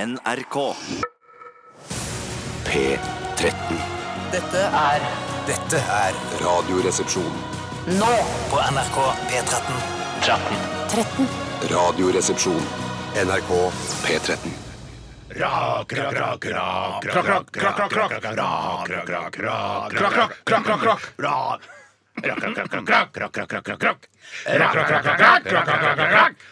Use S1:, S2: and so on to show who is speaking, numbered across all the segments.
S1: NRK.
S2: P13.
S3: Dette er
S4: Dette er
S2: Radioresepsjon.
S3: nå
S4: på NRK P13.
S2: Radioresepsjon. NRK P13.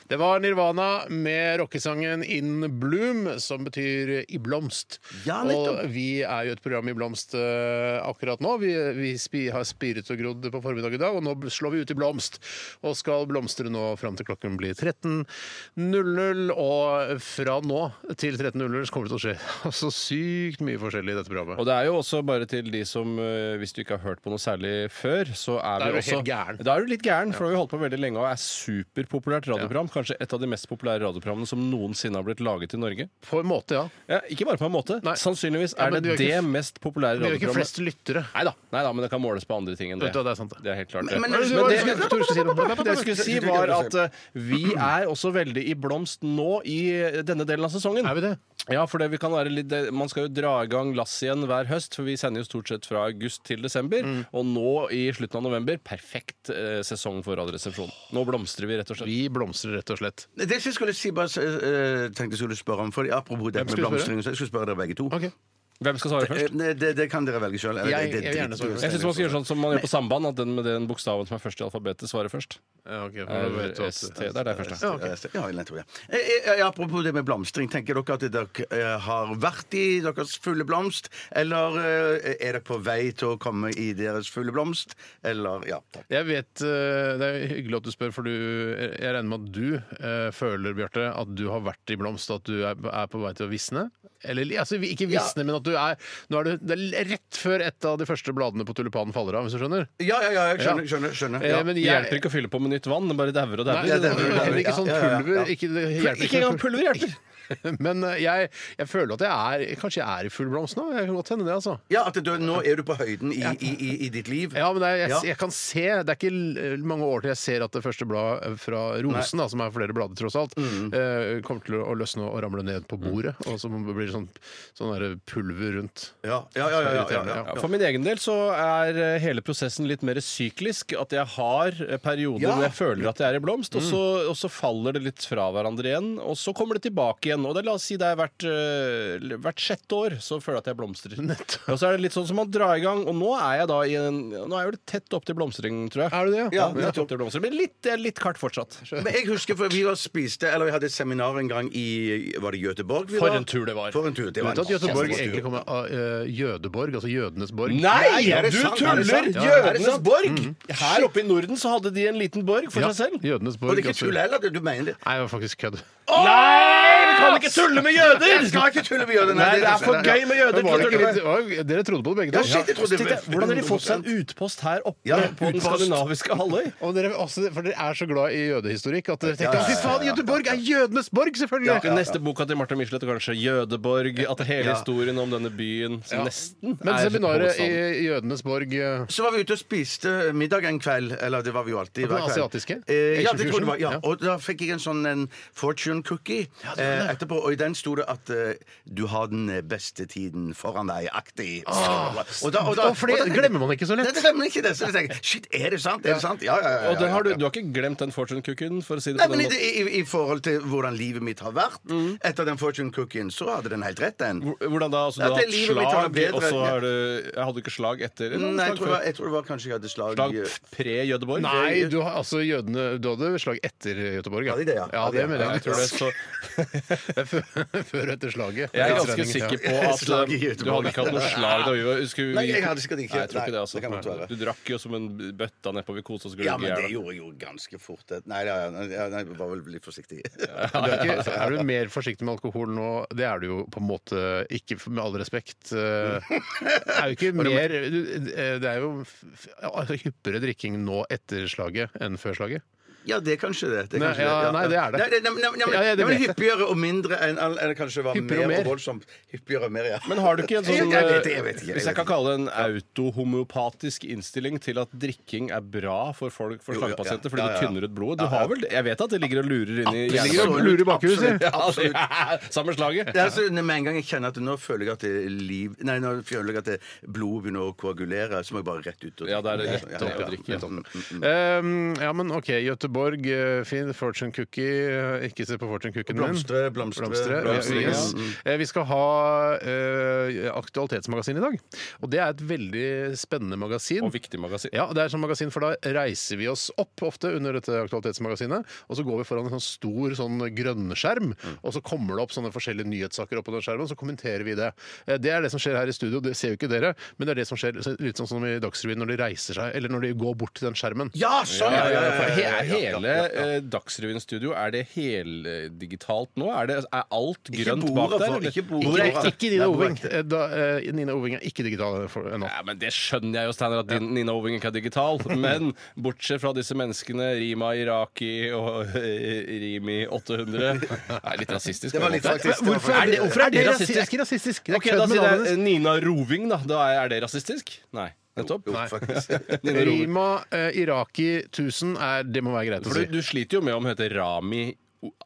S5: Det var Nirvana med rockesangen In Bloom, som betyr i blomst.
S1: Ja, nettopp.
S5: og vi er jo et program i blomst eh, akkurat nå. Vi, vi spi, har spiret og grodd på formiddag i dag, og nå slår vi ut i blomst. Og skal blomstre nå fram til klokken blir 13.00. Og fra nå til 13.00 så kommer det til å skje så sykt mye forskjellig i dette programmet.
S6: Og det er jo også bare til de som eh, Hvis du ikke har hørt på noe særlig før, så er
S5: Da er
S6: vi
S5: du
S6: også
S5: helt gæren.
S6: Da er du litt gæren, for da har vi holdt på veldig lenge og er superpopulært radioprogram. Kanskje et av de mest populære radioprogrammene som noensinne har blitt laget i Norge.
S5: På en måte, ja.
S6: Ja, ikke bare på en måte.
S5: Nei.
S6: Sannsynligvis
S5: Ja,
S6: er
S5: men
S6: det
S5: vi
S6: det
S5: har ikke-
S6: mest populære
S5: Vi har ikke flest
S6: radioprogrammet.
S5: lyttere.
S6: Nei da, men det kan måles på andre ting enn det.
S5: Vet du hva, det er sant, det.
S6: det er helt klart. det.
S1: Men-
S5: Hva
S1: men-
S5: er
S6: Men
S5: det du- hva er det du skulle si nå?
S6: det jeg skulle si var at eh, vi er også veldig i blomst nå i denne delen av sesongen.
S5: Er vi det?
S6: Ja, for det vi kan være litt, det- man skal jo dra i gang lass igjen hver høst, for vi sender jo stort sett fra august til desember.
S1: Mm.
S6: Og nå i slutten av november, perfekt eh, sesong for Radioresepsjonen. Nå blomstrer vi, rett og slett.
S5: Vi blomstrer, rett og slett.
S1: Det jeg skulle si, bare, eh, tenkte jeg skulle spørre om, for apropos det med
S5: skulle du
S1: blomstring så Jeg skulle spørre dere begge to.
S5: Ok.
S6: Hvem skal svare først?
S1: Eh, nei, Det, det kan dere velge sjøl.
S5: Jeg- jeg vil gjerne svare først.
S6: Jeg syns man skal gjøre sånn som man gjør på samband, at den med den bokstaven som er først i alfabetet, svarer først.
S5: Ja, ok, for da vet du at-
S6: RST. Det er der først, da.
S5: Ja, ok.
S1: Ja, jeg tror, ja. Eh, eh, Apropos det med blomstring. Tenker dere at dere eh, har vært i deres fulle blomst? Eller eh, er dere på vei til å komme i deres fulle blomst? Eller Ja. takk.
S5: Jeg vet, eh, Det er hyggelig at du spør, for du, jeg regner med at du eh, føler Bjarte, at du har vært i blomst, at du er, er på vei til å visne? Eller altså, ikke visne, men at du er, nå er du, Det er rett før et av de første bladene på tulipanen faller av, hvis du skjønner?
S1: Ja, ja, ja, jeg skjønner.
S5: Ja.
S1: skjønner, skjønner.
S5: Eh,
S1: Ja.
S5: men
S6: Det
S5: jeg,
S6: hjelper ikke å fylle på med nytt vann, det bare dauer
S5: Nei,
S6: og dauer.
S1: Ja, det er veldig
S5: men ikke sånn
S1: Ja, ja, ja,
S5: pulver.
S1: ja.
S5: Ikke, det hjelper
S6: Ikke engang
S5: med pul-
S6: pulver hjelper!
S5: Men eh, jeg, jeg føler at jeg er Kanskje jeg er i full blomst nå? Jeg kan godt hende det, altså.
S1: ja at du, nå er du på høyden i, i, i, i ditt liv.
S5: Ja, men det er, jeg,
S1: Ja.
S5: jeg kan se Det er ikke l- mange år til jeg ser at det første bladet fra rosen, da, som er flere blader tross alt, eh, kommer til å løsne og ramle ned på bordet. Og så blir det sånn, sånn der pulver rundt.
S1: Ja, ja, ja, ja, ja, ja.
S6: Ja, for min egen del så er eh, hele prosessen litt mer syklisk. At jeg har eh, perioder
S1: Ja. Mm.
S6: hvor jeg føler at jeg er i blomst, og, så, og så faller det litt fra hverandre igjen. Og så kommer det tilbake igjen. Og det, la oss si det er hvert, eh, hvert sjette år så føler jeg at jeg blomstrer. Og så er det litt sånn som man drar i gang. Og nå er jeg da i en Nå er jeg jo litt tett opp til blomstring, tror jeg.
S5: Er du det,
S1: Ja,
S6: Tett opp til blomstring, Men litt, det er litt kart fortsatt.
S1: Men jeg husker for vi var spiste, eller vi hadde et seminar en gang i Var det Göteborg? vi
S6: For
S1: var?
S6: en tur det var.
S1: For en tur, det
S5: Du
S1: var
S5: vet
S1: en
S5: at Göteborg
S1: kjempestor tur.
S5: egentlig kommer av eh, Jødeborg, altså jødenes borg?
S6: Nei!
S1: er det
S6: du
S1: sant? Er det
S6: tuller!
S1: sant? Ja. Er det
S6: Jødenes
S1: sant? Mm.
S6: borg! Her oppe i Norden så hadde de en liten borg for
S5: Ja,
S6: seg selv.
S5: Jødenes
S1: Og
S5: borg.
S1: det er ikke
S5: altså-
S1: tull heller, det- du mener det.
S5: Nei, det var faktisk kødd.
S6: Nei! Vi kan ikke tulle med
S1: Jeg
S6: jøder!
S1: skal ikke tulle med jødene!
S6: Nei, det er for gøy med jøder.
S5: Men var det ikke
S6: Tuller
S5: litt,
S6: med-
S5: var, dere trodde på det, begge
S1: Ja,
S5: to?
S1: shit, jeg trodde
S6: Tenk deg, Hvordan har de fått seg en utpost her oppe
S1: Ja,
S6: på den
S1: utpost.
S6: skandinaviske halvøy?
S5: Og dere, også, for dere er så glad i jødehistorikk at dere tenker
S1: Ja, ja,
S5: «Å, fy faen, Göteborg er jødenes borg, selvfølgelig!
S6: Neste boka til Martin Michelet er kanskje Jødeborg. At hele
S1: Ja.
S6: historien om denne byen som nesten
S5: Men
S6: er
S5: seminaret i
S6: hovedstaden.
S5: Jødenes borg eh,
S1: Så var vi ute og spiste middag en kveld. Eller det var vi jo alltid.
S5: Og den
S1: hver kveld.
S5: asiatiske?
S1: Eh, ja, det tror jeg det var.
S5: Ja.
S1: Ja. Og da fikk jeg en sånn en fortune cookie eh, etterpå, og i den sto det at eh, du har den beste tiden foran deg-aktig. Og da- og da-
S5: Å, for det
S1: og da tenkte-
S5: glemmer man ikke så lett.
S1: Nei, Det glemmer man ikke det. Så jeg tenker, shit, er det sant? Er det sant? Ja, ja, ja. ja,
S6: Og den har du,
S1: ja.
S6: du har ikke glemt den fortune cookien, for å si det
S1: Nei,
S6: på
S1: men i,
S6: den måten?
S1: i, I forhold til hvordan livet mitt har vært etter den fortune cookien, så hadde den helt rett, den.
S6: Hvor- Hvordan da? Altså,
S1: Ja,
S6: du har
S1: det er
S6: hatt
S1: livet mitt har vært
S6: slag,
S1: bedre.
S6: og så er det Jeg hadde ikke slag etter? eller
S1: Nei, Mm, jeg
S6: slag
S1: tror, det
S6: før?
S1: var, jeg tror det var kanskje jeg hadde slag eh,
S6: Slag pre-Jødeborg?
S5: Nei, du har altså jødene Du hadde slag etter Göteborg,
S1: Hadde de det, ja?
S5: ja
S1: Hadde
S5: det
S1: de-
S5: mener
S6: Ja, jeg
S5: jeg.
S6: tror det, så
S5: Før, før etter slaget.
S6: Jeg er ganske
S5: Ja.
S6: sikker på at
S1: Slag i
S6: eh, du
S1: Göteborg.
S6: hadde ikke hatt noe slag da vi var skulle vi-
S1: Nei, jeg hadde sikkert ikke.
S6: Nei, jeg tror
S1: Nei,
S6: ikke det,
S1: det kan godt
S6: altså.
S1: være.
S6: Du drakk jo som en bøtta nedpå. Vi koste oss
S1: Ja, men det
S6: glugg.
S1: gjorde jeg jo ganske fort. det- Nei, ja, ja, ja, nei, jeg var vel litt forsiktig.
S5: Du er, ikke, er du mer forsiktig med alkohol nå? Det er du jo på en måte ikke, med all respekt. eh, Er jo ikke mer du, eh, Det er jo f- f- altså, hyppigere drikking nå etter slaget enn før slaget.
S1: Ja, det er kanskje det. det er
S5: Nei,
S1: kanskje
S5: ja, nei, det er det.
S1: Nei, nei, nei, nei, nei,
S5: Ja, ja, det
S1: nei, men
S5: vet jeg.
S1: hyppigere og mindre enn Eller kanskje det var
S5: Hyppigere og
S1: mer,
S5: mer.
S1: og voldsomt. Hyppigere og mer, ja.
S6: Men har du ikke en sånn
S1: Jeg vet ikke, jeg vet ikke.
S6: Hvis jeg kan kalle det en autohomeopatisk innstilling til at drikking er bra for folk for
S1: Jo, ja,
S6: slangepasienter fordi
S1: ja, ja,
S6: det
S1: ja.
S6: tynner ut blodet? Du har vel Jeg vet at det ligger og lurer inni
S1: Absolutt.
S5: ligger og lurer i bakhuset.
S6: Ja, det- Samme slaget.
S1: Det er altså, med en gang jeg kjenner at nå føler jeg at det liv Nei, nå føler jeg at det blodet begynner å koagulere, så må jeg bare rett ut og
S6: Ja, det er rett opp og drikke.
S1: Mm, mm, mm.
S5: Ehm, ja, men OK. Göteborg, eh, fin fortune cookie. eh, Ikke se på fortune cookien min.
S1: Blomstre, blomstre,
S5: Blomstre,
S1: blomstre,
S5: ja, yes.
S1: ja. Mm.
S5: Eh, Vi skal ha eh, Aktualitetsmagasin i dag. Og det er et veldig spennende magasin.
S6: Og viktig magasin.
S5: Ja, det er et sånt magasin, for da reiser vi oss opp ofte under dette aktualitetsmagasinet, og så går vi foran en sånn stor sånn grønnskjerm, og så kommer det opp sånne forskjellige nyhetssaker opp på den skjermen, og så kommenterer vi det. Eh, Det er det som skjer her i studio, det ser jo ikke dere, men det er det som skjer så- litt sånn som i Dagsrevyen når de reiser seg, eller når de går bort til den skjermen.
S1: Ja, sånn!
S6: Ja, ja, ja, for
S1: ja,
S6: he-
S1: ja, ja,
S6: Hele
S1: ja, ja.
S6: eh, Dagsrevyen studio, er det heldigitalt nå? Er, det, er alt
S1: Ikke
S6: grønt
S1: bordet,
S6: bak der?
S1: for-
S6: eller?
S1: ikke bordet.
S5: Ikke,
S1: Bordet.
S5: ikke Nina Oving. Eh, Da, eh, Nina Oving er ikke digital for- ennå.
S6: Ja, men Det skjønner jeg jo, Steiner, at din, Nina Oving ikke er digital. Men bortsett fra disse menneskene, Rima Iraki og eh, Rimi 800 er Litt rasistisk.
S1: Det var litt
S6: på en måte.
S1: faktisk. det var
S5: Hvorfor
S1: faktisk-
S5: er det, hvorfor er det
S6: Er det
S5: rasistisk? Det er ikke rasistisk. Det er
S6: Ok,
S5: kødd
S6: Da
S5: med
S6: sier
S5: navnet.
S6: jeg eh, Nina Roving, da. da er- er det rasistisk? Nei. Nettopp.
S1: Jo, faktisk.
S6: Nina Roving.
S5: Rima eh, Iraki 1000 er Det må være greit å
S6: For
S5: si.
S6: du, du sliter jo med om hun heter Rami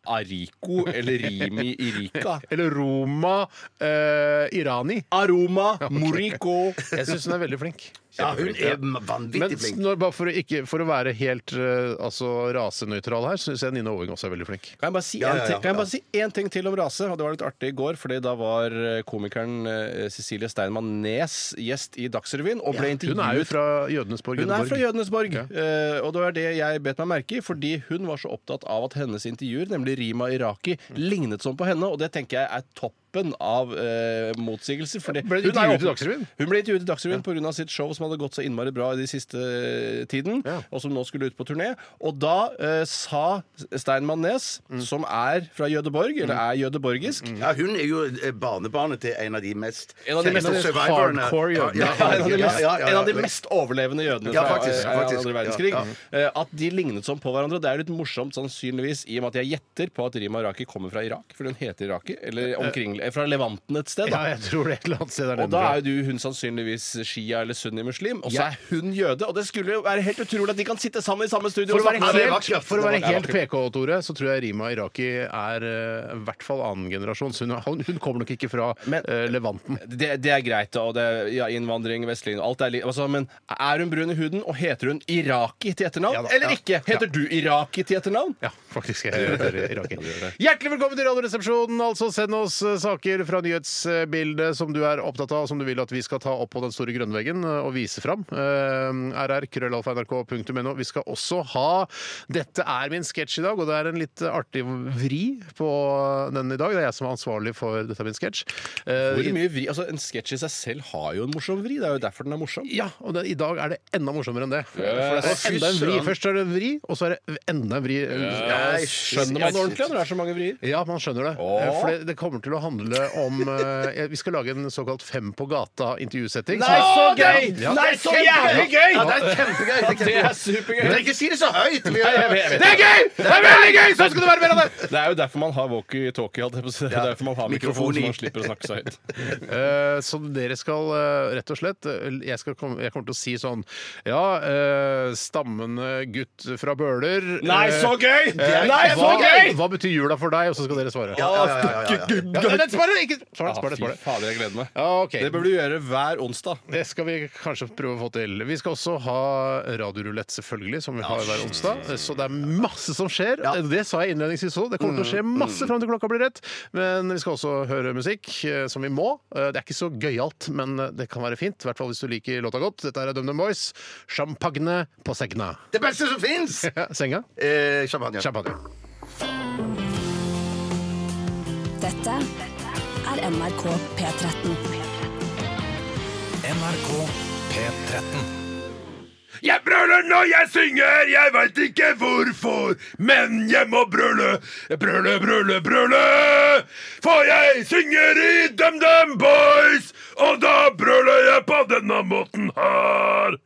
S6: Ariko eller Rimi Irika.
S5: Eller Roma eh, Irani.
S6: Aroma Moriko.
S5: Jeg syns hun er veldig flink.
S1: Ja, hun er vanvittig
S5: Men
S1: flink.
S5: når, bare for å, ikke, for å være helt eh, altså, rasenøytral her, syns jeg Nina Oving også er veldig flink.
S6: Kan jeg bare si
S1: Ja,
S6: en
S1: ja,
S6: ting-
S1: ja.
S6: kan jeg bare si én ting til om rase? Og det var litt artig i går, fordi da var eh, komikeren eh, Cecilie Steinmann Nes gjest i Dagsrevyen og ble
S5: Hun er jo
S6: intervjuet.
S5: fra Jødnesborg.
S6: Hun er fra
S5: Göteborg.
S6: Jødnesborg,
S5: Ja.
S6: eh, og det var det jeg bet meg merke i. Fordi hun var så opptatt av at hennes intervjuer, nemlig Rima Iraki, lignet sånn på henne. Og det tenker jeg er toppen av eh, motsigelser. Fordi
S5: Ble
S6: hun er
S5: intervjuet i
S6: åpen-
S5: Dagsrevyen?
S6: Hun ble intervjuet i Dagsrevyen pga. av sitt show som hadde gått så innmari bra i de siste eh, tiden,
S5: Ja.
S6: og som nå skulle ut på turné. Og da eh, sa Steinmann Nes,
S5: Mm.
S6: som er fra Jødeborg, eller er jødeborgisk
S1: Ja, hun er jo eh, barnebarnet til en av de mest
S6: En av de mest
S1: kjente
S5: hardcore jødene.
S1: Ja,
S6: Ja,
S1: ja,
S6: en, av de
S1: ja,
S6: mest,
S1: ja, ja,
S6: en av de
S1: ja.
S6: mest overlevende jødene
S1: Ja,
S6: fra
S1: faktisk,
S6: eh,
S1: faktisk.
S6: andre verdenskrig. Eh, At de lignet sånn på hverandre. og Det er litt morsomt sannsynligvis i og med at jeg gjetter på at Rima Iraki kommer fra Irak, fordi hun heter Iraki, eller omkring, eh, fra Levanten et sted.
S5: Ja,
S6: Da.
S5: jeg tror det er et eller annet sted der
S6: Og da er
S5: nede.
S6: jo du hun sannsynligvis shia eller sunnimuslim, og så
S5: Ja.
S6: er hun jøde. Og det skulle jo være helt utrolig at de kan sitte sammen i samme studio!
S5: For å
S6: og
S5: være
S6: snakke om det.
S5: helt,
S1: vakkert.
S5: for å være
S1: Det var
S5: helt PK, Tore, så tror jeg Rima Iraki er eh, i hvert fall annen generasjon. Så hun, er- hun kommer nok ikke fra
S6: Men-
S5: eh, Levanten.
S6: det, det er greit, da, og det er ja, innvandring, vestligning, alt er li altså, Men er hun brun i huden, og heter hun Iraki til etternavn?
S5: Ja da,
S6: eller
S5: ja.
S6: ikke? Heter du Iraki til etternavn?
S5: Ja, faktisk. Jeg heter Iraki. Hjertelig velkommen til Radioresepsjonen. Altså, send oss eh, saker fra nyhetsbildet som du er opptatt av, som du vil at vi skal ta opp på den store grønnveggen eh, og vise fram. Eh, rr.krøllalfa.nrk.no. Vi skal også ha 'Dette er min sketsj' i dag, og det er en litt artig vri på den i dag. Det er jeg som er ansvarlig for 'Dette er min sketsj'. Eh,
S6: Hvor
S5: i-
S6: mye vri? Altså, En sketsj i seg selv har jo en morsom vri. Det er jo derfor den er morsom.
S5: Ja, og det, i dag er det enda morsommere enn det. For
S6: Yes.
S5: det er enda en vri.
S1: Fy søren.
S5: Først er det en vri, og så er det enda en vri. eh,
S1: Nei,
S6: Skjønner man det ordentlig når det er så mange vrier?
S5: Ja, man skjønner det.
S6: Åh.
S5: Eh, For det, det kommer til å handle om eh, Vi skal lage en såkalt Fem på gata-intervjusetting.
S6: så gøy!
S5: Ja.
S6: Nei, så jævlig gøy!
S1: Ja, det er kjempegøy! Det er,
S6: Det
S1: kjempegøy.
S6: er supergøy!
S1: Men ikke si det så høyt! Vi er-
S6: jeg vet.
S5: Det er gøy! Det er veldig gøy! Sånn skal det være mer av det!
S6: Det er jo derfor man har walkie-talkie. holdt jeg på å si. Det er derfor man har mikrofon,
S1: Mikrofon i.
S6: så man slipper å snakke så høyt.
S5: Eh, så dere skal eh, rett og slett eh, jeg, skal komme, jeg kommer til å si sånn Ja, eh, stammende gutt fra Bøler eh,
S6: gøy!
S5: eh, hva, Hva betyr jula for deg? Og så skal dere svare.
S1: Ja, ja, ja, ja, ja, ja.
S5: Ja, nei, nei, Spar det! Ikke spar det! Spar det,
S6: Fy
S5: spar det.
S6: fader, jeg gleder meg.
S5: Ja, ok.
S6: Det bør du gjøre hver onsdag.
S5: Det skal vi kanskje prøve å få til. Vi skal også ha radiorulett, selvfølgelig, som vi har hver onsdag. Så det er masse som skjer. Det sa jeg innledningsvis òg. Det kommer til å skje masse fram til klokka blir rett. Men vi skal også høre musikk, eh, som vi må. Eh, Det er ikke så gøyalt, men eh, det kan være fint. I hvert fall hvis du liker låta godt. Dette er DumDum Boys. Champagne på segna.
S1: Det beste som fins!
S5: Ja, senga?
S1: Eh, champagne.
S5: Champagne.
S7: Dette er NRK P13.
S8: NRK P13.
S1: Jeg brøler når jeg synger, jeg veit ikke hvorfor, men jeg må brøle. Brøle, brøle, brøle. For jeg synger i DumDum Boys, og da brøler jeg på denne måten her.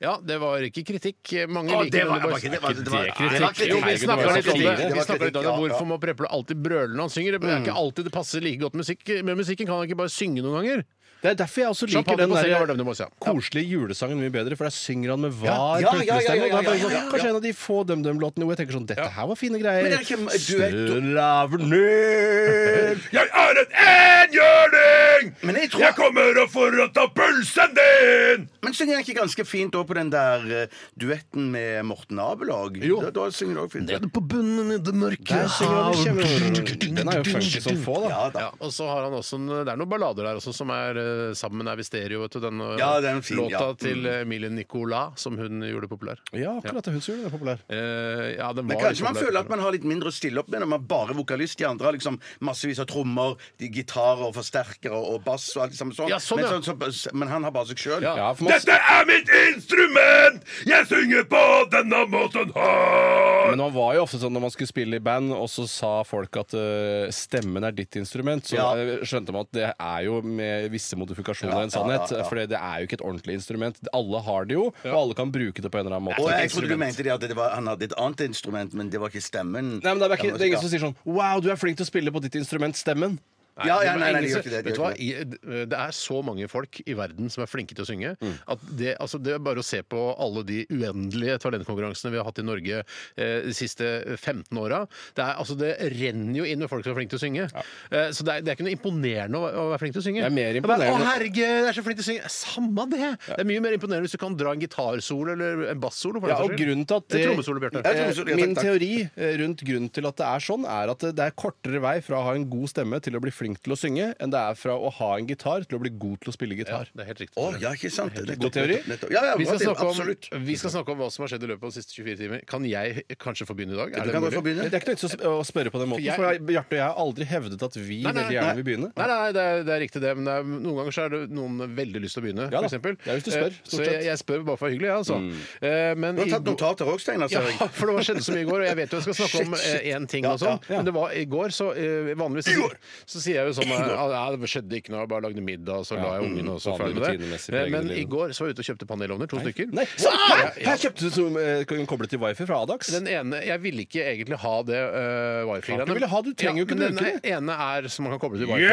S5: Ja, det var ikke kritikk. Mange
S1: Å,
S5: liker
S1: det var-
S5: Wonder Boys.
S1: det var ikke- det var- det var-
S5: Er ikke
S1: Nei, det var kritikk.
S5: Jo, vi
S1: Herregud,
S5: snakka
S1: det var
S5: litt om det.
S1: kritikk. Det
S5: Vi snakket litt
S1: var
S5: om det.
S1: kritikk, ja, Mm.
S5: Hvorfor
S1: ja.
S5: må Prepple alltid brøle når han synger? Det er ikke alltid det passer like godt musikk, med musikken. Kan han ikke bare synge noen ganger?
S6: Det er derfor jeg også liker
S5: Champagne
S6: den
S5: på senga var
S6: der
S5: Wonder Boys, ja.
S6: koselige julesangen mye bedre, for der synger han med var
S1: Ja, ja, ja, ja,
S6: pulkestemme, og da er det
S1: ja, ja,
S6: sånn,
S1: ja, ja.
S6: Kanskje en av de få DumDum-låtene hvor jeg tenker sånn Dette her var fine
S1: Men
S6: greier.
S1: det er ikke en duett-
S6: Stølaver ned Jeg er en enhjørning!
S1: Men jeg tror- Jeg
S6: kommer og får ta pulsen din!
S1: Men synger han ikke ganske fint òg på den der eh, duetten med Morten Abelhaug?
S5: Jo.
S1: Da, da synger du òg fint.
S5: Nede på bunnen i det mørke
S6: Der synger han kjempe- Den er jo funky
S1: sånn
S6: som få, da.
S1: Ja, da.
S5: Ja, og så har han også en, Det er noen ballader der også som er eh, 'Sammen er vi stereo', vet du. Den eh,
S1: Ja, den er fin,
S5: låta
S1: ja. Mm.
S5: til Emilie Nicolas, som hun gjorde populær.
S6: Ja, akkurat det. Hun som gjorde den populær.
S5: Eh, ja, den var
S1: Men
S5: litt
S1: kanskje man
S5: populær.
S1: føler at man har litt mindre å stille opp med når man bare er vokalist. De andre har liksom massevis av trommer, de gitarer og forsterkere og bass og alt det samme sånn.
S5: Ja, sånn,
S1: men,
S5: ja.
S1: så- men han har bare seg sjøl.
S5: Ja.
S6: Ja, for man,
S1: er mitt instrument! Jeg synger på denne måten her!
S6: men man var jo ofte sånn når man skulle spille i band, og så sa folk at eh, stemmen er ditt instrument, så
S1: Ja.
S6: eh, skjønte man at det er jo med visse modifikasjoner
S1: Ja,
S6: en sannhet.
S1: ja, ja, ja.
S6: For det er jo ikke et ordentlig instrument. Alle har det jo, og alle kan bruke det på en eller annen måte.
S1: Og jeg trodde du mente det at det var, han hadde et annet instrument, men det var ikke stemmen.
S6: Nei, men det er, ikke, det er ingen som
S1: ja,
S6: sier sånn Wow, du er flink til å spille på ditt instrument, stemmen.
S1: ja, ja, nei, nei,
S5: Ingen
S1: det
S5: som-
S1: gjør ikke
S5: Vet
S1: det. det
S5: du
S1: gjør
S5: hva?
S1: ikke det.
S5: I- Det er så mange folk i verden som er flinke til å synge.
S1: Mm.
S5: At det, altså, det er bare å se på alle de uendelige talentkonkurransene vi har hatt i Norge eh, de siste 15 åra. Det, er- altså, det renner jo inn med folk som er flinke til å synge. Eh, så det er, det er ikke noe imponerende å, å være flink til å synge.
S6: Det er mer
S5: Det bare,
S6: imponerende-
S5: Å herregud, jeg er så flink til å synge! Samme det! Det er mye mer imponerende hvis du kan dra en gitarsolo eller en bassolo. for
S6: Ja,
S5: den
S6: og
S5: saks skyld.
S6: grunnen til at
S5: Eller trommesolo, Bjarte.
S6: Eh,
S1: trommesolo, ja, takk,
S6: Min
S1: takk.
S6: teori eh, rundt grunnen til at det er sånn, er at det er kortere vei fra å ha en god stemme til å bli flink til å synge, enn det er fra å ha en gitar til å bli god til å spille
S5: Ja,
S6: gitar.
S5: det er helt riktig.
S1: Å, ja, ikke sant? Nettopp,
S6: god teori.
S1: nettopp, nettopp. Ja, ja,
S5: Vi skal,
S1: bra teori,
S5: snakke
S1: absolutt.
S5: om, vi skal snakke om hva som har skjedd i løpet av de siste 24 timer. Kan jeg kanskje få begynne i dag? Er
S1: Du kan
S5: mulig?
S1: godt få begynne.
S6: Det er ikke noe vits å sp- å spørre på den måten,
S5: jeg-
S6: for jeg- Bjarte og jeg har aldri hevdet at vi
S5: Nei, nei,
S6: veldig
S5: nei.
S6: gjerne vil begynne.
S5: Nei, nei, det er, det er riktig det, men det er, noen ganger så er det noen veldig lyst til å begynne,
S6: Ja
S5: for
S6: da.
S5: eksempel.
S6: Det er hvis du spør,
S5: Eh,
S6: stort
S5: Så jeg,
S6: sett. Mm.
S5: jeg spør bare for hyggelig, jeg, altså. Eh, Men
S1: Du har
S5: i
S1: tatt
S5: går-
S1: notater òg, Steinar. ser
S5: Ja,
S1: jeg.
S5: for det var skjedde så mye i går, og jeg vet jo jeg skal snakke om
S1: Shit, shit.
S5: én ting
S1: Ja,
S5: og sånn.
S6: ja, ja.
S5: Men det var i går, så eh, vanligvis så, så sier jeg jo sånn eh, Ja, det skjedde ikke noe, jeg bare lagde middag, og så la jeg ungene og så
S6: mm, vanlig
S5: ferdig med det.
S6: rutinemessig
S5: Eh, Men
S6: pregede
S5: i
S6: liv.
S5: går så var jeg ute og kjøpte panelovner, to stykker.
S6: Nei, så, hæ? Her kjøpte du som eh, kan koble til wifi fra Adax.
S5: Den ene, Jeg ville ikke egentlig ha det uh, wifi-greiene.
S6: Klart du ville ha, du trenger jo ikke
S5: men
S6: bruke
S5: den
S6: det.
S5: ene er som man kan koble til wifi.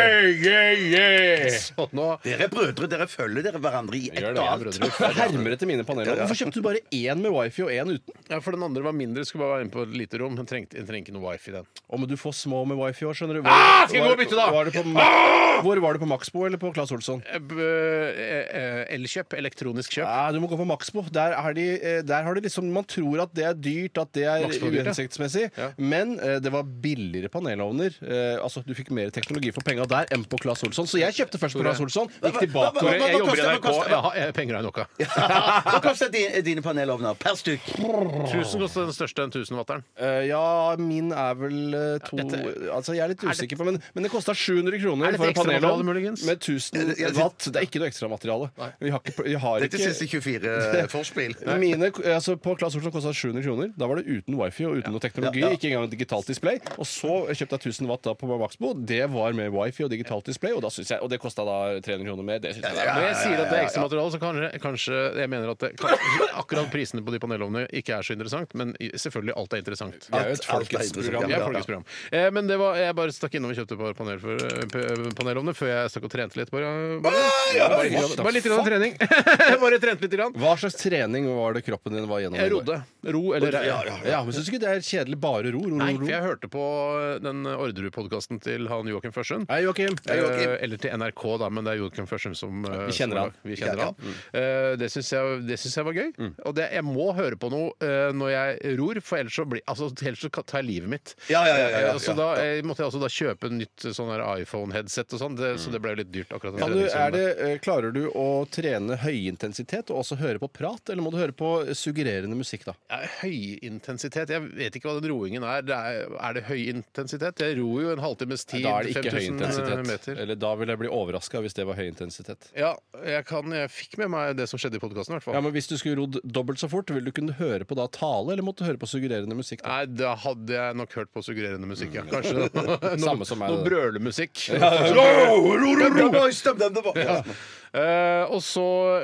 S5: Så nå
S1: Dere er brødre, dere følger dere hverandre i ett
S5: gjør
S1: og
S5: det, jeg er
S1: alt.
S5: brødre.
S6: Jeg hermer etter mine paneler. Hvorfor kjøpte du bare én med wifi og én uten?
S5: Ja, for den andre var mindre, skulle bare være inne på et lite rom. Den trengte, den trengte ikke noe wifi, den.
S6: Å, men du får små med wifi òg, skjønner du. Hvor,
S5: Ah, skal jeg gå og
S6: var-
S5: bytte, da? Ah!
S6: Var det på, Ma- hvor var det på Maxbo eller på Claes Olsson?
S5: Eh, b- eh, eh, Elkjøp. Elektronisk kjøp.
S6: Nei, Ah, du må gå på Maxbo. Der, er de, eh, der har de liksom Man tror at det er dyrt, at det er
S5: Maxbo er dyrt, ja.
S6: uhensiktsmessig,
S5: Ja.
S6: men eh, det var billigere panelovner. Eh, altså, du fikk mer teknologi for penga der enn på Claes Olsson. Så jeg kjøpte først på Claes Olsson. Gikk
S1: hva-
S6: tilbake
S1: hva- hva-
S5: Jeg jobber i
S1: koster- hva
S5: NRK.
S1: koster-
S5: Jeg har jeg har penger av nok av.
S1: Hva koster dine, dine panelovner per stykk?
S5: Tusen koster den største, den tusenwatteren.
S6: Eh, Ja, min er vel eh, to Altså, jeg er litt usiker på Men, men det kosta 700
S5: Er
S6: kroner
S5: dette
S6: for en
S5: ekstramateriale,
S6: panelovn
S5: muligens?
S6: med 1000
S1: Ja, det-
S6: watt. Det er ikke noe ekstramateriale. Vi har ikke, vi har
S1: Dette er siste
S6: ikke
S1: 24-forspill.
S6: Mine, altså På Claes Olsson kosta 700 kroner. Da var det uten wifi og uten noe teknologi.
S1: Ja, ja.
S6: Ikke engang digitalt display. Og så kjøpte jeg 1000 watt da på Maxbo. Det var med wifi og digitalt display, og, da synes jeg, og det kosta da 300 kroner mer. Det synes jeg
S5: Når
S6: var.
S5: jeg sier at det er ekstramateriale, så kanskje, kanskje jeg mener at det, kanskje, akkurat prisene på de panelovnene ikke er så interessant, men i- selvfølgelig alt er interessant.
S6: Det er jo et
S1: Alt er
S6: folkets
S1: interessant,
S6: program.
S5: Vi er
S1: ja.
S5: folkets program. Eh, men det var, jeg bare stakk innom og kjøpte et par panel for, eh, p- panelovner før jeg stakk og trente litt. Bare, bare, bare, litt grann- bare litt grann trening. bare trente litt. Grann.
S6: Hva slags trening var det kroppen din var gjennom?
S5: Jeg
S6: i går?
S5: rodde. Ro eller
S1: Ja, ja,
S6: Ja, men Syns du ikke det er kjedelig bare ro? ro, ro,
S5: Nei, for
S6: ro?
S5: jeg hørte på eh, den Orderud-podkasten til han Joakim Førsund.
S6: Hei, Joakim.
S1: Hei, Joakim.
S5: Eh, Eller til NRK, da, men det er Joakim Førsum som eh,
S6: Vi kjenner
S5: som-
S6: han. Mm.
S5: Vi kjenner
S1: Ja,
S5: han. Eh, Det syns jeg, det syns jeg var gøy. Og det, jeg må høre på noe eh, når jeg ror, for ellers så, blir, altså, ellers så tar jeg livet mitt.
S1: Ja, ja, ja, ja, ja,
S5: Eh, så
S1: ja,
S5: da eh, måtte jeg også da kjøpe nytt sånn her iPhone-headset og sånn, det- så det liksom ble jo litt dyrt akkurat. den
S6: Kan du, er
S5: treningsrunden.
S6: det, eh, klarer du å trene høyintensitet og også høre på prat, eller må du høre på suggererende musikk, da?
S5: Ja, Høyintensitet Jeg vet ikke hva den roingen er. Det er, er det høyintensitet? Jeg ror jo en halvtimes tid.
S6: Da er det ikke
S5: 5000
S6: høyintensitet.
S5: eh, meter.
S6: Eller da vil jeg bli overraska hvis det var høyintensitet.
S5: Ja, jeg, kan, jeg fikk med meg det som skjedde i podkasten, i hvert fall.
S6: Ja, men Hvis du skulle rodd dobbelt så fort, ville du kunne høre på da tale, eller måtte du høre på suggererende musikk? da?
S5: Nei, da hadde jeg nok hørt på suggererende musikk, ja. Kanskje noe,
S6: Mm. Samme som meg,
S5: noe
S6: det.
S5: brølemusikk.
S1: Ro, ro, ro, ro, ro, ro, ro, ro, ro.
S5: Eh, og så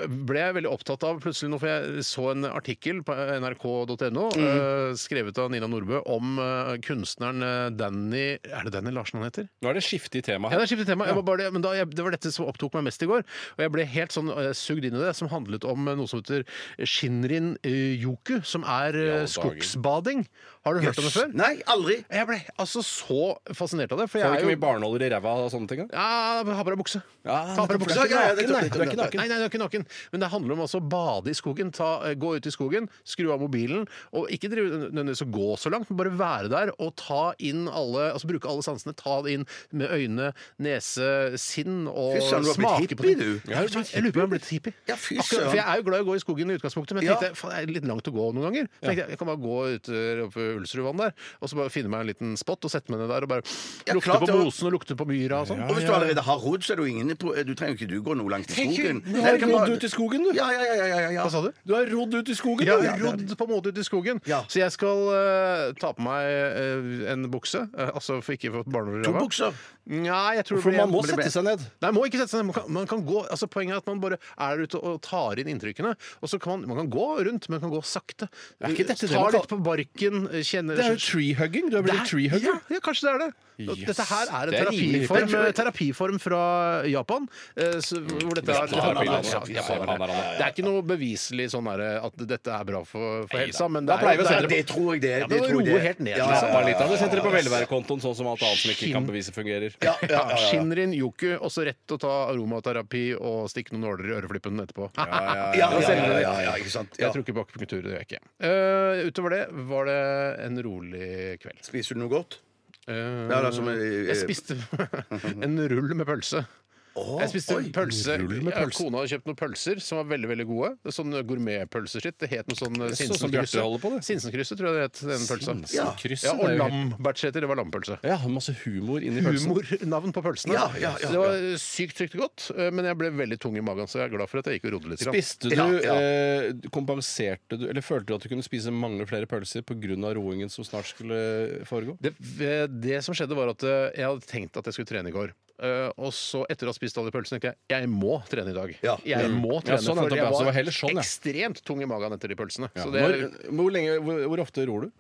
S5: ble jeg veldig opptatt av plutselig nå, for jeg så en artikkel på nrk.no
S6: Mm.
S5: eh, skrevet av Nina Nordbø om eh, kunstneren eh, Danny Er det Danny Larsen han heter?
S6: Nå er det skifte i temaet
S5: Ja, det
S6: her.
S5: er skiftet tema. Jeg var bare, men da, jeg, det var dette som opptok meg mest i går. Og jeg ble helt sånn eh, sugd inn i det, som handlet om eh, noe som heter shinrin eh, yoku, som er eh,
S6: Ja, dagen.
S5: skogsbading. Har du hørt om det før?
S1: Nei, aldri.
S5: Jeg ble altså så fascinert av det. For
S6: Får du
S5: jeg
S6: ikke
S5: er
S6: mye
S5: jo
S6: barnåler i ræva og sånne ting? da?
S5: ja, ha på deg bukse.
S6: Ja,
S5: Ta på deg
S6: nettopp, for
S5: bukse.
S6: det er ikke
S1: Ja, ja, det
S6: naken, nei.
S1: tror jeg
S6: Du er ikke naken.
S5: Nei, nei, du er ikke naken. Men det handler om altså å bade i skogen. Ta, eh, gå ut i skogen, skru av mobilen, og ikke drive, nødvendigvis å gå så langt, men bare være der og ta inn alle altså bruke alle sansene. Ta det inn med øyne, nese, sinn og
S1: Fy søren, du har blitt
S5: smake
S1: hippie,
S5: på
S1: du.
S5: ting. Ja, Jeg lurer på- jeg lurer på om jeg har blitt hippie.
S1: Ja, fy
S5: Akkurat, for
S1: søren.
S5: jeg er jo glad i å gå i skogen i utgangspunktet, men jeg
S1: Ja.
S5: tenkte faen, det er litt langt å gå noen ganger. Så Tenkte, jeg, jeg kan bare gå ut eh, oppe ved Ulsrudvann der, og så bare finne meg en liten spot og sette meg ned der og bare
S1: Ja,
S5: lukte
S1: klart
S5: på
S1: det var-
S5: mosen og lukte på myra og sånn.
S1: Og hvis du allerede har hod, så er du ingen pro- Du trenger jo ikke du gå noe langt i
S5: Tenk,
S1: skogen.
S5: nå
S1: Nei,
S6: Du
S1: det
S6: har
S1: kan
S6: rodd
S1: bare-
S6: ut i skogen, du.
S1: Ja, ja, ja, ja, ja, ja.
S5: Hva sa du?
S6: Du har rodd ut i skogen.
S5: Ja,
S6: du.
S5: jeg rodd på en måte ut i skogen.
S1: Ja.
S5: Så jeg skal eh, ta på meg eh, en bukse. eh, altså for ikke for barnehår i
S1: To
S5: ræva.
S1: bukser.
S5: Nei, jeg tror det
S6: For
S5: blir
S6: man
S5: en-
S6: må
S5: blir-
S6: sette seg ned.
S5: Nei, må ikke sette seg ned. Man kan, man kan gå, altså Poenget er at man bare er der ute og tar inn inntrykkene. Og så kan man, man kan gå rundt, men man kan gå sakte.
S6: Er ikke dette det
S5: Ta
S6: man
S5: litt på barken, eh, kjenner
S6: Det er jo treehugging. Du er blitt
S5: Det er- Ja,
S6: treehugger.
S5: ja, kanskje det er det.
S6: Yes.
S5: Dette her er en
S6: Det er rimelig.
S5: terapiform, eh, terapiform fra Japan. eh, så, hvor dette er,
S6: Japanerne,
S5: Ja,
S6: altså.
S5: ja, japanerne.
S6: Japanerne.
S5: Det er ikke noe beviselig sånn der, at dette er bra for, for helsa, men det
S6: Da
S5: er,
S6: pleier vi å
S5: det
S1: Ja,
S5: er-
S6: sette
S1: det tror jeg det.
S5: Ja,
S1: det
S5: men
S1: tror jeg
S5: roe
S1: det.
S5: helt ned,
S1: Ja,
S5: liksom.
S1: ja,
S6: Bare
S1: ja,
S6: litt av det
S1: ja,
S6: setter det på
S1: ja, ja.
S6: velværekontoen, sånn som alt annet som ikke kan bevise fungerer.
S1: Ja, ja, ja, ja.
S5: Shinrin yoku, og så rett å ta aromaterapi og stikke noen nåler i øreflippen etterpå.
S1: Ja, ja, ja, ja, ja, ikke sant. Ja.
S5: Jeg tror ikke på akupunktur. Det gjør jeg ikke. Eh, utover det var det en rolig kveld.
S1: Spiser du noe godt?
S5: Eh,
S1: Ja, det er som, eh,
S5: jeg spiste en rull med pølse. jeg spiste en pølse.
S6: rull med
S5: Ja,
S6: pølse.
S5: Kona hadde kjøpt noen pølser som var veldig veldig gode. Det er Sånn gourmetpølser sitt. Det het noe sånn eh,
S6: er sånn som Bjarte holder på,
S5: Sinsenkrysset.
S6: det.
S5: Sinsenkrysset, tror jeg det het. Den pølsa.
S1: Ja.
S6: Krysset
S5: Ja,
S6: er
S5: og
S6: jo-
S5: lambertseter. Det var lampølse.
S6: Ja, masse humor inni pølsen.
S5: Humornavn på pølsene.
S1: Ja, ja, ja,
S5: Så det var sykt, sykt godt. eh, Men jeg ble veldig tung i magen, så jeg er glad for at jeg gikk og rodde litt. grann.
S6: Spiste du,
S1: Ja, ja.
S6: eh, kompenserte du, eller følte du at du kunne spise mange flere pølser pga. roingen som snart skulle foregå?
S5: Det, eh, det som skjedde, var at eh, jeg hadde tenkt at jeg skulle trene i går. Eh, og så, etter å ha spist alle de pølsene, tenkte jeg jeg må trene i dag.
S1: Ja.
S5: Jeg må trene,
S6: Ja, sånn er
S5: for
S6: det,
S5: jeg
S6: altså, det
S5: var
S6: var heller sånn, ja.
S5: ekstremt tung i magen etter de pølsene.
S6: Ja.
S5: Så det er
S6: Når, hvor, lenge, hvor, hvor ofte ror du?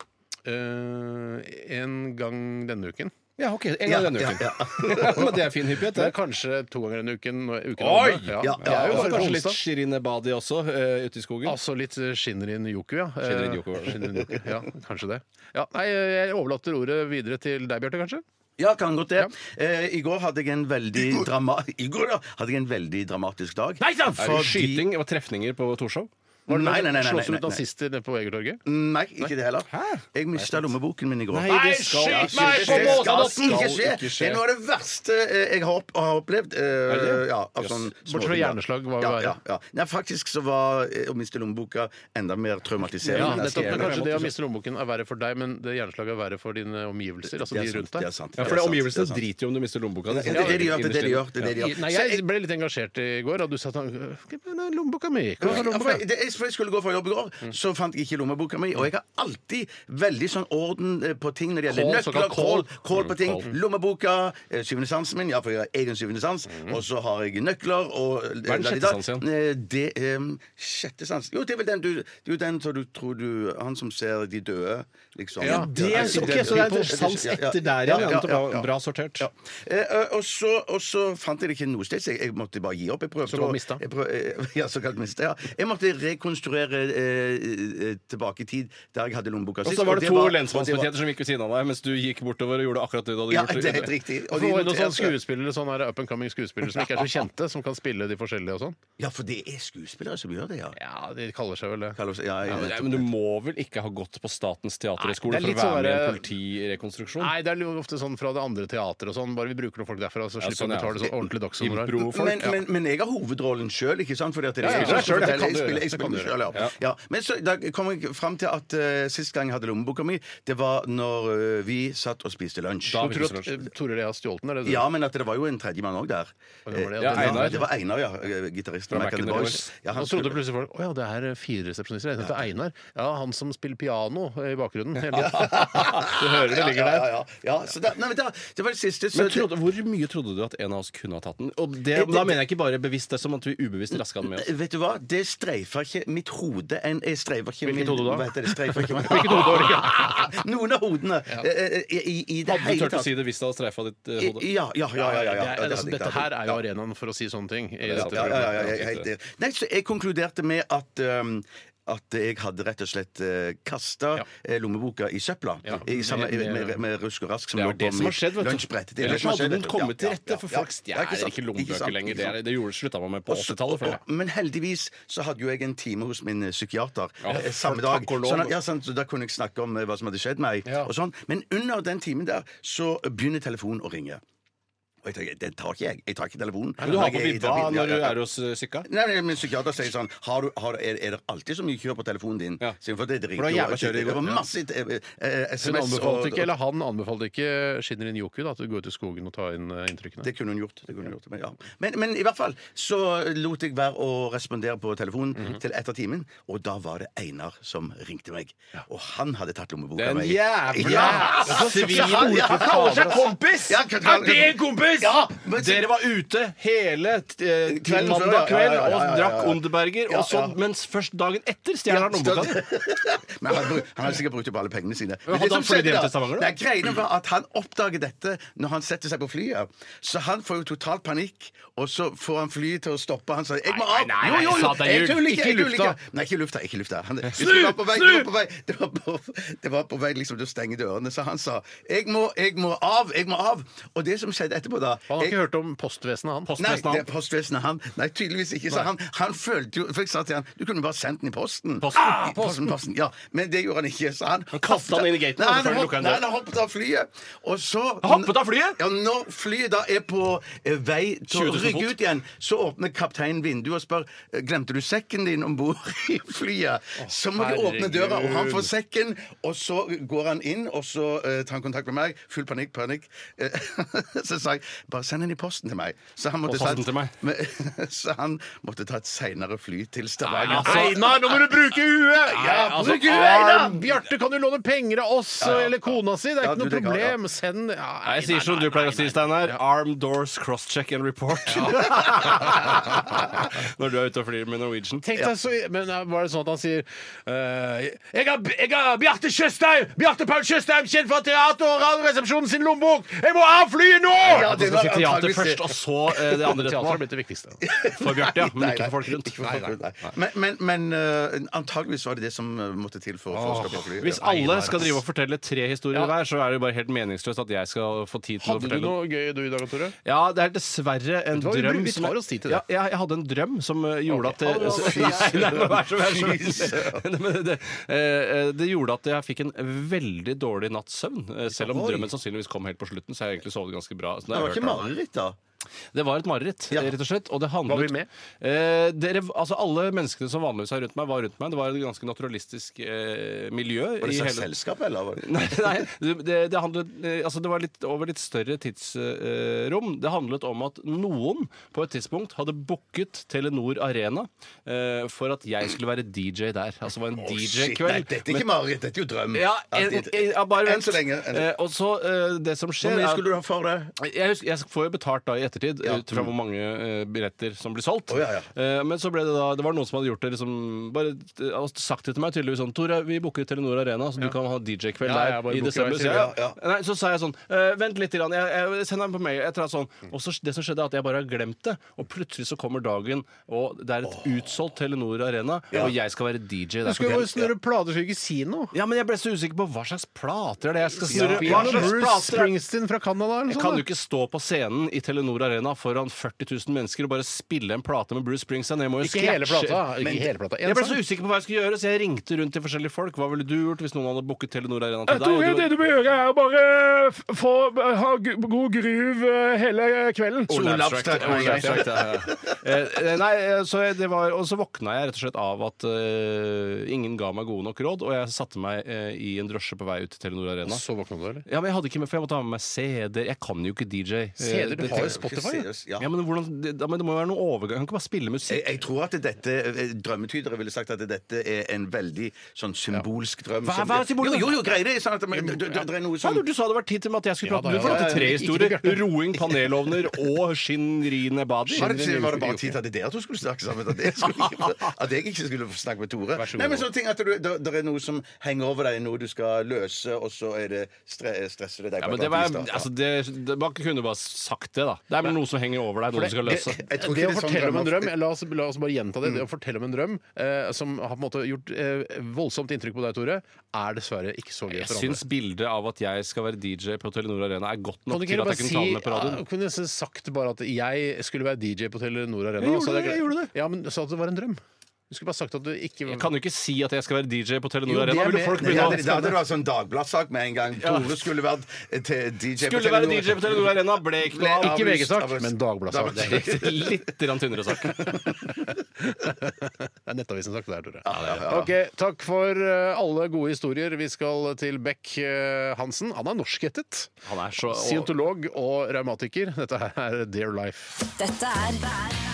S5: eh, en gang denne uken.
S6: Ja, ok, en gang
S1: Ja,
S6: denne
S1: ja,
S6: uken. Men det er fin hyppighet,
S5: Det er
S6: det.
S5: kanskje to ganger denne uken. når Uken
S6: Oi!
S5: er over. Ja.
S1: Ja, altså,
S5: Det er jo
S6: og
S5: bare
S6: kanskje
S5: på
S6: litt
S5: onsdag.
S6: Shirinebadi også, eh, ute i skogen.
S5: Altså litt Shinrin Yoku, ja. Eh,
S6: Shinrin Yoku, var det.
S5: Shinrin Yoku, ja, kanskje det. Ja, nei, eh, jeg overlater ordet videre til deg, Bjarte, kanskje?
S1: Ja, kan godt det. Eh, I går hadde jeg en veldig drama I går da, hadde jeg en veldig dramatisk dag. Nei, da,
S6: er det skyting og trefninger på Torshov?
S1: Nei, nei, nei, nei, nei,
S5: Slåss du ut
S1: nei, nei.
S5: nazister nede på Egertorget?
S1: Nei, ikke det heller. Jeg mista lommeboken min i går.
S6: skal
S5: skyt
S6: ikke
S5: meg
S6: skje.
S5: på
S1: Det
S5: måten,
S1: skal
S5: det skal
S1: ikke skje! Det er noe av det verste eh, jeg har, opp, har opplevd. eh,
S6: Er det?
S1: ja, av sånn
S5: Bortsett fra
S1: småting, da.
S5: hjerneslag, hva vil
S1: Ja,
S5: være?
S1: ja, ja. Nei, faktisk så var eh, å miste lommeboka enda mer
S5: Ja,
S1: traumatiserende. enn jeg
S5: nettopp, men
S1: skrev.
S5: Kanskje det å miste lommeboken er verre for deg, men det hjerneslaget er verre for dine omgivelser. Altså
S1: Det er
S5: de
S1: sant,
S5: rundt deg.
S1: det er sant,
S6: Ja,
S1: det er sant,
S6: for det
S1: det er
S6: omgivelsene
S1: sant.
S6: driter jo om du mister lommeboka.
S1: Ja, det er det de gjør. det er det de gjør, det er det de
S5: I-
S1: gjør.
S5: Nei,
S1: Så jeg-
S5: jeg ble litt engasjert i går, og du sa at han «Hva er lommeboka mi. Hva er
S1: Ja, for
S5: lommeboka?»
S1: jeg, det, jeg- for jeg skulle gå fra jobb i går, så fant jeg ikke lommeboka mi. Og jeg har alltid veldig sånn orden eh, på ting når det gjelder
S5: Kål,
S1: nøkler,
S5: såkalt
S1: kål,
S5: kål.
S1: kål på ting. Lommeboka, eh, syvende sansen min, ja, for jeg har egen syvende sans. Og så har jeg nøkler og
S6: Hva er den sjette sans igjen?
S1: Det, eh, sjette sans Jo, det er vel den du Det er jo den som du tror du Han som ser de døde, liksom.
S5: Ja, det er-
S1: så-
S5: ok, så det er en sånn
S6: sans
S1: Ja, ja,
S6: etter der igjen.
S1: ja, ja, ja.
S6: Bra sortert.
S1: Eh, eh, og, så, og så fant jeg det ikke noe sted, så jeg, jeg måtte bare gi opp. Jeg prøvde
S5: Såkalt
S1: å-
S5: mista.
S1: Jeg prøv, eh, ja, såkalt mista, ja. Jeg måtte rekonstruere eh, eh, tilbake i tid der jeg hadde lommeboka
S6: Og
S1: sist.
S6: så var det to
S1: og
S6: lensmannsbetjenter som gikk ved siden av deg, mens du gikk bortover og gjorde akkurat det du hadde
S1: Ja,
S6: gjort.
S1: det er helt riktig.
S5: Og
S1: de
S5: det var noen sånne
S1: noterte-
S5: skuespillere, sånne her up and coming skuespillere som ikke er så kjente, som kan spille de forskjellige og sånn.
S1: ja, for det er skuespillere som gjør det, ja.
S5: Ja, de kaller seg vel det.
S1: Kaller oss- ja, ja,
S6: Men,
S1: nettopp.
S6: men du må vel ikke ha gått på Statens teaterhøgskole
S5: Nei,
S6: for
S5: det er
S6: å
S5: litt
S6: være med i en
S5: sånn
S6: politirekonstruksjon?
S5: Nei, det er jo ofte sånn fra det andre teatret og sånn. Bare vi bruker noen folk derfra, så
S6: Ja,
S5: slipper
S6: sånn,
S5: vi
S6: ja.
S5: å betale sånn ordentlig dagshonorar.
S6: Impro-folk.
S1: men, men, men jeg har hovedrollen sjøl, ikke sant? Fordi at det
S6: Ja, ja,
S1: jeg,
S6: ja, selv,
S1: spiller,
S6: det kan
S1: jeg
S6: du gjøre.
S1: spiller,
S6: Det
S1: jeg
S6: kan
S1: kan du
S5: gjøre.
S1: selv, ja. ja. Men så da kom jeg fram til at eh, sist gang jeg hadde lommeboka mi, det var når eh, vi satt og spiste lunsj.
S6: Da-
S5: Du tror at eh, Tore Lea har stjålet den? er det det du-
S1: Ja, men at det var jo en tredjemann òg der.
S5: Hvem var det?
S6: Ja,
S5: Den-
S6: Einar.
S1: Det var Einar, ja. eh, Gitaristen.
S6: Fra
S1: Mac and the
S6: Mac and the
S1: Boys. Ja, han
S5: Nå trodde
S1: skulle-
S5: plutselig folk Å ja, det er eh, fire resepsjonister. Jeg heter Einar. Ja, han som spiller piano i bakgrunnen. hele tiden. Du hører det ligger
S1: ja, ja,
S5: der.
S1: ja. ja så da, nei, men da, det var det siste. Så
S6: Men trodde, hvor mye trodde du at en av oss kunne ha tatt den? Og det,
S1: Eh, det-
S6: da mener jeg ikke bare bevisst, det er som at vi ubevisst raska den med oss.
S1: Eh, Vet du hva? Det streifa ikke mitt hode. En, jeg streifa ikke
S5: Hvilket
S1: min-
S5: hode da?
S1: Hva heter det? Streifa ikke
S5: Hvilket hode var det?
S1: Noen av hodene. eh, eh, I, i det
S6: Hadde du
S1: hele
S6: turt å
S1: tatt.
S6: si det hvis det hadde streifa ditt eh, hode?
S1: Ja, ja, ja. ja, ja, ja,
S5: Det er-
S1: det
S5: altså,
S1: hadde jeg
S5: Dette
S1: tatt.
S5: her er jo arenaen for å si sånne ting. I dette
S1: ja, ja, ja, ja,
S5: programmet.
S1: jeg er helt enig. Nei, så jeg konkluderte med at um, at jeg hadde rett og slett uh, kasta
S5: Ja.
S1: lommeboka i søpla.
S5: Ja.
S1: I, sammen, med, med, med rusk og rask. Som
S6: Det er
S1: lå
S6: jo det
S1: på
S6: som har
S1: mitt
S6: skjedd. vet du.
S1: lunsjbrett. Det er det
S6: Ellers
S1: som har
S6: hadde
S1: skjedd,
S6: noen
S1: vet du.
S6: kommet til
S1: Ja,
S6: rette,
S1: ja,
S6: for
S1: ja.
S6: folk
S1: Ja,
S6: stjeler
S1: sant,
S6: ikke lommebøker
S1: sant,
S6: lenger.
S1: ikke
S6: Det,
S1: sant.
S6: er- det gjorde slutta man med på
S1: Og så-
S6: 80-tallet. føler jeg.
S1: og- Men heldigvis så hadde jo jeg en time hos min eh, psykiater eh, samme
S6: for
S1: dag.
S6: takk og lov.
S1: Sånn at- ja, sant, så da kunne jeg snakke om eh, hva som hadde skjedd meg.
S5: Ja.
S1: Og sånn. Men under den timen der så begynner telefonen å ringe. Og jeg tenker, den tar ikke jeg. Jeg tar ikke telefonen.
S6: Men du har på
S1: Jeg er i
S6: vibba
S1: terapien. Ja,
S6: når du
S1: ja, ja.
S6: er hos eh, psyka?
S1: Nei, nei, men psykiater sier sånn har du, har, er, er det alltid så mye kjør på telefonen din?
S6: Ja.
S1: Sier hun, For det, det,
S6: For det var
S1: jo-
S6: jævla kjør i
S1: det
S6: går.
S1: var masse eh, eh,
S5: Hun
S1: SMS
S5: anbefalte ikke, eller Han anbefalte ikke eh, Shinrin Yoku da, at du går ut i skogen og tar inn eh, inntrykkene.
S1: det kunne hun gjort. Det kunne hun gjort men, ja. men, men i hvert fall så lot jeg være å respondere på telefonen til etter timen, og da var det Einar som ringte meg. Og han hadde tatt lommeboka
S6: Den
S1: mi.
S6: jævla
S1: Ja!
S6: svin-
S1: Ja, han- ja, han kaller seg
S6: kompis!
S1: Ja, kan- kan-
S6: Er det en kompis?!
S1: Ja, men-
S6: Dere var ute hele t- eh, til
S1: Kvelden før,
S6: mandag
S1: ja, ja,
S6: kveld
S1: ja, ja,
S6: og
S1: ja, ja.
S6: drakk Onderberger,
S1: Ja,
S6: og så,
S1: ja.
S6: mens først dagen etter stjeler han lommeboka.
S1: Men han, hadde- han hadde sikkert brukt opp alle pengene sine.
S6: hadde
S1: det som
S6: han flydd
S1: skjedde
S6: hjem
S1: da-
S6: til Stavanger, da?
S1: Nei, Greiene var at han oppdager dette når han setter seg på flyet. Så han får jo total panikk, og så får han flyet til å stoppe. Han sier 'jeg må
S6: Nei,
S1: av'.
S6: nei, nei, satan,
S1: jeg
S6: Jul.
S1: tuller
S6: Ikke
S1: jeg
S6: i
S1: tuller
S6: lufta.
S1: Nei, ikke i lufta. Ikke i lufta. Han,
S6: Snu,
S1: det var på vei, det var
S6: snu!
S1: på vei, det var på, det var på vei liksom til å stenge dørene, så han sa 'jeg må, jeg må av', jeg må av'. Og det som skjedde etterpå, da
S5: Han har
S1: jeg-
S5: ikke hørt om postvesenet, han.
S1: Nei,
S6: Postvesenet,
S1: det er postvesenet han. Nei, tydeligvis ikke. Så han, han følte jo For jeg sa til han du kunne bare sendt den i posten.
S6: Posten.
S1: Ah, posten, posten. Ja, Men det gjorde han ikke. Så han
S6: Han kastet den inn i gaten, altså,
S1: Nei, han,
S6: og så får han
S1: hopp,
S6: lukket en
S1: nei,
S6: dør.
S1: han hoppet av flyet, og så
S6: Han hoppet av flyet?
S1: Ja, Når flyet da er på eh, vei
S6: 20
S1: til å
S6: 000
S1: rygge
S6: fot.
S1: ut igjen, så åpner kapteinen vinduet og spør eh, Glemte du sekken din om bord i flyet. Så må de åpne
S5: herregud.
S1: døra, og han får sekken, og så går han inn, og så eh, tar han kontakt med meg. Full panikk, panikk. Eh, så sa jeg bare send den i posten til meg. Så han måtte
S6: Og pass den til meg.
S1: men, så han måtte ta et seinere fly til Stavanger.
S6: altså-
S5: Einar, nå må du bruke huet!
S1: Ja,
S5: altså,
S1: bruk huet, Einar!
S5: Arn, Bjarte, kan du låne penger av oss
S1: ja, ja.
S5: eller kona si? Det er
S1: Ja,
S5: ikke
S1: du,
S5: noe
S1: det kan- ja.
S5: problem. Send ja,
S6: Nei, Jeg sier som du pleier å si, Steinar. Arm doors, crosscheck and report. Når du er ute og flyr med Norwegian.
S5: Tenk deg så, men eh, var det sånn at han sier eh, Jeg har, jeg har Bjarte Tjøstheim! Bjarte Paul Tjøstheim, kjent fra teater og Radioresepsjonen sin lommebok! Jeg må av flyet nå!
S1: Ja,
S6: At du
S1: det
S6: skal
S1: var
S6: si teater
S1: antageligvis det.
S6: først, og så eh, det andre
S5: Teater har
S6: etterpå.
S5: blitt det viktigste.
S6: For Bjarte, ja. Men ikke for folk rundt.
S1: Ikke for folk rundt, nei. Men, men, men eh, antageligvis var det det som eh, måtte til for, for å stoppe flyet.
S6: Hvis alle skal drive og fortelle tre historier hver, så er det jo bare helt meningsløst at jeg skal få tid til å
S5: Hadde du
S6: fortelle.
S5: noe gøy du i dag, Tore?
S6: Ja, det er dessverre en
S5: Vet du hva, vi
S6: drøm
S5: bru- vi
S6: som-
S5: tar oss tid til det.
S6: Ja, jeg, jeg hadde en drøm som eh, gjorde
S5: Ok.
S6: at eh,
S5: Å,
S6: så-
S5: fy
S6: Nei, nei, men vær så vær så-
S1: Fy søren.
S6: Nei, men det, eh, det gjorde at jeg fikk en veldig dårlig natts søvn. eh, Selv om
S1: Oi.
S6: drømmen sannsynligvis kom helt på slutten, så jeg egentlig sovet ganske bra. Så
S1: Det
S6: nå har
S1: var
S6: jeg
S1: ikke
S6: hørt om-
S1: mareritt, da.
S6: det var et mareritt,
S1: Ja.
S6: rett og slett. Og det handlet,
S5: Var vi med?
S6: Eh, dere, altså alle menneskene som vanligvis er rundt meg, var rundt meg. Det var et ganske naturalistisk eh, miljø.
S1: Var det
S6: i
S1: et
S6: hele-
S1: slags selskap, eller? var det-
S6: Nei, nei det, det, handlet, eh, altså det var litt, over litt større tidsrom. det handlet om at noen på et tidspunkt hadde booket Telenor Arena eh, for at jeg skulle være DJ der. Altså det var en
S1: Å, shit, Nei,
S6: DJ-kveld.
S1: dette er ikke mareritt, dette er jo drøm.
S6: ja,
S1: At
S6: en,
S1: det-
S6: en, ja, bare vent.
S1: Enn så lenge. enn-
S6: Eh, og så eh, det som skjer
S1: Hvor mye
S6: er-
S1: skulle du ha for det?
S6: jeg, husker, jeg får jo betalt da i ettertid
S1: Ja.
S6: ut fra hvor mange eh, billetter som blir solgt.
S1: Å, ja, ja.
S6: Eh, men så ble det da Det var noen som hadde gjort det liksom bare eh, altså, sagt det til meg tydeligvis sånn Tore, vi booker Telenor Arena, så du kan ha DJ-kveld
S5: Ja,
S6: der
S5: jeg bare
S6: i
S5: booker
S6: desember.
S5: hver
S6: Så,
S5: time,
S6: jeg-
S1: ja,
S6: Nei, så sa jeg sånn «Eh, Vent litt, grann, jeg, jeg sender en på mail. Et eller annet sånn. Og så det som skjedde, er at jeg bare har glemt det. Og plutselig så kommer dagen, og det er et utsolgt Telenor Arena, og jeg skal være DJ
S5: Du
S6: der.
S5: skulle jo snurre plater, skulle ikke si noe.
S6: Ja, men jeg ble så usikker på hva slags plater er det jeg skal
S5: Ja,
S6: snurre. Hva slags
S5: Bruce
S6: plater er det?
S5: Springsteen fra Canada eller noe
S6: Jeg kan
S5: sånt,
S6: jo ikke stå på scenen i Telenor stor arena foran 40 000 mennesker og bare spille en plate med Bruce Springsteen. Jeg må jo
S5: Ikke hele
S6: scratche-
S5: plata. Ikke hele plata. En
S6: jeg ble så
S5: sang.
S6: usikker på hva jeg skulle gjøre, så jeg ringte rundt til forskjellige folk. Hva ville du gjort hvis noen hadde booket Telenor Arena til deg? og du-
S5: du bør gjøre, er å bare f- få, ha gu- god gruv eh, hele kvelden.
S1: Ole Abstract.
S6: Ole Abstract, ja, ja. Eh, Nei, eh, så jeg- det var, og så våkna jeg rett og slett av at eh, ingen ga meg gode nok råd, og jeg satte meg eh, i en drosje på vei ut til Telenor Arena.
S5: Så våkna du, eller?
S6: Ja, men jeg hadde ikke med, for jeg måtte ha med meg CD-er. Jeg kan jo ikke DJ. Eh,
S5: CD-er, du
S6: det-
S5: har jo Spotify. da.
S1: Ja.
S6: Ja, men, hvordan, det, da- men det må jo være noe overgang. Jeg kan ikke bare spille
S1: Jeg,
S6: musikk.
S1: jeg tror at dette eh, Drømmetydere ville sagt at dette er en veldig sånn symbolsk drøm.
S6: Hva-
S1: som-
S6: hva er symbolet?
S1: Jo, jo, jo greier det! Sånn at, men, det, det, det er noe
S6: Ja,
S1: som
S6: du, du sa det var tid til at jeg skulle
S5: Ja, da,
S6: prate. du
S5: ja,
S6: fortalte
S5: ja,
S6: tre
S5: ja.
S6: historier.
S5: Ikke til Bjarte.
S6: Roing, panelovner og shinrine badi.
S1: Var det, var det bare tid til at dere to skulle snakke sammen? At jeg, skulle, at jeg ikke skulle snakke med Tore?
S5: Vær så god.
S1: Nei, men så ting at du, det, det er noe som henger over deg, noe du skal løse, og så er det stre, stresser det deg.
S6: Ja,
S1: på
S6: men
S1: et
S6: det
S1: eller
S6: var,
S1: annet vis, da.
S6: altså, det, det, man kunne bare sagt det, da. Det er vel noe som henger over deg, noe du skal løse.
S5: Det,
S1: Jeg tror
S5: det å
S1: ikke det er sånn
S5: fortelle om en
S1: drømmer-
S5: drøm La oss, la oss bare gjenta det. Det å fortelle om en drøm eh, som har på en måte gjort eh, voldsomt inntrykk på deg, Tore, er dessverre ikke så gøy
S6: Jeg
S5: for andre.
S6: syns bildet av at jeg skal være DJ på Telenor Arena er godt
S5: Kan
S6: nok
S5: du
S6: til
S5: ikke
S6: at
S5: bare
S6: jeg kunne ta
S5: si
S6: det med på radioen.
S5: ja, Kunne nesten sagt bare at jeg skulle være DJ på Telenor Arena?
S6: Jeg gjorde
S5: så hadde
S6: det, jeg gjorde det.
S5: Ja, men du sa at det var en drøm. Du skulle bare sagt at du ikke
S6: Jeg kan jo ikke si at jeg skal være DJ på
S5: Jo,
S6: Telenor
S5: det
S6: Arena.
S5: er
S6: Ville
S5: med-
S6: folk
S1: Nei,
S6: begynne
S1: da
S6: å
S1: hadde- da hadde det vært sånn dagbladsak med en gang. Tore skulle vært eh, til DJ på
S6: Skulle være
S1: Telenor.
S6: DJ på Telenor Arena, ble ikke noe av.
S5: Ikke
S1: Avlyst,
S5: VG-sak,
S1: avlyst.
S5: men Dagbladet-sak. Det er riktig.
S6: Litt grann tynnere sak.
S5: Det er Nettavisen sagt, det her, Tore. Ok, Takk for eh, alle gode historier. Vi skal til Beck eh, Hansen. Han er norskættet.
S6: Han er så
S5: Scientolog og revmatiker. Dette her er Dear Life.
S7: Dette er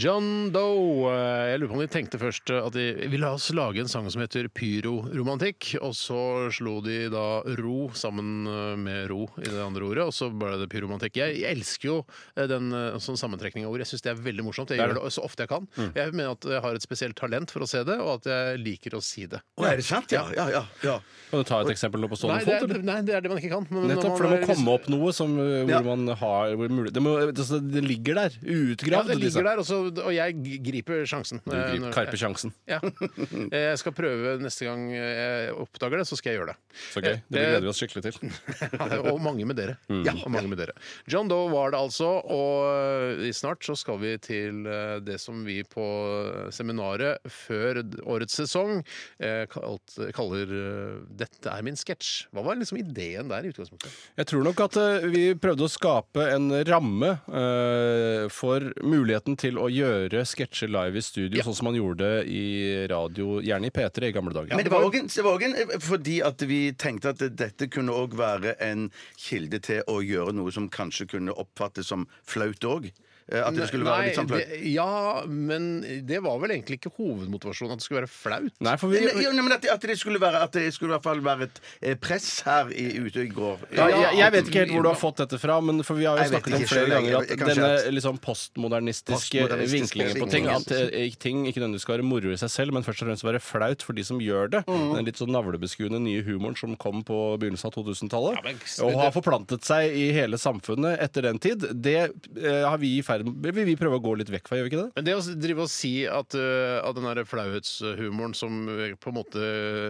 S5: John Doe. eh, Jeg lurer på om de tenkte først eh, at de ville la oss lage en sang som heter pyroromantikk, og så slo de da ro sammen eh, med ro i det andre ordet, og så ble det pyromantikk. Jeg jeg elsker jo eh, den eh, sånn sammentrekning av ord. Jeg syns det er veldig morsomt. Jeg gjør det så ofte jeg kan.
S6: Mm.
S5: Jeg mener at jeg har et spesielt talent for å se det, og at jeg liker å si det.
S1: Å, er det sant? Ja, ja, ja. ja.
S6: Kan du ta et eksempel nå på
S5: Nei
S6: stående
S5: det,
S6: fot?
S5: er,
S6: eller?
S5: nei, det er Mm, det man ikke kan. men når
S6: Nettopp,
S5: man
S6: for det
S5: er- liksom
S6: må komme opp noe som, uh, hvor
S1: Ja.
S6: man har hvor mulig, det, må, altså, det ligger der.
S5: Ja,
S6: Uutgravd.
S5: det ligger
S6: liksom.
S5: der, og, så, og jeg g- griper sjansen.
S6: Du
S5: eh,
S6: griper
S5: når-
S6: Karpe-sjansen.
S5: Ja. Eh, Jeg skal prøve neste gang jeg oppdager det, så skal jeg gjøre det.
S6: Så
S5: Eh,
S6: gøy. Det Mm. gleder vi oss skikkelig til.
S5: og mange med dere. Ja, og mange med dere. John Doe var det altså, og eh, snart så skal vi til eh, det som vi på seminaret før d- årets sesong eh, kalt, kaller eh, 'Dette er min sketsj'. Hva var liksom ideen der i utgangspunktet?
S6: Jeg tror nok at eh, vi prøvde å skape en ramme eh, for muligheten til å gjøre sketsjer live i studio, sånn som man gjorde i radio, gjerne i P3 i gamle dager.
S1: Men det var også en- det var òg en eh, fordi at vi tenkte at dette kunne òg være en kilde til å gjøre noe som kanskje kunne oppfattes som flaut òg. At det skulle være litt sånn flaut.
S5: det, ja, men det var vel egentlig ikke hovedmotivasjonen at det skulle være flaut.
S6: Nei, for vi,
S1: Nei, jo, nei, men at, det- at det skulle være At det skulle i hvert fall være et eh, press her i, ute i går.
S6: Ja, jeg, jeg vet ikke helt hvor du har fått dette fra, men for vi har jo
S1: Jeg vet
S6: snakket om
S1: ikke
S6: flere
S1: selv, jeg-
S6: ganger at
S1: jeg- kanskje
S6: denne
S1: at-
S6: liksom postmodernistiske
S1: Postmodernistiske
S6: vinklingen på ting,
S1: vinklingen.
S6: at eh, ting ikke nødvendigvis skal være moro i seg selv, men først og fremst være flaut for de som gjør det.
S1: Mm.
S6: Den litt sånn navlebeskuende nye humoren som kom på begynnelsen av 2000-tallet, og har forplantet seg i hele samfunnet etter den tid, det eh, har vi i ferd med Vil vi prøve å gå litt vekk fra, gjør vi ikke det?
S5: Men det å drive og si at, uh, at den der flauhetshumoren som uh, på en måte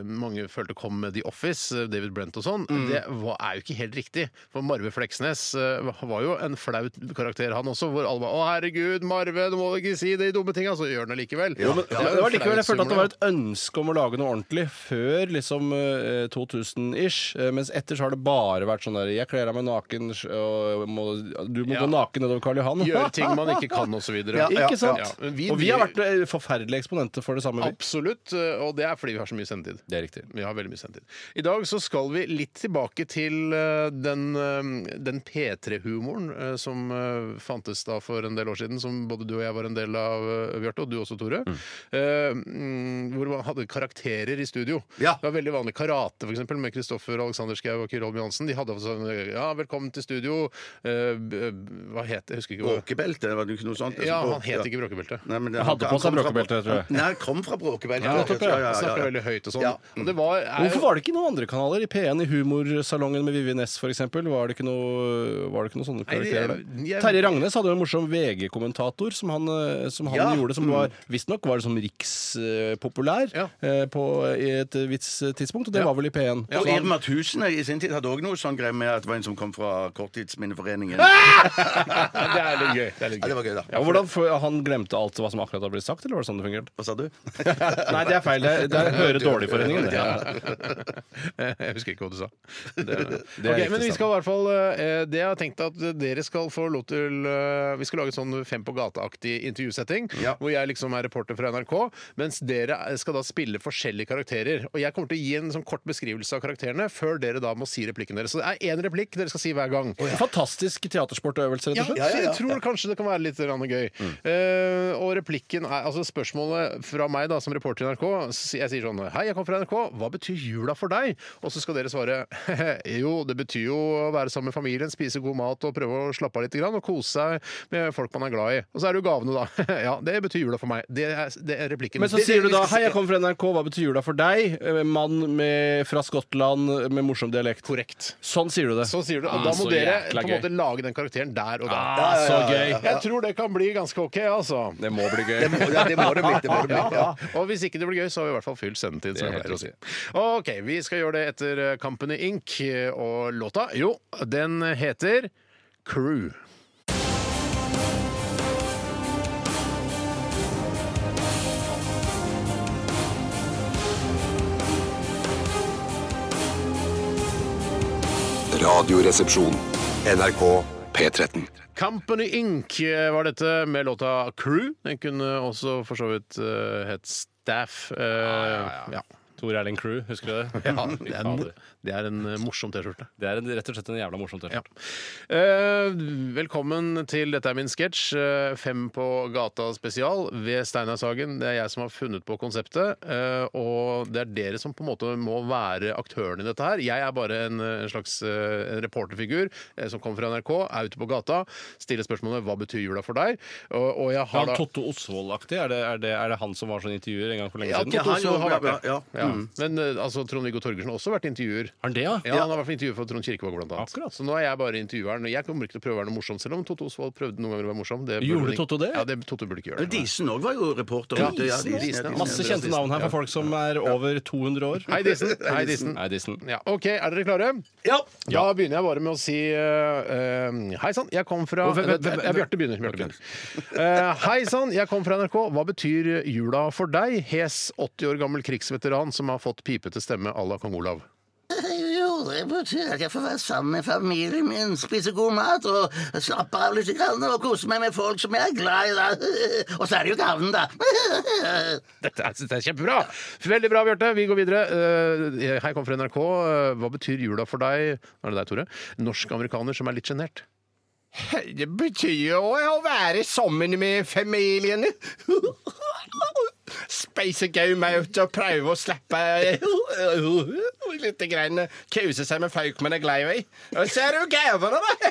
S5: mange følte kom med The Office, uh, David Brent og sånn,
S6: Mm.
S5: det var, er jo ikke helt riktig. For Marve Fleksnes uh, var jo en flaut karakter, han også, hvor alle var 'Å, herregud, Marve, du må ikke si de dumme tinga', så gjør han det likevel.
S1: Jo, men-
S6: Ja, det var likevel, Jeg følte at det var et ønske om å lage noe ordentlig før liksom eh, 2000-ish. eh, Mens etter så har det bare vært sånn der Jeg kler av meg naken, sj- og må, du må
S5: Ja.
S6: gå naken nedover Karl Johan.
S5: Gjør ting man ikke kan, og så videre.
S1: Ja,
S6: Ikke sant?
S5: Ja, men
S6: og vi har vært eh, forferdelige eksponenter for det samme. Vi.
S5: Absolutt, uh, og det er fordi vi har så mye sendetid.
S6: Det er riktig.
S5: Vi har veldig mye sendtid. I dag så skal vi litt tilbake til eh, den, eh, den P3-humoren eh, som eh, fantes da for en del år siden, som både du og jeg var en del av, eh, Bjarte, og du også, Tore. Eh, mm, hvor man hadde karakterer i studio.
S1: Ja.
S5: Det var veldig vanlig karate, f.eks., med Kristoffer Alexander Schou og Kyrre Holm Johansen. De hadde sånn eh, Ja, velkommen til studio. eh, b- b- eh, hva het det? Jeg husker ikke. hva-
S1: Åke bråkebelte? Var det ikke noe sånt?
S5: Ja, han het
S1: Ja.
S5: ikke bråkebelte.
S1: Nei, men det-
S9: Han hadde
S1: han
S9: på seg
S1: kom fra-
S9: bråkebelte, tror jeg.
S1: Nei, han kom fra bråkebeltet.
S9: Ja, nettopp, ja.
S5: Han snakker veldig høyt og sånn.
S1: Ja.
S5: Og det var, er,
S9: Hvorfor var det ikke noen andre kanaler? I P1 i Humorsalongen med Vivi Næss f.eks. Var det ikke noe, var det ikke noen sånne
S5: Nei, det-
S9: karakterer der?
S5: jeg-
S9: Terje Ragnes hadde jo en morsom VG-kommentator som han, eh, som han
S1: Ja.
S9: gjorde, som var visstnok var det som rikspopulær
S5: mm. Ja.
S9: eh, på i et visst tidspunkt, og det
S5: Ja.
S9: var vel i
S1: Og
S9: P1. Så han-
S1: Irma Tusene i sin tid hadde òg noe sånn greier med at det var en som kom fra Korttidsminneforeningen.
S5: Ja, det er litt gøy. Det er litt
S1: Ja, det
S5: gøy.
S1: var gøy, da.
S9: ja, hvordan, for han glemte alt hva som akkurat hadde blitt sagt, eller var det sånn det fungerte?
S1: Hva sa du?
S9: Nei, det er feil. Det, det er Høre Dårlig-foreningen. det.
S5: Jeg husker ikke hva du sa. Det,
S9: det er
S5: Ok,
S9: riktig
S5: men vi
S9: sant.
S5: skal i hvert fall eh, Det jeg har tenkt at dere skal få lov til eh, Vi skal lage et sånn Fem på gata-aktig intervjusetting,
S1: Ja.
S5: hvor jeg liksom er reporter fra NRK, mens dere eh, skal da spille forskjellige karakterer. Og jeg kommer til å gi en sånn kort beskrivelse av karakterene før dere da må si replikken deres. Så det er én replikk dere skal si hver gang.
S9: Fantastisk teatersportøvelse, rett
S5: Ja,
S9: og slett.
S1: ja, ja.
S5: så jeg tror kanskje det kan være litt grann gøy. Eh, og replikken er altså spørsmålet fra meg da som reporter i NRK. s- Jeg sier sånn Hei, jeg kommer fra NRK. Hva betyr jula for deg? Og så skal dere svare Jo, det betyr jo å være sammen med familien, spise god mat og prøve å slappe av litt grann, og kose seg med folk man er glad i. Og så er det jo gavene, da. ja, det betyr jula for meg. Det er, det er replikken.
S9: Men så
S5: Det-
S9: sier du da
S5: vi skal
S9: 'Hei, jeg
S5: si-
S9: kommer fra NRK, hva betyr jula for deg?' Eh, Mann med, fra Skottland med morsom dialekt.
S5: Korrekt.
S9: Sånn sier du det.
S5: Så sier du, og
S9: Ah,
S5: Da må
S9: så
S5: dere på
S9: jækla
S5: en
S9: gøy.
S5: måte lage den karakteren der og da.
S9: Ah, så gøy!
S5: Jeg tror det kan bli ganske OK, altså.
S9: Det må bli gøy.
S1: Det må, ja, det må det bli. Det må det bli. Ja.
S5: Ah, Ja. Og hvis ikke det blir gøy, så har vi i hvert fall fylt sendetid. Som jeg
S9: Det er
S5: pleier å si. OK, vi skal gjøre det etter eh, Company Inc. eh, Og låta Jo, den heter Crew.
S2: Radioresepsjon. NRK P13.
S5: Company Inc. eh, var dette med låta Crew. Den kunne også for så vidt eh, hett Staff. Eh, ja.
S9: Tor Erling Crew, husker du det?
S5: Ja, det, er en, det er en eh, morsom T-skjorte.
S9: Det er en, rett og slett en jævla morsom tørr.
S5: Ja. Eh, velkommen til Dette er min sketsj, eh, Fem på gata spesial ved Steinar Sagen. Det er jeg som har funnet på konseptet, eh, og det er dere som på en måte må være aktørene i dette her. Jeg er bare en, eh, en slags eh, en reporterfigur eh, som kommer fra NRK, er ute på gata, stiller spørsmålet 'Hva betyr jula for deg?' Og, og jeg har
S9: Han
S5: da
S9: Totto Osvold-aktig? Er, det- er, det- er det han som var sånn intervjuer en gang for lenge
S5: ja,
S9: siden?
S5: Totto
S1: Ja, han
S5: Osvold har
S1: gjorde-
S5: vært det.
S1: ja, ja.
S5: Ja. Men eh, altså, Trond-Viggo Torgersen har også vært intervjuer.
S9: Har han det, ja?
S5: Ja, han har vært intervjuet for Trond Kirkevåg, blant annet.
S9: Akkurat.
S5: Så nå er jeg bare intervjueren. og Jeg kommer ikke til å prøve å være noe morsom, selv om Totto Osvald prøvde noen ganger å være morsom. Det burde
S9: Gjorde
S5: han ikke-
S9: Totto det?
S5: Ja, det, Totto burde ikke gjøre
S1: Men
S5: det.
S1: Disen òg var jo reporter. vet du. Ja,
S5: Disen,
S1: Disen, ja,
S5: Disen, ja.
S9: Masse
S1: Disen, ja.
S9: kjente navn her for folk som er over 200 år.
S5: Hei, Dissen. Hei, Dissen.
S9: Nei, Dissen.
S5: Ja, OK, er dere klare?
S1: Ja.
S5: Da begynner jeg bare med å si uh, Hei sann, jeg kom fra
S9: Hvem- hvem- hvem-
S5: Eh, Bjarte begynner. Bjarte begynner. Eh, Hei sann, jeg kom fra NRK. Hva betyr jula for deg? Hes 80 år gammel krigsveteran som har fått pipete stemme à la Kong Olav.
S10: Jo, det betyr at jeg får være sammen med familien min, spise god mat og slappe av litt grann, og kose meg med folk som jeg er glad i. Da. Og så er det jo gavene, da.
S5: Dette er, dette er kjempebra! Veldig bra, Bjarte. Vi går videre. Eh, Hei, kom fra NRK. Eh, Hva betyr jula for deg? Nå er det deg, Tore. Norsk-amerikaner som er litt sjenert.
S6: Det betyr jo å være sammen med familien. Speise gau maut og prøve å slappe litt grann. Kuse seg med folk man er glad i. Og så er det jo gavene, da!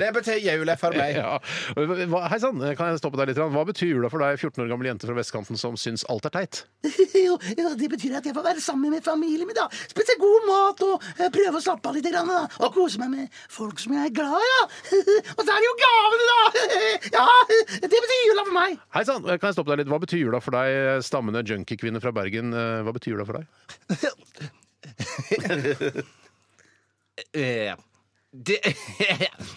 S6: Det betyr jula for meg.
S5: Ja. Hva- Hei sann, kan jeg stoppe deg litt? grann? Hva betyr jula for deg, 14 år gammel jente fra vestkanten som syns alt er teit?
S10: Jo, jo, det betyr at jeg får være sammen med familien min, da. Spise god mat og eh, prøve å slappe av litt grann, da. Og kose meg med folk som jeg er glad i, da. Og så er det jo gavene, da. Ja, det betyr jula for meg.
S5: Hei sann, kan jeg stoppe deg litt? Hva betyr jula for deg, stammende junkiekvinne fra Bergen? Eh, Hva betyr jula for deg?
S6: Eh, Det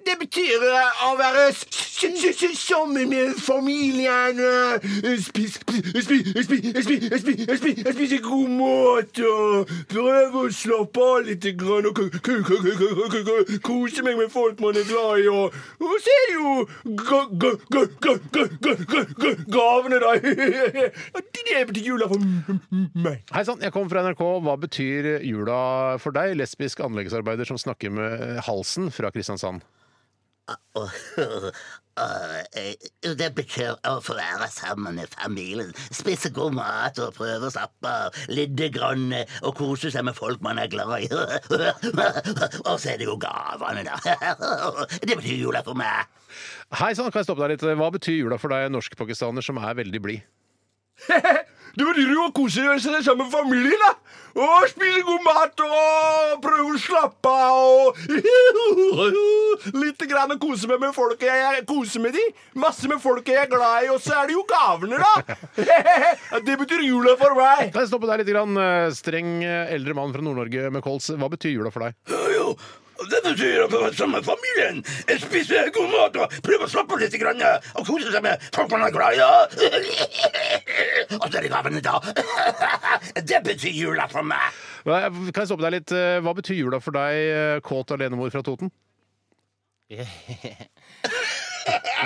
S6: Det betyr eh, å være s- s- s- s- sammen med familien. eh, Spise spis, spis, spis, spis, spis, spis, spise god mat og prøve å slappe av litt. Grann, og ku- ku- ku- ku- ku- ku- ku- kose meg med folk man er glad i. Og, og så er det jo ga- ga- ga- ga- ga- ga- ga- ga- gavene, da. Det betyr Mm, jula for m- meg.
S5: Hei sann, jeg kommer fra NRK. Hva betyr jula for deg, lesbisk anleggsarbeider som snakker med halsen fra Kristiansand?
S10: og, og, eh, Det betyr å få være sammen med familien. Spise god mat og prøve å slappe av. Lidde grann eh, og kose seg med folk man er glad i. Og så er det jo gavene, da. Det betyr jula for meg.
S5: Hei sann, kan jeg stoppe deg litt? Hva betyr jula for deg, norskpakistaner som er veldig blid?
S6: Det betyr jo å kose seg sammen med familien, da. Og spise god mat og prøve å slappe av. og Litt grann å kose meg med folket jeg jeg koser med de. Masse med folket jeg er glad i, og så er det jo gavene, da. Det betyr jula for meg.
S5: Kan jeg stoppe deg litt? Grann? eh, Streng eh, eldre mann fra Nord-Norge med kols. Hva betyr jula for deg?
S1: Jo, det betyr at man er sammen med familien. Spise god mat og prøve å slappe av litt. Grann, og kose seg med folk man er glad i. da. Og så er det gavene, da. Det betyr jula for meg.
S5: Hva- Kan jeg stoppe deg litt? Eh, Hva betyr jula for deg, eh, kåt alenemor fra Toten?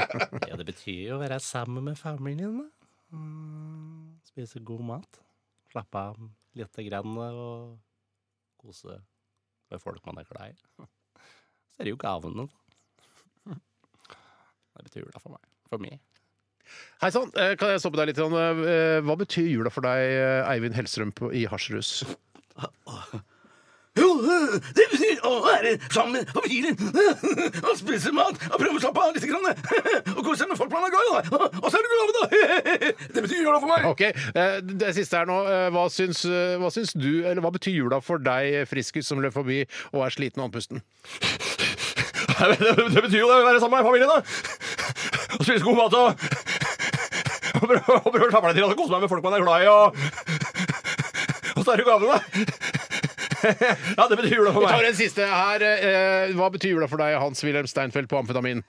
S11: Ja, det betyr jo å være sammen med familien, da. Mm, Spise god mat. Slappe av lite grann og kose med folk man er glad i. Så er det jo gavene, da. Det betyr jula for meg. For meg.
S5: Hei sann, eh, kan jeg stoppe deg litt? Grann? Eh, Hva betyr jula for deg, eh, Eivind Hellstrøm på- i Hasjrus?
S1: Jo, det betyr å være sammen med familien. Og spise mat og prøve å slappe av litt. Grann, og kose seg med folk man er glad i. da. Og så er det gavene, da. Det betyr jula for meg.
S5: Ok, eh, Det siste her nå. eh, Hva syns, eh, hva syns du, eller hva betyr jula for deg, Friskus, som løp forbi og er sliten og andpusten?
S6: Det betyr jo å være sammen med familien, da. Og spise god mat og og prøve og prøve å slappe av litt og kose meg med folk man er glad i, og Og så er det jo gavene, da. Ja, det betyr jula for
S5: Vi tar
S6: meg.
S5: en siste her. eh, Hva betyr jula for deg, Hans-Wilhelm Steinfeld på amfetamin?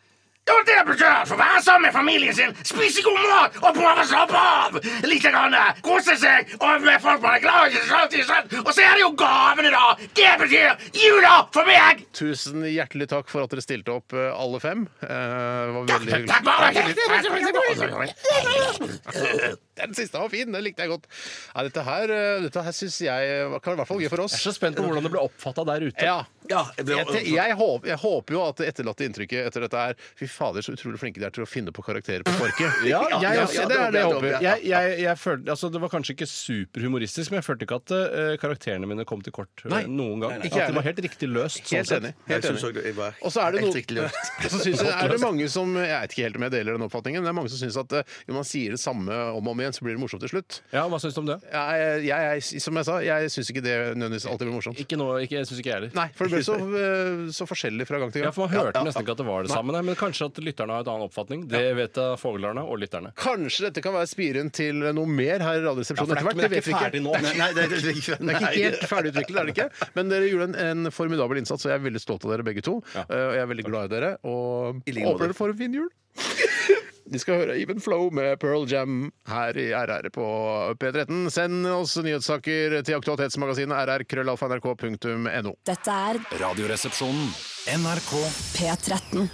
S1: Ja, det betyr å få være sammen med familien sin, spise god mat og prøve å slappe av lite grann. Kose seg og med folk man er glad i. sant, sant? Og så er det jo gavene, da. Det betyr jula for meg.
S5: Tusen hjertelig takk for at dere stilte opp, eh, alle fem. Eh, Det var veldig hyggelig.
S1: Takk, bare.
S5: Den siste var fin, den likte jeg godt. Nei, dette her, eh, dette her syns jeg var- kan i hvert fall gøy for
S9: Jeg
S5: oss.
S9: er så spent på hvordan det ble oppfatta der ute.
S5: Ja.
S1: Ja, jeg ble-
S5: Jeg, te- jeg, håper, jeg håper jo at det etterlatte inntrykket etter dette er Fy fader, så utrolig flinke de er til å finne på karakterer på sparket.
S9: Ja, jeg,
S5: ja,
S9: også-
S5: ja,
S9: det
S5: det
S9: er det jeg
S5: håper jeg, det
S9: håper.
S5: håper jeg.
S9: Jeg, jeg, jeg følte, altså, det var kanskje ikke superhumoristisk, men jeg følte ikke at eh, karakterene mine kom til kort eh,
S5: Nei.
S9: noen gang.
S5: Ikke jeg
S9: at det var helt riktig løst. sånn
S5: Helt
S9: sett.
S5: enig. Helt
S1: Jeg
S5: enig.
S1: synes også det var
S5: Og så er det
S1: helt
S5: noe-
S1: riktig løst.
S5: Og så synes jeg, er det mange som Jeg vet ikke helt om jeg deler den oppfatningen, men det er mange som syns at eh, når man sier det samme om og om igjen, så blir det morsomt til slutt.
S9: Ja, Hva syns du om det?
S5: Jeg, jeg, jeg, som jeg sa, jeg syns ikke det nødvendigvis alltid blir morsomt.
S9: Ikke nå, ikke, jeg syns ikke jeg heller.
S5: Nei, for det blir så, eh, så forskjellig fra gang til
S9: Ja,
S5: gang.
S9: for Man hørte nesten ikke at det var det samme, nei, men kanskje at lytterne har en annen oppfatning. Det vet jeg foglerne og lytterne.
S5: Kanskje dette kan være spiren til noe mer her i Radioresepsjonen etter hvert. Det vet vi ikke.
S9: nå.
S1: Nei, det er ikke
S5: Det er ikke helt ferdigutviklet, er det ikke? Men dere gjorde en, en formidabel innsats, og jeg er veldig stolt av dere begge to. Eh, Og jeg er veldig glad i dere, og
S1: I like måte.
S5: håper dere får en fin jul. Vi skal høre Even Flow med Pearl Jam her i RR på P13. Send oss nyhetssaker til aktualitetsmagasinet rrkrøllalfa.nrk.no.
S7: Dette er
S4: Radioresepsjonen. NRK
S7: P13.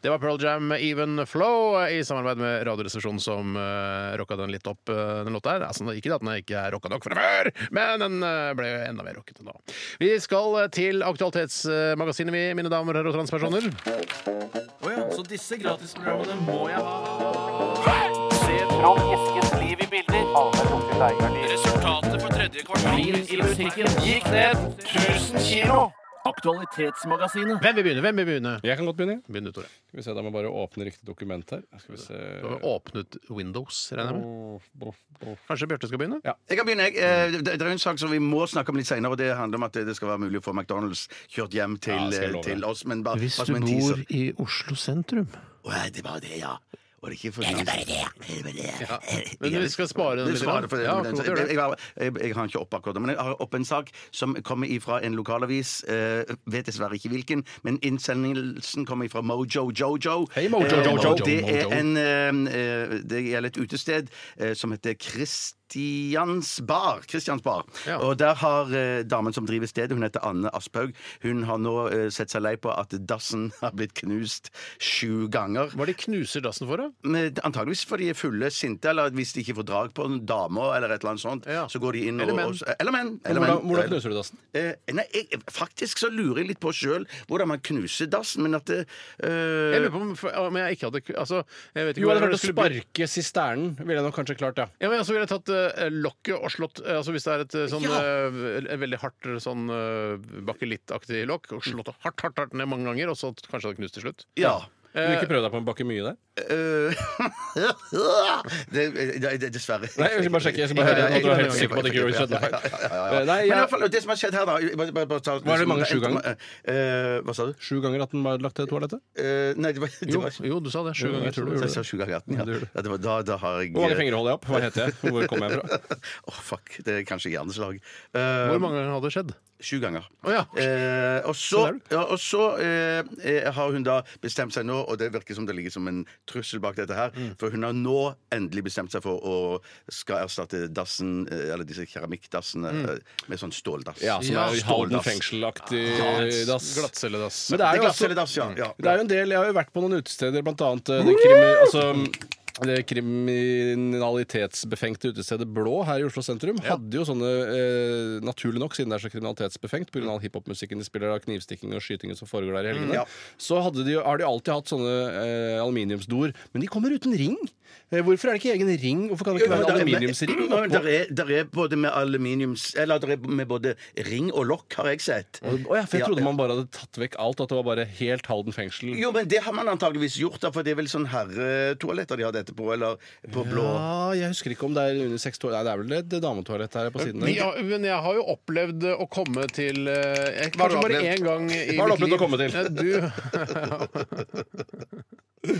S5: Det var Pearl Jam Even Flow i samarbeid med Radioresepsjonen som eh, rocka den litt opp, eh, den låta her. Altså, ikke at den ikke er rocka nok fra før, men den eh, ble enda mer rockete da. Vi skal eh, til Aktualitetsmagasinet, vi, mine damer og herrer og transpersoner. Hvem vil begynne? Hvem vil begynne?
S9: Jeg kan godt begynne. jeg.
S5: Begynn du, Tore.
S9: Skal vi se, Da må jeg bare åpne riktig dokument her. Skal vi se
S5: Du har jo åpnet Windows, regner jeg med. Kanskje Bjarte skal begynne?
S1: Jeg kan begynne. jeg. Eh, Det det er en sak som vi må snakke om litt senere, og det handler om at det skal være mulig å få McDonald's kjørt hjem til,
S9: Ja, skal jeg
S1: eh,
S9: love
S1: til
S9: deg.
S1: oss. Men bare,
S5: Hvis
S1: bare
S5: du
S1: som en
S5: bor
S1: teaser.
S5: i Oslo sentrum.
S1: Å, ja, det var det, ja. Og det er ikke for det er bare det, ja. Det er bare det.
S5: Men vi skal spare den
S1: Du
S5: litt, da.
S1: svarer for det.
S5: Ja,
S1: men
S5: godt å
S1: jeg,
S5: gjøre det.
S1: jeg, har- jeg, jeg har ikke opp akkurat det, men jeg har opp en sak som kommer ifra en lokalavis. eh, vet dessverre ikke hvilken, men innsendelsen kommer ifra Mojo Jojo.
S9: Hei, Mojo
S1: Eh,
S9: Jojo.
S1: Det
S9: Mojo.
S1: er en eh, eh, Det gjelder et utested eh, som heter Krist... Christians bar. Christians bar.
S5: Ja.
S1: Og der har eh, damen som driver stedet, hun heter Anne Asphaug, hun har nå eh, sett seg lei på at dassen har blitt knust sju ganger.
S5: Hva er det de knuser dassen for, da?
S1: Men Antageligvis fordi de er fulle, sinte, eller hvis de ikke får drag på en dame eller et eller annet sånt.
S5: Ja.
S1: Så går de inn
S5: Eller
S1: og-
S5: menn.
S1: og Eller menn. Eller menn.
S9: Hvordan, hvordan knuser du dassen?
S1: Eh, nei, jeg, faktisk så lurer jeg litt på sjøl hvordan man knuser dassen, men at eh,
S5: Jeg
S1: det
S5: lurer på om, om jeg ikke hadde altså, jeg vet ikke
S9: Jo, jeg
S5: hvordan
S9: hadde klart å
S5: skulle bli-
S9: sparke sisternen. Ville jeg nok kanskje klart, ja.
S5: Ja, men altså ville jeg tatt eh, lokket og slått eh, altså Hvis det er et eh, sånn eh, et veldig hardt sånn uh, bakelittaktig lokk, og slått det hardt, hardt, hardt ned mange ganger, og så kanskje det knust til slutt.
S1: Ja.
S9: Vil du ikke prøve deg på en bakke mye der?
S1: Eh, det, eh, det, det, dessverre.
S9: Nei, jeg skal bare sjekke. Jeg skal bare høre at du er helt sikker på at det ikke gjorde skjedde feil. Eh, Nei,
S1: Men i alle
S9: jeg,
S1: fall, det som har skjedd her, da jeg bare- bare- bare ta-
S9: Var det mange sju ganger?
S1: Eh, hva sa du?
S9: sju ganger at den var lagt til toalettet?
S1: Eh, nei, det var, det
S5: Jo,
S1: var
S5: jo, du sa det. Sju
S9: Jo, jeg
S5: ganger.
S1: Så
S9: tror du
S5: gjorde
S1: jeg
S5: det.
S1: sa sju ganger 18, ja.
S9: Det gjør det.
S1: ja det var, da, da har jeg eh,
S9: Hvor mange fingre holder jeg opp? Hva heter jeg? Hvor kommer jeg fra?
S1: Åh, fuck. Det er kanskje hjerneslag.
S5: Hvor
S1: Uh,
S5: mange ganger hadde det skjedd?
S1: sju ganger.
S5: Å ja.
S1: Eh, og så, ja, og så eh, eh, har hun da bestemt seg nå, og det virker som det ligger som en trussel bak dette her,
S9: Mm.
S1: for hun har nå endelig bestemt seg for å skal erstatte dassen, eh, eller disse keramikkdassene,
S9: Mm.
S1: eh, med sånn ståldass.
S9: Ja, som
S5: Ja,
S9: er Halden
S1: ståldass.
S9: fengselaktig dass.
S5: Glattcelledass.
S9: Men det
S1: Det
S9: er
S1: er
S9: jo altså
S1: glattcelledass, ja. ja.
S9: Det er jo en del, Jeg har jo vært på noen utesteder, blant annet eh, det, krimi, altså, det kriminalitetsbefengte utestedet Blå her i Oslo sentrum. Hadde jo sånne, eh, naturlig nok, siden det er så kriminalitetsbefengt pga. hiphopmusikken de spiller, av knivstikking og skyting som foregår der i helgene,
S1: Mm, ja.
S9: så hadde de, jo- har de alltid hatt sånne eh, aluminiumsdoer. Men de kommer uten ring! Eh, hvorfor er det ikke egen ring? Hvorfor kan det ikke
S1: Men
S9: være en
S1: der er-
S9: aluminiumsring?
S1: men- men Der er, der er både med aluminiums Eller der er med både ring og lokk, har jeg sett.
S9: Å ja, for jeg trodde man bare hadde tatt vekk alt, at det var bare helt Halden fengsel.
S1: Jo, men det har man antageligvis gjort, da, for det er vel sånn herretoaletter de har dette på, eller på blå.
S9: Ja, jeg husker ikke om det er unisex toalett. Nei, det er vel et dametoalett her på siden.
S5: Men jeg, men jeg har jo opplevd å komme til eh, jeg,
S1: Hva har du
S5: Kanskje bare
S1: opplevd?
S5: én gang i
S9: Hva har du
S5: mitt
S9: opplevd å
S5: liv.
S9: komme til?
S5: Ja, du...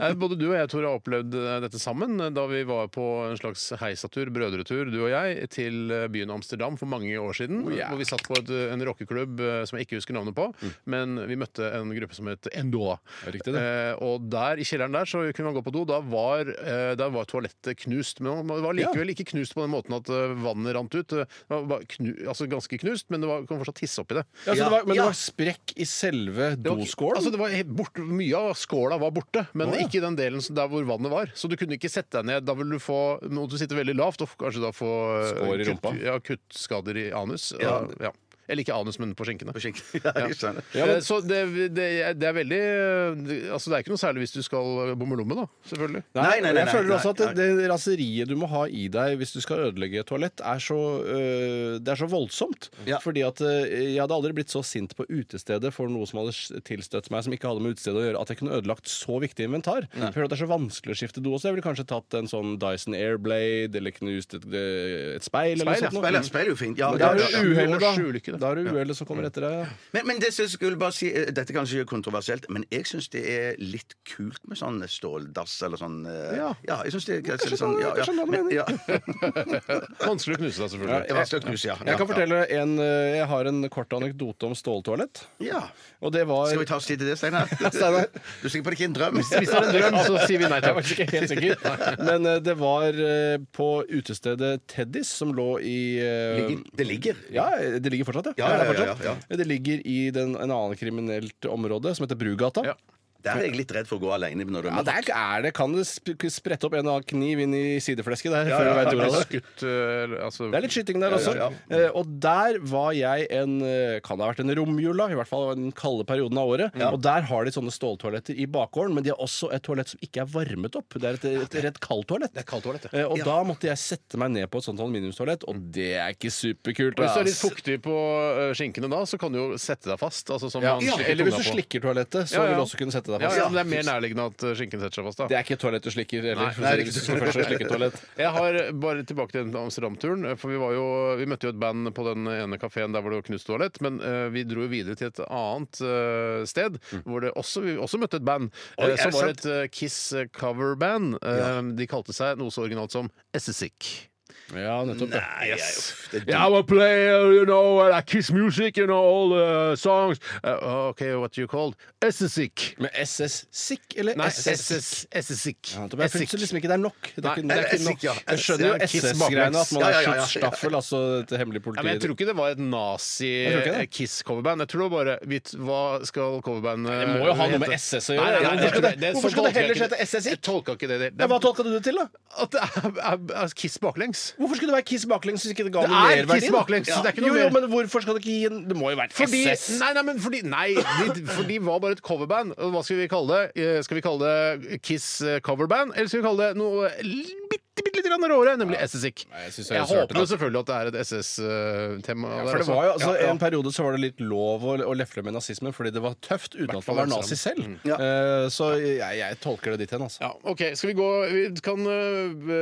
S5: Nei, Både du og jeg Tor, har opplevd eh, dette sammen eh, da vi var på en slags heisatur, brødretur, du og jeg, til eh, byen Amsterdam for mange år siden.
S9: Oh,
S5: Hvor vi satt på et, en rockeklubb eh, som jeg ikke husker navnet på, men vi møtte en gruppe som het Endoa.
S9: Mm. Riktig det.
S5: Eh, og der, i kjelleren der så kunne man gå på do. Da var, eh, der var toalettet knust. Men det var likevel ikke knust på den måten at eh, vannet rant ut. Det var bare knu, altså ganske knust, men det var, kan fortsatt tisse oppi det.
S9: Ja, så det var, men
S1: Ja.
S9: det var sprekk i selve
S5: Det var-
S9: doskålen?
S5: Altså, det var helt bort, mye av skåla var borte, men
S9: Å, ja.
S5: ikke den delen som- der hvor vannet var. Så du kunne ikke sette deg ned. Da ville du få måtte du sitte veldig lavt og f- kanskje da få eh,
S9: Skår i
S5: kutt-
S9: rumpa.
S5: Ja, kuttskader i anus.
S1: Ja.
S5: Og, ja. Eller ikke anus, men på skinkene.
S1: På skink- Ja, jeg skjønner.
S5: Ja, men, så det, det, det er veldig eh, Altså, det er ikke noe særlig hvis du skal eh, bomme lomme, da. Selvfølgelig.
S9: Nei,
S1: Nei, nei, nei,
S9: jeg føler
S1: nei,
S9: også at det, det raseriet du må ha i deg hvis du skal ødelegge et toalett, er så, øh, det er så voldsomt.
S1: Ja.
S9: Fordi at øh, jeg hadde aldri blitt så sint på utestedet for noe som hadde s- tilstøtt meg som ikke hadde med utestedet å gjøre, at jeg kunne ødelagt så viktig inventar. Jeg føler at det er så vanskelig å skifte do også. Jeg ville kanskje tatt en sånn Dyson Airblade eller knust et, øh, et speil, eller
S5: Speil, ja,
S9: noe sånt.
S1: Speil
S9: noe.
S1: er- speil er jo fint. Ja, ja,
S9: Men Da er
S1: ja,
S9: det
S1: ja.
S5: sju-
S9: uhellet,
S5: års
S9: da.
S5: ulykke,
S9: Da er det uhellet som kommer etter deg. ja.
S1: Men, men det som jeg skulle bare si eh, Dette er kanskje kontroversielt, men jeg syns det er litt kult med sånn ståldass eller sånn eh,
S9: Ja.
S1: ja jeg syns det er kanskje
S9: Jeg
S1: litt sånn
S9: skjønner-
S1: ja,
S9: jeg
S1: ja,
S9: skjønner hva du
S1: men,
S9: mener.
S1: ja.
S5: Vanskelig å knuse deg, selvfølgelig.
S1: Det er vanskelig å knuse, ja.
S9: Jeg kan
S1: Ja,
S9: fortelle en øh, Jeg har en kort anekdote om ståltoalett.
S1: Ja.
S9: Og det var
S1: Skal vi ta oss tid til det, Steinar? Du
S9: Steinar.
S1: er sikker på det ikke er en drøm?
S5: Hvis det er en drøm, så sier vi nei
S9: Jeg
S5: takk.
S9: var ikke helt sikker. Men eh, det var eh, på utestedet Teddys, som lå i eh,
S1: Det ligger.
S9: Ja, det ligger fortsatt,
S1: Ja, ja,
S9: det er
S1: ja, ja,
S9: fortsatt. Det ligger i den, en annen kriminelt område som heter Brugata.
S5: Ja.
S1: Der er jeg litt redd for å gå alene når du
S9: Ja, der er det, kan det sp sprette opp en eller annen kniv inn i sideflesket der. før du vet ordet av det.
S5: Skutt, eh, eller, altså,
S9: Det er litt skyting der også.
S1: ja,
S9: Eh, og der var jeg en eh, Kan det ha vært en romjula, i hvert fall den kalde perioden av året. eh, Og der har de sånne ståltoaletter i bakgården, men de har også et toalett som ikke er varmet opp. Det er et, et rett kaldt toalett. Eh, og da måtte jeg sette meg ned på et sånt aluminiumstoalett, og det er ikke superkult.
S5: Og hvis du er litt
S9: ass.
S5: fuktig på eh, skinkene da, så kan du jo sette deg fast. Altså, som
S9: ja,
S5: man slikker
S9: eller hvis du
S5: tunga på.
S9: slikker toalettet, så
S5: Ja, ja.
S9: vil du også kunne sette deg
S5: Ja,
S9: fast.
S5: ja, men Det er mer nærliggende at eh, skinken setter seg fast. da
S9: Det er ikke et toalett du slikker. Eller,
S5: Nei, det er
S9: hvis du skal først slikke et toalett.
S5: Jeg har bare tilbake til den Amsterdam-turen. eh, For vi, var jo, vi møtte jo et band på den ene kafeen der hvor det var knust toalett. Men eh, vi dro jo videre til et annet eh, sted hvor det også, vi også møtte et band. eh,
S1: Oi, er
S5: som
S1: det
S5: var
S1: sant?
S5: et eh, Kiss cover-band. Eh, De kalte seg noe så originalt som Essesick.
S9: Ja, nettopp. ja.
S5: Nei,
S9: Yes.
S5: uff, det er dumt. Yeah, I'm a player, you know, and I kiss music, you know, all the songs. Uh, okay, what you called? Essesik.
S9: Med SS Sikk eller
S5: Nei,
S9: SS?
S5: SS, Essesik.
S9: Ja, nettopp. Jeg syns liksom ikke det er nok. Det
S5: Nei,
S9: er ikke, det er ikke
S5: Essek,
S9: nok.
S5: ja.
S9: Jeg skjønner jo
S5: Det er Kiss
S9: SS-greiene, at man
S5: baklengs. Ja,
S9: er
S5: ja, ja, ja, ja, ja.
S9: skytstaffel, altså til hemmelig
S5: Ja, men jeg tror
S9: politi.
S5: ikke det var et
S9: Jeg tror ikke det.
S5: nazi-Kiss-coverband. Jeg tror det bare vidt, Hva skal coverbandet
S9: Det må jo ha noe med SS å
S5: Nei,
S9: gjøre.
S5: nei, nei,
S9: Hvorfor skal
S5: nei,
S9: det- hvorfor skal det heller hete SS-ik?
S5: Jeg tolka ikke det. det.
S9: Ja, Hva tolka du det til, da?
S5: At det er, er, er Kiss baklengs.
S9: Hvorfor skulle det være Kiss baklengs hvis ikke det ga
S5: Det
S9: noe
S5: er
S9: mer verdi?
S5: Kiss baklengs, så det er ikke noe
S9: jo, jo,
S5: mer.
S9: men hvorfor skal det ikke gi en Det må jo være
S5: Fordi,
S9: SS.
S5: nei, nei, men fordi, nei de, for de var bare et coverband. Og Hva skal vi kalle det? Eh, Skal vi kalle det Kiss eh, coverband? Eller skal vi kalle det noe l- bitte, bitte litt grann råere, nemlig SSIK?
S9: Nei, jeg synes det
S5: Jeg
S9: høres rart ut,
S5: håper jo
S9: altså.
S5: selvfølgelig at det er et SS-tema.
S9: For det var jo, altså, En periode så var det litt lov å, å lefle med nazismen fordi det var tøft uten at man var nazi selv. Eh, så jeg, jeg tolker det dit hen, altså.
S5: Ja, ok, skal Vi gå, vi kan øh,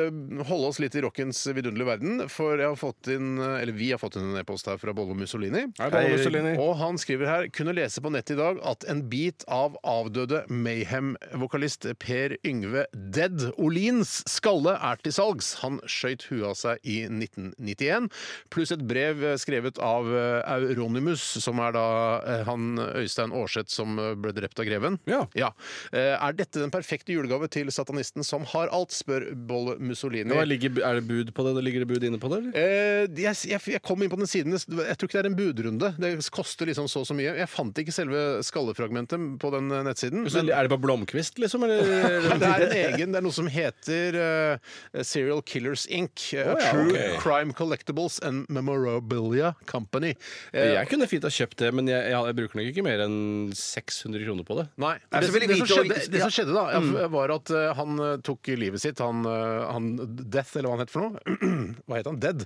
S5: holde oss litt i rockens vidunderlige verden. For jeg har fått inn, øh, eller vi har fått inn en e-post her fra Bollo Mussolini.
S9: Hei, Bollo Mussolini.
S5: Og han skriver her kunne lese på nettet i dag at en bit av avdøde Mayhem-vokalist Per Yngve Dead Olins skalle er til salgs. Han skøyt huet av seg i 1991. Pluss et brev øh, skrevet av øh, Auronimus, som er da øh, han Øystein Aarseth som øh, ble drept av greven.
S9: Ja.
S5: Ja. Eh, Er dette den perfekte julegave til satanisten som har alt, spør Bolle Mussolini.
S9: Nå ligger, er det bud på det? Det Ligger det bud inne på det? eller?
S5: Eh, jeg, jeg, jeg kom inn på den siden. Jeg tror ikke det er en budrunde. Det koster liksom så og så mye. Jeg fant ikke selve skallefragmentet på den eh, nettsiden.
S9: Så
S5: Men
S9: er det bare blomkvist, liksom? Eller?
S5: det er en egen, det er noe som heter eh, Serial Killers Inc. eh,
S9: ja,
S5: True
S9: ok.
S5: Crime Collectibles and Memorabilia Company. Eh,
S9: Jeg kunne fint ha kjøpt det, men jeg, jeg, jeg bruker nok ikke mer enn 600 kroner på det.
S5: Nei.
S6: Nei,
S5: Det,
S6: så vil jeg
S5: det, som
S6: vite
S5: skjedde,
S6: å-
S5: det som skjedde da, eh, var at eh, han eh, tok livet sitt. Han, eh, han Death, eller hva han het for noe. hva het han? Dead?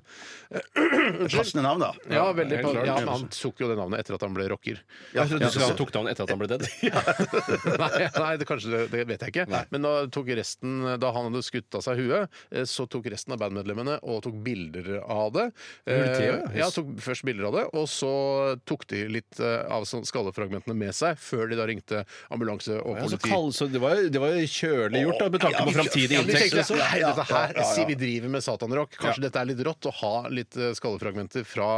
S6: Passende navn, da.
S5: Ja, veldig
S9: helt
S5: på,
S9: klart.
S5: ja, men han tok jo det navnet etter at han ble rocker.
S9: Jeg trodde du sa han tok down etter at han ble dead.
S5: nei, nei det, kanskje det, det vet jeg ikke. Men da, tok resten, da han hadde skutt av seg huet, eh, så tok resten av bandmedlemmene og tok bilder av det.
S9: Gjorde de det, ja?
S5: Eh, ja, tok først bilder av det, og så tok de litt eh, av sånn skallefragmentene med seg, før de da ringte ambulanse og
S9: Ja, så
S5: politi.
S9: kald, så det, var, jo- det var jo kjølig gjort, da, med tanke på framtidig
S5: Ja, men de
S9: inntekt.
S5: tenkte,
S9: liksom.
S5: «Nei, dette her, Si vi driver med satanrock. Kanskje dette er litt rått å ha litt eh, skallefragmenter fra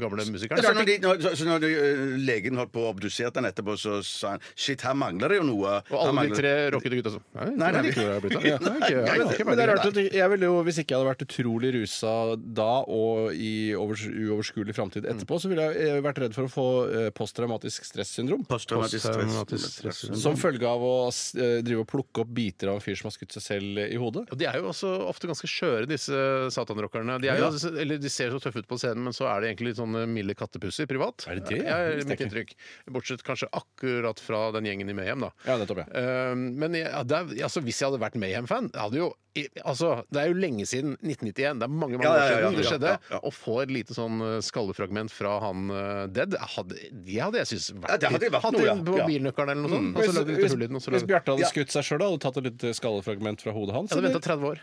S5: gamle
S6: Så
S5: musikere?
S6: når, de, når, så, så når de, ø, legen holdt på å obdusere den etterpå, så sa han Shit, her mangler det jo noe.
S5: Og
S6: Her
S5: alle de
S6: mangler-
S5: tre rockete gutta sånn. Nei,
S6: Nei, nei,
S5: det er ikke
S6: vi-
S5: hvor jeg har blitt av. Ja, ok, ja,
S6: Nei,
S5: det er
S6: men-
S5: ikke
S9: Men det er
S5: verdig.
S9: rart at jeg ville jo, Hvis ikke jeg hadde vært utrolig rusa da og i overs uoverskuelig framtid etterpå, så ville jeg eh, vært redd for å få eh, posttraumatisk stressyndrom.
S6: Posttraumatisk
S5: Posttraumatisk
S6: stress.
S5: stress.
S9: Som følge av å s- eh, drive og plukke opp biter av en fyr som har skutt seg selv i hodet.
S5: Og de er jo også ofte ganske skjøre, disse satanrockerne. De, er jo, eller de ser så tøffe ut på scenen, men så er de egentlig litt sånn milde kattepusser privat.
S9: Er det det?
S5: Ja, er
S9: Visste
S5: mitt
S9: jeg
S5: inntrykk. Bortsett kanskje akkurat fra den gjengen i Mayhem, da.
S9: Ja, nettopp, ja.
S5: Eh, men jeg, ja, det er, altså, hvis jeg hadde vært Mayhem-fan jeg hadde jo, i- altså, Det er jo lenge siden 1991. Det er mange mange
S6: Ja, ja, ja,
S5: år
S6: ja,
S5: siden det
S6: ja,
S5: skjedde.
S6: ja, ja.
S5: Å få et lite sånn eh, skallefragment fra han eh, Dead, hadde, det hadde jeg syntes vært
S6: Ja, det hadde
S5: litt-
S6: vært
S5: Hatt
S6: noe,
S5: det
S6: ja. Mm.
S5: på
S6: Ja.
S5: bilnøkkelen eller noe sånt. Og så
S9: Hvis,
S5: lagd et lite hull i den. og så
S9: hvis
S5: lagd-
S9: Bjarte hadde skutt seg sjøl, hadde du tatt et lite skallefragment fra hodet hans?
S5: Jeg hadde
S9: eller?
S5: venta 30 år.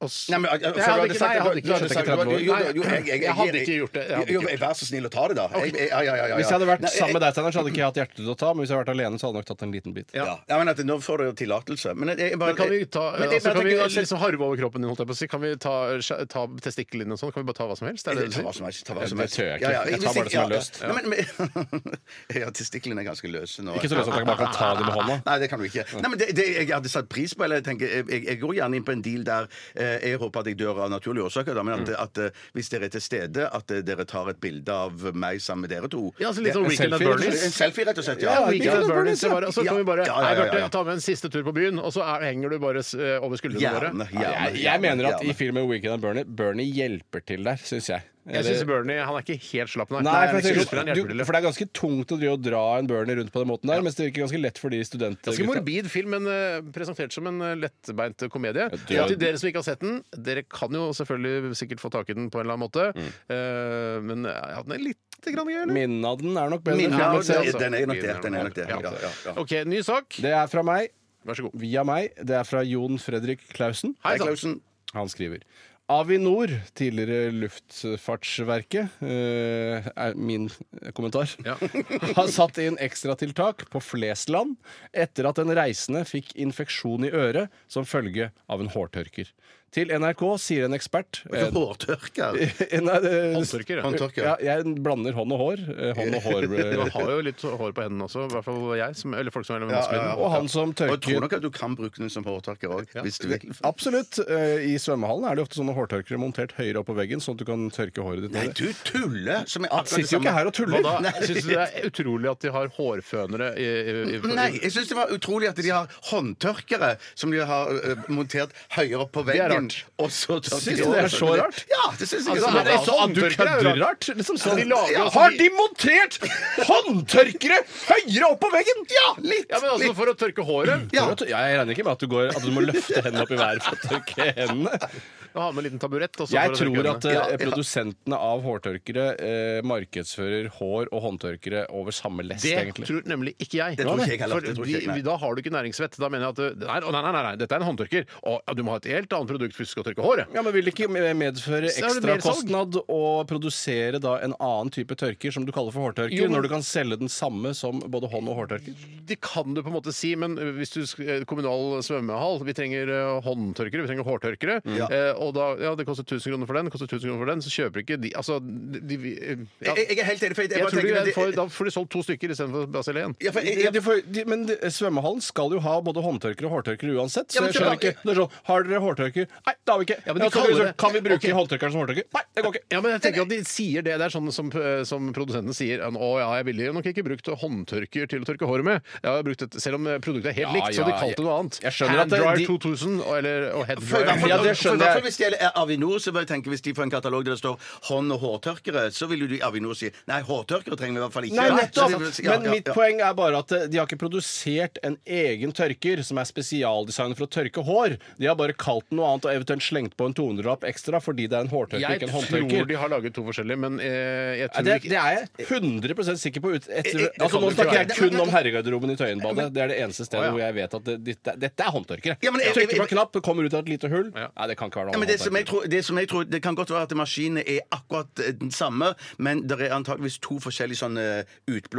S5: Og så-
S6: Nei, men, jeg, jeg,
S5: Nei,
S6: for du hadde sagt-
S5: jeg hadde
S6: du
S5: ikke
S6: hadde sagt-
S5: skjønt at
S6: jo,
S5: jeg hadde
S6: jo, jo,
S5: ikke
S6: jeg- jeg-
S5: Jeg hadde ikke gjort det. Jeg hadde
S6: Jo,
S5: ikke gjort det.
S6: Vær så snill og ta det, da. Jeg, jeg, ja, ja, ja, ja.
S9: Hvis jeg hadde vært
S6: Nei,
S9: sammen med deg, Steinar, så hadde ikke jeg hatt hjerte til å ta, men hvis jeg hadde vært alene, så hadde jeg nok tatt en liten bit.
S6: Ja. ja, men at, Nå får dere tillatelse. Men, jeg- jeg
S5: Men
S6: bare-
S5: kan vi ta
S6: Men det-
S5: altså,
S6: men
S5: kan
S6: jeg
S5: vi
S6: tenker-
S5: liksom harve over kroppen din, holdt jeg på å si? Kan vi ta, skje- ta testiklene dine og sånn? Kan vi bare ta hva som helst? Er det det du
S6: Ta hva
S5: sier?
S6: som helst. Ta hva som
S9: Det
S6: helst.
S9: tør jeg ikke. Jeg tar
S6: hvis
S9: bare det som
S6: ja,
S9: er løst.
S6: ja. Nei, men, men, ja, testiklene er ganske løse nå.
S9: Ikke så løs at jeg bare kan ta dem med hånda.
S6: Nei, det kan du ikke. Nei, men det, det jeg hadde satt pris på, eller jeg tenker, jeg, jeg- jeg går gjerne inn på en deal der eh, jeg håper at jeg dør av naturlige årsaker, da, men
S9: Mm.
S6: at, at eh, hvis dere er til stede, at eh, dere tar et bilde av meg sammen med dere to.
S5: Ja, altså litt
S6: Det-
S5: sånn Weekend at
S9: selfie,
S5: Bernies.
S6: En selfie, rett og slett. Ja.
S5: Ja, Weekend at Bernies.
S9: Bernies, ja.
S5: det var- Og så kan vi bare
S6: Ja, ja, ja,
S5: Nei,
S6: ja, ja.
S5: Bjarte, ta med en siste tur på byen, og så er, henger du bare s- eh, over skuldrene våre.
S6: Gjerne.
S9: Jeg,
S6: gjerne,
S9: jeg mener at
S6: gjerne.
S9: i filmen 'Weekend and Bernie' Bernie hjelper til der, syns jeg.
S5: Jeg
S9: Eller-
S5: syns Bernie han er ikke helt slapp, nei.
S9: Nei, for, jeg
S5: skuespilleren
S9: tenker,
S5: hjelper til
S9: du,
S5: det.
S9: for det er ganske tungt å drive og dra en Bernie rundt på den måten der, mens det virker ganske lett for de studentene.
S5: Ganske morbid film, men eh, presentert som en eh, lettbeint komedie.
S9: det er-
S5: Og til dere som ikke har sett den, dere kan jo selvfølgelig sikkert få tak i den på en eller annen måte. Eh, men ja, den er litt grann gøy, eller?
S9: Minnet av den er nok bedre.
S6: Min,
S9: enn filmen
S6: ja,
S9: selv.
S6: den er nok det. Den er nok det.
S5: Ja.
S6: Ja, ja, ja.
S5: OK, ny sak.
S9: Det er fra meg.
S5: Vær så god.
S9: Via meg. Det er fra Jon Fredrik Klausen.
S5: Hei
S6: Hei, Klausen.
S9: Han skriver Avinor, tidligere Luftfartsverket, eh, er min kommentar, har satt inn ekstratiltak på Flesland etter at en reisende fikk infeksjon i øret som følge av en hårtørker. Til NRK sier en ekspert eh,
S12: Hårtørker.
S9: Nei, det-
S5: Håndtørker, ja.
S12: Håndtørker.
S9: Ja, jeg blander hånd og hår. Eh, Hånd og hår.
S5: Du
S9: eh,
S5: har jo litt hår på hendene også, i hvert fall jeg, som, eller folk som er vaskemiddel.
S9: Og han som
S12: Og jeg tror
S9: tørker
S12: nok at du kan bruke den som hårtørker òg, hvis du vil.
S9: Absolutt. eh, I svømmehallen er det jo ofte sånne hårtørkere montert høyere opp på veggen, sånn at du kan tørke håret ditt.
S12: Nei,
S9: med det.
S12: du liksom- tuller! Som er
S9: Han
S12: akkurat det
S9: sitter jo ikke
S12: samme.
S9: her og tuller!
S5: Hva da? Syns du det er utrolig at de har hårfønere i, i, i, i
S12: Nei, jeg syns det var utrolig at de har håndtørkere som de har
S6: eh,
S12: ø, montert høyere opp på
S5: er
S12: veggen.
S5: rart.
S12: Og så tørker
S9: Syns
S12: de
S9: du det er
S12: håret.
S9: så rart?
S12: Ja, det syns jeg.
S9: sånn
S5: Altså,
S12: er så
S5: er det
S12: rart.
S5: så
S9: Du
S5: Håndtørkere er
S9: kødder
S5: rart.
S9: rart! Liksom sånn.
S5: de lager
S9: Ja,
S5: altså
S9: har
S5: de-
S9: de montert håndtørkere høyere opp på veggen?!
S12: Ja, litt!
S5: Ja, men altså For å tørke håret?
S12: Ja.
S9: Jeg regner ikke med at du, går, at du må løfte hendene opp i været for å tørke hendene.
S5: Ha med en liten taburett? og så
S9: Jeg
S5: for å tørke
S9: tror
S5: hendene.
S9: at eh, produsentene av hårtørkere eh, markedsfører hår og håndtørkere over samme lest,
S5: Det
S9: egentlig.
S5: tror nemlig ikke jeg.
S12: Det tror ikke jeg heller.
S5: For
S12: Det tror ikke
S5: de-
S12: jeg, nei.
S5: vi- Da har du ikke næringsvett. Da mener jeg at du- nei, å, nei, nei, nei, nei, dette er en håndtørker. Å, ja, du må ha et helt annet produkt hvis du skal tørke håret.
S9: Ja, men Vil det ikke medføre
S5: Så er det mer salg.
S9: ekstrakostnad å produsere da en annen type tørker, som du kaller for hårtørker,
S5: Jo, men-
S9: når du kan selge den samme som både hånd- og hårtørker?
S5: Det kan du på en måte si, men hvis du sk- eh, kommunal svømmehall Vi trenger eh, håndtørkere, vi trenger hårtørkere.
S12: Mm.
S5: Eh, og da, ja, det koster 1000 kroner for den, det koster 1000 kroner for den, så kjøper ikke de Altså, de, de vi- eh, ja.
S12: Jeg, jeg er helt enig. For jeg,
S5: Jeg
S12: bare
S5: tror
S12: tenker
S5: de,
S12: at det-
S5: får, Da får de solgt to stykker istedenfor Basel 1.
S12: ja, for jeg,
S9: De
S12: jeg,
S9: får, de, men de, svømmehallen skal jo ha både håndtørkere og hårtørkere uansett. Så
S12: Ja, men
S9: jeg skjønner
S12: tilbake-
S9: ikke det er sånn, Har dere hårtørker? Nei, det har vi ikke.
S5: Ja, men de
S9: Ja, så-
S5: kaller det-
S9: Kan vi bruke
S5: Ok.
S9: håndtørkeren som hårtørker? Nei, det går ikke.
S5: Ja, men jeg tenker at de sier Det det er sånn som, eh, som produsenten sier Å ja, jeg ville nok ikke brukt håndtørker til å tørke håret med. Jeg har brukt et, selv om eh, produktet er helt
S9: Ja,
S5: likt, så har de
S9: ja,
S5: kalte det noe annet.
S9: jeg skjønner at det-
S5: Handdryer
S9: de-
S5: 2000 og, eller, og
S12: for i
S5: headdryer.
S12: hvert fall-
S9: Ja, det
S12: for i
S9: skjønner
S12: hvert fall
S9: jeg.
S12: Hvis det gjelder Avinor, så bør jeg tenke hvis de får en katalog der det står 'hånd- og hårtørkere', så vil jo de Avinor si 'nei, hårtørkere trenger vi i hvert fall ikke'.
S9: Nei,
S12: Så
S9: nettopp!
S12: de vil si, ja,
S9: Men
S12: ja,
S9: mitt
S12: ja.
S9: poeng er bare at eh, de har ikke produsert en egen tørker som er spesialdesignet for å tørke hår. De har bare kalt den noe annet og eventuelt slengt på en 200-lapp ekstra fordi det er en hårtørker,
S5: Jeg
S9: ikke en
S5: tror
S9: håndtørker.
S5: de har laget to forskjellige, men eh, jeg
S9: Nei,
S5: tror
S9: Det,
S5: ikke
S9: det er jeg 100 sikker på. Ut, etter,
S12: Eh, det
S9: altså, nå
S12: kan du ikke
S9: snakker
S12: være.
S9: jeg kun om herregarderoben i Tøyenbadet. Det er det eneste stedet hvor jeg vet at det, dette, dette er håndtørkere.
S12: Ja, men jeg-
S9: Trykker på
S12: jeg-
S9: en knapp, det kommer ut av et lite hull. Nei, det kan ikke være
S12: Ja,
S9: noe
S12: men det, som jeg
S9: håndtørker.
S12: tror, det som jeg tror Det kan godt være at maskinene er akkurat eh, den samme, men det er antakeligvis to forskjellige sånne eh,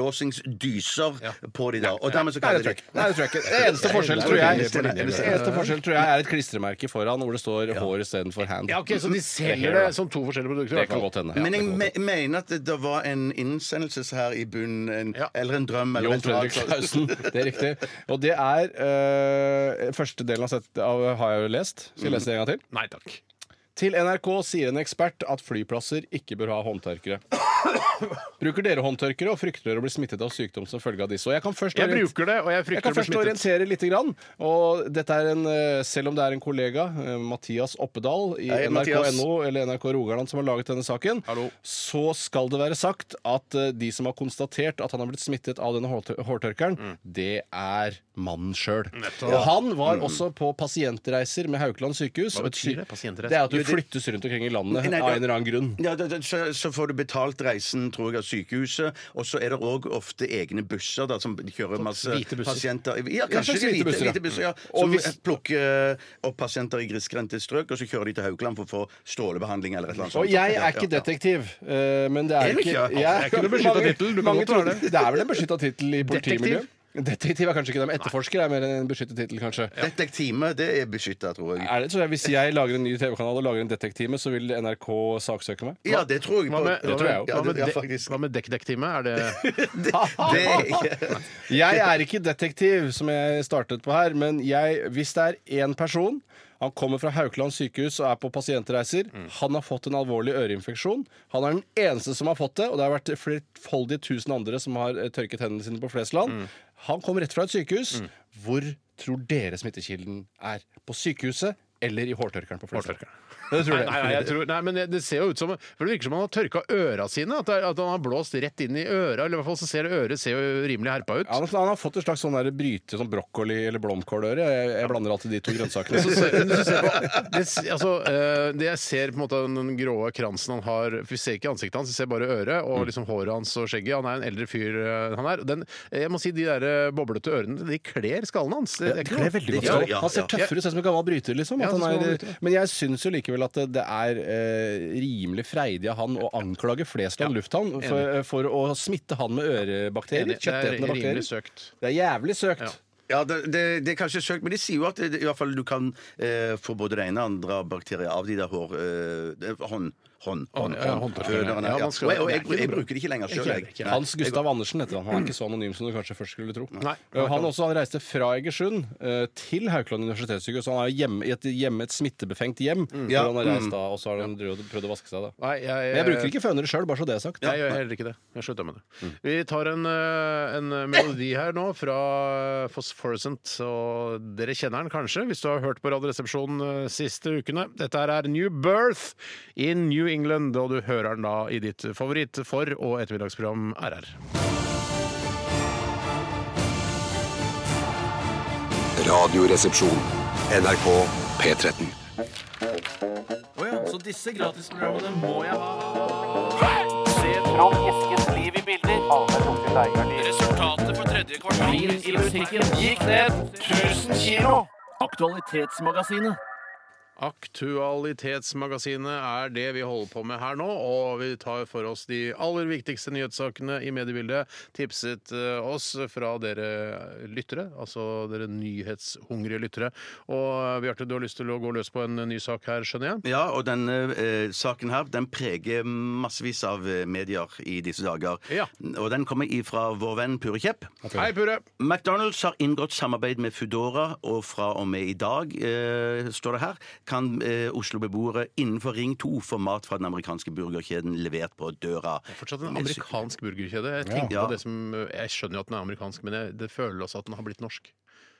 S12: utblåsingsdyser på de der. Og dermed så
S9: Nei,
S12: kan
S9: det tror
S12: de
S9: jeg ikke. Nei, det tror jeg ikke. Det eneste forskjellen tror jeg,
S5: Det er veldig linje.
S9: eneste forskjell tror jeg er et klistremerke foran hvor det står hår istedenfor hand.
S5: Ja, ok, Så de selger det som to forskjellige produkter? i
S9: Det
S5: hvert
S9: kan
S5: fall.
S9: godt hende. ja,
S12: Men jeg
S9: det kan
S12: me
S9: godt hende.
S12: mener at det var en innsendelse her i bunnen, en, eller en drøm, eller
S9: Jon
S12: et eller
S9: Fredrik
S12: annet sånt.
S9: Klausen. Det er riktig. Og det er øh, Første delen av, set, av har jeg jo lest. Skal jeg lese det en gang til?
S5: Nei takk.
S9: Til NRK sier en ekspert at flyplasser ikke bør ha håndtørkere. Bruker dere håndtørkere og frykter dere å bli smittet av sykdom som følge av disse? Og jeg kan først
S5: Jeg
S9: orient-
S5: bruker det, og jeg frykter
S9: jeg kan
S5: å bli
S9: først
S5: smittet.
S9: orientere litt. Grann, og dette er en, eh, selv om det er en kollega, eh, Mathias Oppedal i
S12: Hei, Mathias.
S9: NRK.no eller NRK Rogaland som har laget denne saken,
S5: Hallo.
S9: så skal det være sagt at eh, de som har konstatert at han har blitt smittet av denne hårtør- hårtørkeren,
S5: Mm.
S9: det er mannen sjøl. Og han var også på pasientreiser med Haukeland sykehus.
S5: Mm. Hva
S9: og et
S5: betyr
S9: sy-
S5: det, pasientreiser?
S9: Det er at du flyttes rundt omkring i landet
S12: Nei,
S9: av
S12: det-
S9: en eller annen grunn.
S12: Ja, da, da, så, så får du betalt reisen, tror jeg, av sykehuset. Og så er det òg ofte egne busser da, som kjører masse
S5: hvite busser.
S12: pasienter Ja,
S9: Sånn Ja,
S12: kanskje
S9: slags hvite
S12: hvite,
S9: busser, ja.
S12: hvite busser. Ja.
S9: Og
S12: Som
S9: hvis-
S12: plukker eh, opp pasienter i grisgrendte strøk, og så kjører de til Haukeland for å få strålebehandling eller et eller annet sånt.
S9: Og jeg er ikke
S12: Ja, ja, ja.
S9: detektiv, eh, men det er,
S12: Er du ikke?
S9: jeg-
S12: Det er
S5: ikke noe beskyttet
S9: mange-
S5: tittel, du kan
S9: mange
S5: godt være
S9: tror-
S5: det.
S9: Det er vel en beskytta tittel i
S5: Detektiv?
S9: politimiljøet. Detektiv er kanskje ikke det, men etterforsker er mer en beskyttet tittel, kanskje.
S12: Detektime, det er beskytta, tror jeg.
S9: Er det, så jeg, hvis jeg lager en ny TV-kanal og lager en detektime, så vil NRK saksøke meg?
S12: Ja, det tror jeg.
S5: Hva
S12: på-
S5: med,
S9: Det tror jeg jo.
S12: Ja,
S5: hva med,
S12: det, ja,
S5: dek-
S12: faktisk.
S5: hva med dekk-dekk-time? Er det
S12: Det er ikke
S9: Jeg er ikke detektiv, som jeg startet på her, men jeg, hvis det er én person han kommer fra Haukeland sykehus og er på pasientreiser. Han har fått en alvorlig øreinfeksjon. Han er den eneste som har fått det, og det har vært flerfoldige tusen andre som har eh, tørket hendene sine på Flesland. Han kom rett fra et sykehus. Hvor tror dere smittekilden er? På sykehuset eller i hårtørkeren på Flesland? Det
S5: Nei,
S9: tror jeg.
S5: nei, nei, jeg tror, nei, men det ser jo ut som For det virker som han har tørka øra sine. At, det er- at han har blåst rett inn i øra. Eller i hvert fall så ser øret ser jo rimelig herpa ut.
S9: Ja, han, han har fått et slags sånn der bryte sånn brokkoli eller blomkåløre. Jeg, jeg blander alltid de to grønnsakene.
S5: Så ser- men hvis du ser på- det, s- altså, eh, det jeg ser på en måte av den grå kransen han har for Vi ser ikke ansiktet hans, vi ser bare øret
S9: Mm.
S5: og liksom håret hans og skjegget. Han er en eldre fyr. eh, han er. Den, jeg må si De der eh, boblete ørene de kler skallen hans. Det, det er ikke noe-
S12: godt
S9: Ja,
S12: ut.
S9: ja, Han ser
S12: ja.
S9: tøffere ut, ser ut som en gammel bryter, liksom.
S5: Ja,
S9: At
S5: sånn som
S9: han
S5: gammel
S9: er,
S5: bryter, ja.
S9: men jeg syns jo likevel at det, det er eh, rimelig freidig av han å anklage Flesland lufthavn for, for å smitte han med ørebakterier.
S5: Det er
S9: Kjøttetende
S5: rimelig
S9: bakterier.
S5: søkt.
S9: Det er jævlig søkt.
S12: Ja, det, det, det er kanskje søkt, men de sier jo at det, i hvert fall du kan eh, få både det ene og andre bakterier av de der hår... Eh, det- hånd... Hånd, hånd, Eh,
S9: ja, håndtørkle.
S12: Fønerne,
S9: Ja,
S12: ja.
S9: man skal-
S12: og jeg, og jeg,
S9: det er
S12: jeg,
S9: ikke noe bra.
S12: bruker det ikke lenger
S9: Ikke
S12: sjøl.
S9: jeg. Ikke jeg. Hans Gustav Andersen heter han. Han er ikke så anonym som du kanskje først skulle tro.
S12: Nei.
S9: Uh, Han, også, han reiste fra Egersund eh, til Haukeland universitetssykehus. Han er jo hjemme i et, hjemme, et smittebefengt hjem. Hvor
S5: Ja.
S9: han har reist
S5: Mm.
S9: da, og så har han prøvd, prøvd å vaske seg. da
S5: Nei, jeg,
S9: Men jeg bruker ikke fønere sjøl, bare så det er sagt.
S5: Jeg gjør heller ikke det. Jeg slutta med det. Vi tar en, eh, en melodi her nå fra Phosphorescent, og dere kjenner den kanskje hvis du har hørt på Radioresepsjonen eh, siste ukene. Dette her er New Birth in New England, og du hører den da i ditt favoritt for- og ettermiddagsprogram RR.
S2: Radioresepsjon. NRK P13.
S13: Å ja, så disse gratisprogrammene må jeg ha. Se Trond Eskens liv i bilder. Resultatet for tredje kvartal i musikken gikk ned 1000 kilo. Aktualitetsmagasinet.
S5: Aktualitetsmagasinet er det vi holder på med her nå, og vi tar for oss de aller viktigste nyhetssakene i mediebildet, tipset eh, oss fra dere eh, lyttere, altså dere nyhetshungrige lyttere. Og eh, Bjarte, du har lyst til å gå løs på en ny sak her, skjønner jeg?
S12: Ja, og denne eh, saken her den preger massevis av eh, medier i disse dager. Og den kommer ifra vår venn Pure Kjepp.
S5: Hei, Pure.
S12: McDonald's har inngått samarbeid med Foodora, og fra og med i dag, eh, står det her, kan eh, Oslo-beboere innenfor Ring 2 få mat fra den amerikanske burgerkjeden levert på døra.
S5: Det er Fortsatt en amerikansk burgerkjede. Jeg, tenker
S12: Ja.
S5: på det som, eh, jeg skjønner jo at den er amerikansk, men jeg, det føles også at den har blitt norsk.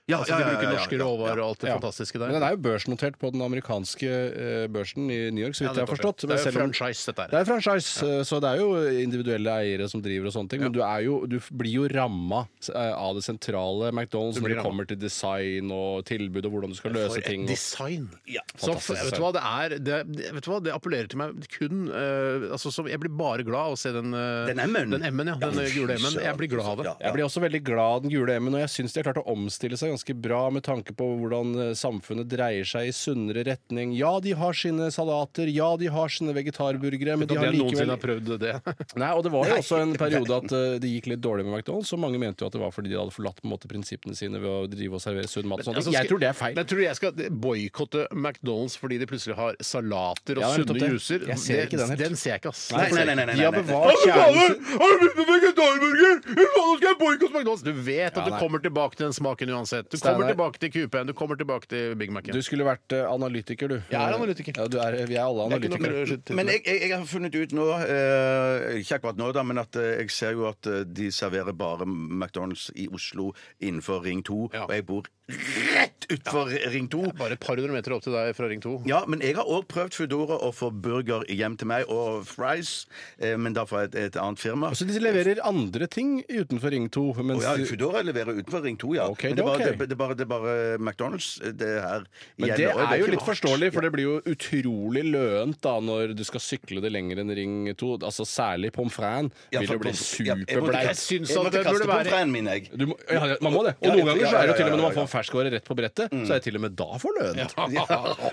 S12: Ja,
S5: altså,
S12: ja,
S5: de
S12: ja,
S5: bruker
S12: ja, ja,
S5: norske
S12: ja, ja.
S5: råvarer og alt det
S9: Ja.
S5: fantastiske der.
S9: Men den er jo børsnotert på den amerikanske eh, børsen i New York,
S5: Ja,
S9: så vidt jeg har
S5: nettopp,
S9: forstått.
S5: ja.
S9: Men
S5: Det er
S9: selv om-
S5: franchise, dette her.
S9: Det er franchise, eh, så det er jo individuelle eiere som driver og sånne ting. Men du, er jo, du blir jo ramma eh, av det sentrale McDonald's
S5: Du
S9: når
S5: blir
S9: det
S5: ramma.
S9: kommer til design og tilbud og hvordan du skal
S5: For
S9: løse
S5: et
S9: ting. og-
S5: design! Så,
S9: Fantastisk
S5: vet, du hva, det er, det, det- vet du hva, det appellerer til meg kun eh, altså, som, Jeg blir bare glad av å se den eh,
S9: Den M-en.
S5: Den M-en, ja. Den eh,
S9: Ja,
S5: gule M-en.
S9: søren.
S5: Jeg blir glad av det.
S9: Jeg blir også veldig glad av den gule M-en, og jeg syns de har klart å omstille seg ganske bra med tanke på hvordan eh, samfunnet dreier seg i sunnere retning. Ja, de har sine salater, ja, de har sine vegetarburgere, men de har likevel
S5: prøvd det.
S9: Nei, og det var
S5: Nei.
S9: jo også en periode at eh, det gikk litt dårlig med McDonald's, og mange mente jo at det var fordi de hadde forlatt på en måte prinsippene sine ved å drive og servere sunn mat. og sånt. jeg tror det er feil.
S5: altså, Men tror du jeg skal boikotte McDonald's fordi de plutselig har salater og
S9: Ja, nettopp
S5: sunne
S9: det.
S5: juicer?
S9: Jeg ser ikke den helt.
S5: ser jeg ikke, ass.
S9: Nei, nei, nei, nei, nei, De har nei, nei. bevart kjernen
S5: Har du begynt med vegetarburger?! Fy faen, nå skal jeg boikotte McDonald's! Du vet at
S9: Ja,
S5: du
S9: nei.
S5: kommer tilbake til den smaken uansett. Du
S9: Steinar.
S5: kommer tilbake til QP-en, du kommer tilbake til Big Mac-en.
S9: Du skulle vært eh, analytiker, du.
S5: Jeg er analytiker.
S9: Ja, du er, vi er alle
S5: Det er ikke noe
S9: analytikere.
S5: rød-
S12: Men jeg, jeg, jeg har funnet ut nå, eh, ikke akkurat nå, da, men at eh, jeg ser jo at eh, de serverer bare McDonald's i Oslo innenfor Ring 2, og jeg bor rett utenfor Ring 2.
S5: Bare et par hundre meter opp til deg fra Ring 2.
S12: Ja, men jeg har òg prøvd Foodora å få burger hjem til meg, og fries, eh, men da fra et, et annet firma.
S9: Så de leverer andre ting utenfor Ring 2.
S12: Å
S9: Mens
S12: ja,
S9: de-
S12: Foodora leverer utenfor Ring 2, ja.
S9: Ok, det
S12: men det
S9: er
S12: er bare,
S9: ok.
S12: det, det er bare, det er bare McDonald's det
S9: Men
S12: her
S9: det
S12: gjelder, og
S9: er jo
S12: ikke
S9: litt
S12: rart.
S9: forståelig, for det blir jo utrolig løent da når du skal sykle det lenger enn Ring 2. Altså særlig pommes fritesen
S12: Ja,
S9: vil
S12: for
S9: jo bli
S12: pommes- ja, jeg måtte-
S9: superblei.
S12: jeg syns Jeg at måtte det kaste burde være- pommes fritesen min, jeg.
S9: Du må, ja, ja, man må det. Og
S12: Ja,
S9: noen
S12: ja,
S9: ganger
S12: ja,
S9: så er det jo til og
S12: ja,
S9: med
S12: ja,
S9: når man
S12: ja.
S9: får ferskvare rett på brettet, så er det til og med da for løent.
S5: Ja.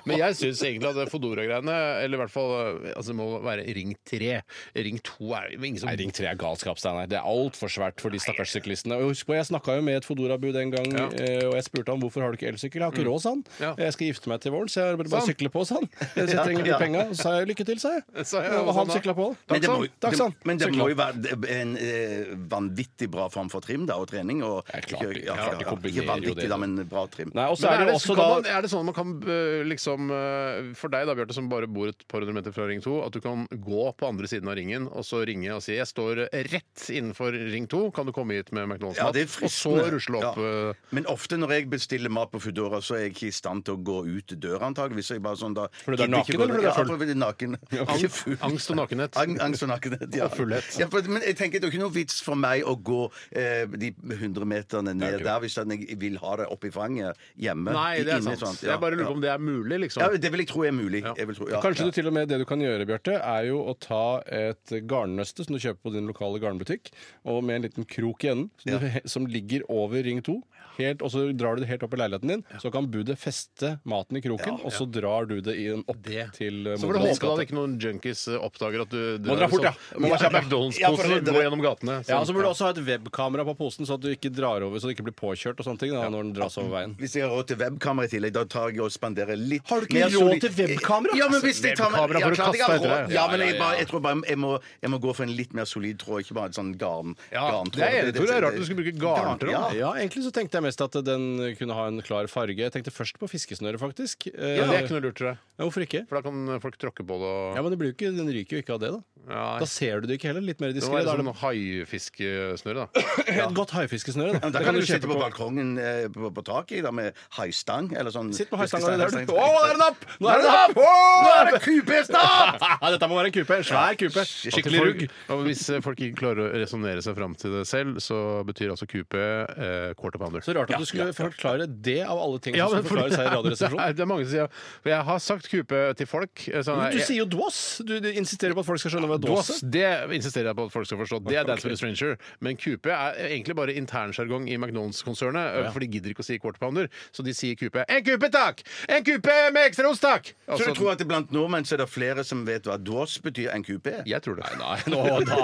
S5: Men jeg syns egentlig at det Fodora-greiene, eller i hvert fall altså det må være Ring 3. Ring 2 er jo ingen som
S9: Nei, Ring 3 er galskap, Steinar. Det er altfor svært for de stakkars syklistene. Og husk på, Jeg snakka jo med et Fodora-bud en gang,
S5: Ja.
S9: eh, og jeg spurte han hvorfor har du ikke elsykkel. Jeg har ikke
S5: Mm.
S9: råd, sa han.
S5: Ja.
S9: Jeg skal gifte meg til våren, så jeg burde bare
S5: Sånn.
S9: sykle på, sa han. Så jeg trenger litt
S12: Ja.
S9: penger. Så sa jeg lykke til, sa jeg.
S5: Sa jeg,
S9: og
S5: og
S9: han
S5: sånn da.
S9: sykla på.
S12: Men det, må,
S9: Takk, sånn. sa han.
S12: det, men det
S9: Sykla.
S12: må jo være en eh, vanvittig bra form for trim da, og trening. Og,
S9: klart de-
S12: ikke,
S9: klart de kombinerer
S12: ikke
S9: jo
S12: vanvittig,
S9: det.
S12: da, men bra trim.
S9: Nei, og så
S5: Men
S9: er det jo
S5: så
S9: også
S5: kan
S9: da
S5: man, er det sånn at man kan øh, liksom øh, For deg da, Bjarte, som bare bor et par hundre meter fra Ring 2, at du kan gå på andre siden av ringen og så ringe og si 'Jeg står rett innenfor Ring 2, kan du komme hit med
S12: Ja,
S5: McDonald's-mat?'
S12: det er
S5: og så
S12: fristende.
S5: rusle opp
S12: Ja.
S5: øh,
S12: Men ofte når jeg bestiller mat på Foodora, så er jeg ikke i stand til å gå ut døra, antageligvis. Så jeg bare sånn da
S5: du er
S12: gidder ikke
S5: naken,
S12: gå-
S5: eller fordi du er
S12: Ja,
S5: full?
S12: fordi jeg er naken. Ikke full.
S5: ang Angst og nakenhet.
S12: Ang- Angst og nakenhet, ja.
S5: Og fullhet.
S12: Ja, for, men jeg tenker det er ikke noe vits for meg å gå eh, de 100 meterne ned der hvis jeg vil ha det oppi fanget hjemme.
S5: Nei, det er
S12: Inne,
S5: sant.
S12: sånt, ja,
S5: Jeg bare lurer på om det er mulig, liksom.
S12: Ja, det vil jeg tro er mulig. Jeg vil tro, ja.
S9: Kanskje
S12: ja.
S9: du til og med det du kan gjøre, Bjarte, er jo å ta et garnnøste som du kjøper på din lokale garnbutikk, og med en liten krok i enden som, du, som ligger over ring 2, helt, og og så drar du det helt opp i leiligheten din. Så kan budet feste maten i kroken, og så drar du det i en opp til eh,
S5: Så får du
S9: moderns
S5: håpe da
S9: gate.
S5: at ikke noen junkies eh, oppdager at du liksom-
S9: Må dra fort, ja.
S5: Må være kjapp. McDonald's-posen og gå gjennom gatene. sånn.
S9: Ja, så burde du også ha et webkamera på posen, så at du ikke drar over, så du ikke blir påkjørt og sånne ting da, når den dras over veien.
S12: Hvis jeg har råd til webkamera i tillegg, da tar jeg og spanderer litt Har
S9: du ikke råd til webkamera?
S12: Ja, men hvis jeg tar med
S9: Webkamera
S12: ja,
S9: for å
S12: klart jeg har
S9: kaste etter
S12: råd.
S9: deg.
S12: Ja, men
S9: Ja, ja,
S12: jeg,
S9: ja.
S12: bare, jeg tror bare jeg må, jeg må gå for en litt mer solid tråd, ikke bare et sånn garn.
S9: Ja,
S12: garntråd.
S9: det er enig, Tor. Det er rart du skulle
S5: bruke
S9: garntråd. Ja.
S12: Ja.
S9: egentlig så tenkte jeg mest at den kunne ha en klar farge. Jeg tenkte først på fiskesnøret, faktisk. Eh,
S5: Ja, det er ikke noe lurt, tror jeg.
S9: Hvorfor ikke?
S5: For da kan folk tråkke på det. Og...
S9: Ja, men det blir jo ikke, Den ryker jo ikke av det, da.
S5: Nei.
S9: Da ser du det ikke heller. Litt mer
S5: Det må
S9: diskré.
S5: være
S9: Da er
S5: sånn
S9: det
S5: haifiskesnøre, da.
S9: et godt haifiskesnøre.
S12: Da kan du sitte på balkongen eh, på, på taket da, med haistang eller sånn
S9: Sitt med haistanga der,
S12: fiskestang,
S9: du.
S12: haistang.
S9: Å, der er den opp! Nå er den opp!
S12: Nå er det kupestapp!
S9: Dette må være en kupe. En svær kupe. Skikkelig
S5: Folk-
S9: rugg.
S5: Og hvis eh, folk ikke klarer å resonnere seg fram til det selv, så betyr altså QP eh, quarter pounder.
S9: Så rart at du skulle forklare det av alle ting som skulle
S5: fordi-
S9: forklare seg i Radioresepsjonen.
S5: Det er, det er mange som sier For jeg har sagt QP til folk. eh, sånn her,
S9: Men Du
S5: jeg-
S9: sier jo dås! Du, du insisterer på at folk skal skjønne hva dås
S5: Dås,
S9: er.
S5: det insisterer jeg på at folk skal forstå. Det er Dance with a Stranger. Men QP er egentlig bare internsjargong i McDonald's-konsernet, eh, for de gidder ikke å si quarter pounder, så de sier QP. En QP, takk! En QP med ekstraost, takk!
S12: Så
S5: Altså,
S12: du tror at det blant nordmenn så er det flere som vet hva dås betyr enn kupé?
S5: Jeg tror det.
S9: Nei, nå, da.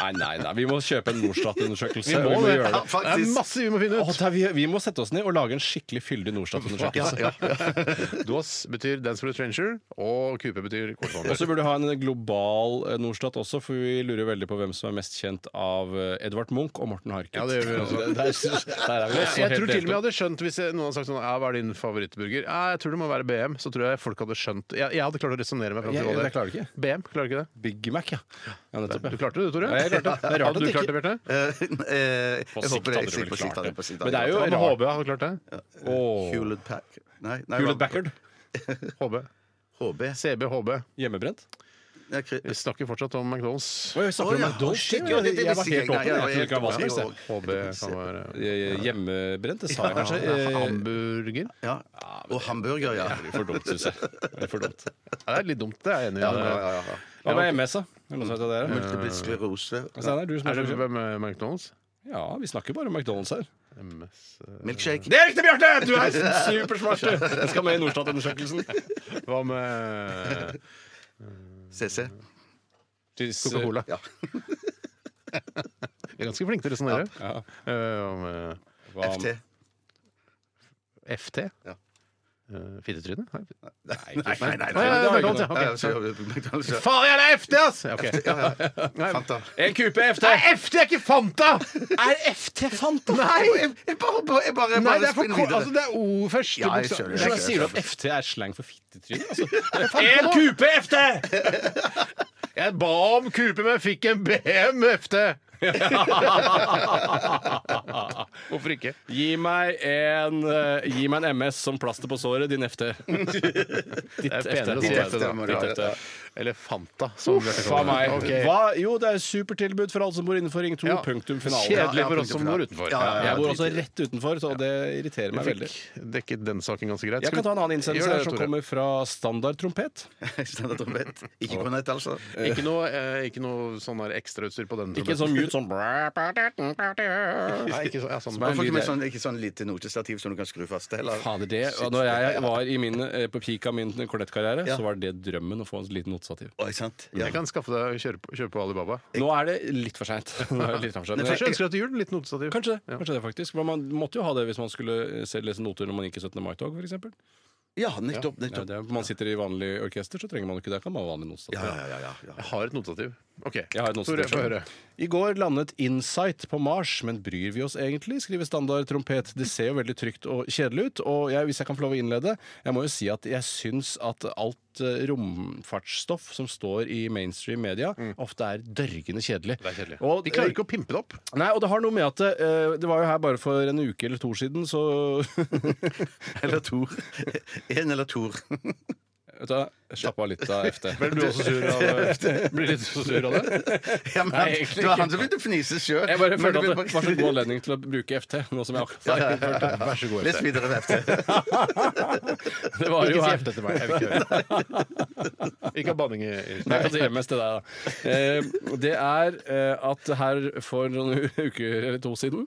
S9: nei, nei, nei. Vi må kjøpe en Norstat-undersøkelse.
S5: Vi må
S9: og
S5: det.
S9: gjøre
S5: Ja, faktisk. Det er masse vi må finne ut.
S9: Å, det er vi, vi må sette oss ned og lage en skikkelig fyldig Norstat-undersøkelse.
S5: Dås betyr Dance with a Stranger, og QP betyr quarter
S9: Og så
S5: pounder.
S9: burde du ha en global eh, Norstat også, for vi lurer veldig på hvem som er mest kjent av eh, Edvard Munch og Morten Harket.
S5: Ja, det gjør vi også.
S9: Der, der er vi også
S5: Jeg tror
S9: helt
S5: til og med jeg
S9: delt opp.
S5: hadde skjønt hvis jeg- noen hadde sagt sånn «Ja, Hva er din favorittburger? «Ja, Jeg tror det må være BM. Så tror jeg folk hadde skjønt Jeg, jeg hadde klart å resonnere meg fram til
S9: Jeg-
S5: hva
S9: jeg klarer det
S5: BM, klarer du ikke det?
S9: Big Mac, ja. ja nettopp, ja.
S5: Du klarte det, du, Tore.
S9: Ja, jeg klarte det. Det er
S5: hadde
S9: rart at
S5: du
S9: ikke-
S5: klart det, Bjarte?
S12: Eh,
S9: På
S12: jeg
S9: sikt
S12: håper det.
S9: hadde du vel
S12: På sikt
S9: klart det.
S12: hadde jeg på sikt
S9: Men det er jo
S5: Hva med
S9: rart.
S5: HB? Hadde du klart det?
S9: Åh.
S12: Hewlett Pack Nei, nei
S9: Hewlett
S12: hva-
S9: Packard.
S5: HB.
S12: HB.
S5: CB, HB.
S9: Hjemmebrent.
S12: Ja, kri-
S5: Vi snakker fortsatt om McDonald's.
S9: Oi, jeg snakker
S12: Å,
S9: om
S12: ja.
S9: McDonald's.
S12: Shit,
S9: Jeg
S12: ja, det- det
S9: jeg var
S12: visste
S9: helt
S12: jeg. Nei,
S9: åpen.
S12: jeg var
S9: Jeg trodde
S12: helt
S9: ikke det var hva som
S12: åpen.
S9: helst. jeg.
S5: HB kan være
S9: Eh, Hjemmebrent, det sa jeg kanskje.
S5: ja,
S9: Eh,
S5: Hamburger?
S12: Ja. Og hamburger, ja.
S9: Det er for dumt, syns jeg. Det er for dumt.
S5: Ja, det er litt dumt, det er jeg enig i.
S12: Ja, ja, ja, ja.
S9: Hva med MS, da? Er det noen som vet hva det er?
S12: Multiple sklerose.
S9: Steinar, du som
S5: Er
S9: er
S5: det
S9: sjef.
S5: hvem er McDonald's?
S9: Ja, vi snakker bare om McDonald's her.
S5: MS
S12: Milkshake.
S9: Det er riktig, Bjarte! Du er supersmart! du. Den skal med i Norstat-undersøkelsen.
S5: Hva med
S12: CC.
S5: Coca-Cola?
S12: Ja.
S5: Vi er ganske flinke til å resonnere.
S9: Ja.
S5: Eh, Hva med
S9: Hva-
S12: FT.
S5: FT?
S12: Ja.
S5: Eh, Fittetryne? Nei.
S12: Nei, nei, nei.
S5: Nei, nei,
S12: nei.
S5: nei, McDonald's, ja.
S12: Ja, ja,
S5: ok.
S12: så- McDonald's, ja.
S5: Faen, jeg er FT, ass! Ja, ok.
S12: Ja, ja. Fanta.
S9: En kupe FT!
S5: Nei, FT er ikke Fanta!
S9: Er FT Fanta?
S12: Jeg jeg bare, bare, jeg
S5: Nei,
S12: bare, bare
S5: det er for
S12: spinn
S5: kort.
S12: videre.
S5: Altså, det er O første
S12: Ja, jeg
S5: bokstav.
S12: skjønner.
S9: Hvordan sier du at FT er slang for fittetryne? Altså? En kupe FT!
S5: Jeg ba om kupe, men fikk en BM FT. Hvorfor ikke?
S9: Gi meg en, eh, gi meg en MS som plaster på såret, din FT. Ditt
S5: Det er penere å si
S9: Ditt
S5: FT, da.
S9: Ditt FT.
S5: Eller Fanta. Som Bjarte
S9: Faen
S5: kaller
S9: meg.
S5: det. Ok.
S9: Hva? Jo, det er supertilbud for alle som bor innenfor Ring 2.
S5: Ja.
S9: Punktum finale.
S12: Ja,
S5: Kjedelig
S12: ja,
S5: for oss som bor
S12: punktum
S5: utenfor.
S12: Ja, ja, ja.
S9: Jeg bor også rett utenfor, så det irriterer meg
S5: Jeg
S9: veldig.
S5: fikk dekket den saken ganske greit.
S9: Jeg kan ta en annen innsendelse
S5: Gjør
S9: her
S5: det,
S9: som
S5: Tore.
S9: kommer fra Standard Trompet.
S12: Standard trompet. Ikke på nett, altså.
S5: Ikke noe, eh, ikke noe sånn her ekstrautstyr på den.
S9: Ikke sånn mute sånn Fader,
S5: Nei, ikke sånn, ja, sånn.
S12: Man får
S5: Lyd-
S12: ikke med sånn, ikke sånn lite notestativ som du kan skru fast heller.
S9: det og Når jeg var i min, eh, på peak av min kornettkarriere,
S12: Ja.
S9: så var det drømmen å få en liten notestativ.
S12: Oi, sant? Ja.
S5: Jeg kan skaffe deg kjøre på, kjøre på Alibaba.
S9: Nå er det litt for seint.
S5: Kanskje
S9: Kanskje
S5: jeg ønsker deg til jul litt notestativ.
S9: det. kanskje det faktisk Men Man måtte jo ha det hvis man skulle se- lese noter når man gikk i 17. mai-tog, f.eks.
S12: ja, nettopp. nettopp.
S9: Man sitter i vanlig orkester, så trenger man jo ikke det. Kan man ha vanlig notestativ.
S12: Ja, ja, ja, ja, ja.
S5: Jeg har et notestativ. OK.
S9: Jeg har et
S5: Tore,
S9: notestativ
S5: få
S9: selv.
S5: høre.
S9: I går landet Insight på Mars, men bryr vi oss egentlig? skriver Standard Trompet. Det ser jo veldig trygt og kjedelig ut. Og jeg, hvis jeg kan få lov å innlede, jeg må jo si at jeg syns at alt eh, romfartsstoff som står i mainstream media,
S5: Mm.
S9: ofte er dørgende kjedelig.
S5: Det er kjedelig.
S9: Og,
S5: De klarer ikke å pimpe det opp.
S9: Nei, og det har noe med at eh, Det var jo her bare for en uke eller to siden, så
S12: Eller Tor. En eller Tor.
S9: Vet du hva, Slapp av litt av FT.
S5: Blir du også sur av det? Blir du så sur av det?
S12: Ja, men,
S9: Nei, egentlig
S12: det var han som begynte å fnise sjøl.
S9: Jeg bare følte at det var så god anledning til å bruke FT, nå som jeg akkurat har innført det.
S5: Vær så god.
S12: Les videre, vet du.
S9: Det var
S5: Ikke si
S9: jo her.
S5: hefte til meg. Jeg vil ikke høre. Ikke ha banning i i-
S9: Nei, altså hjemmes til deg, da. Eh, det er eh, at her for noen u- uker eller to siden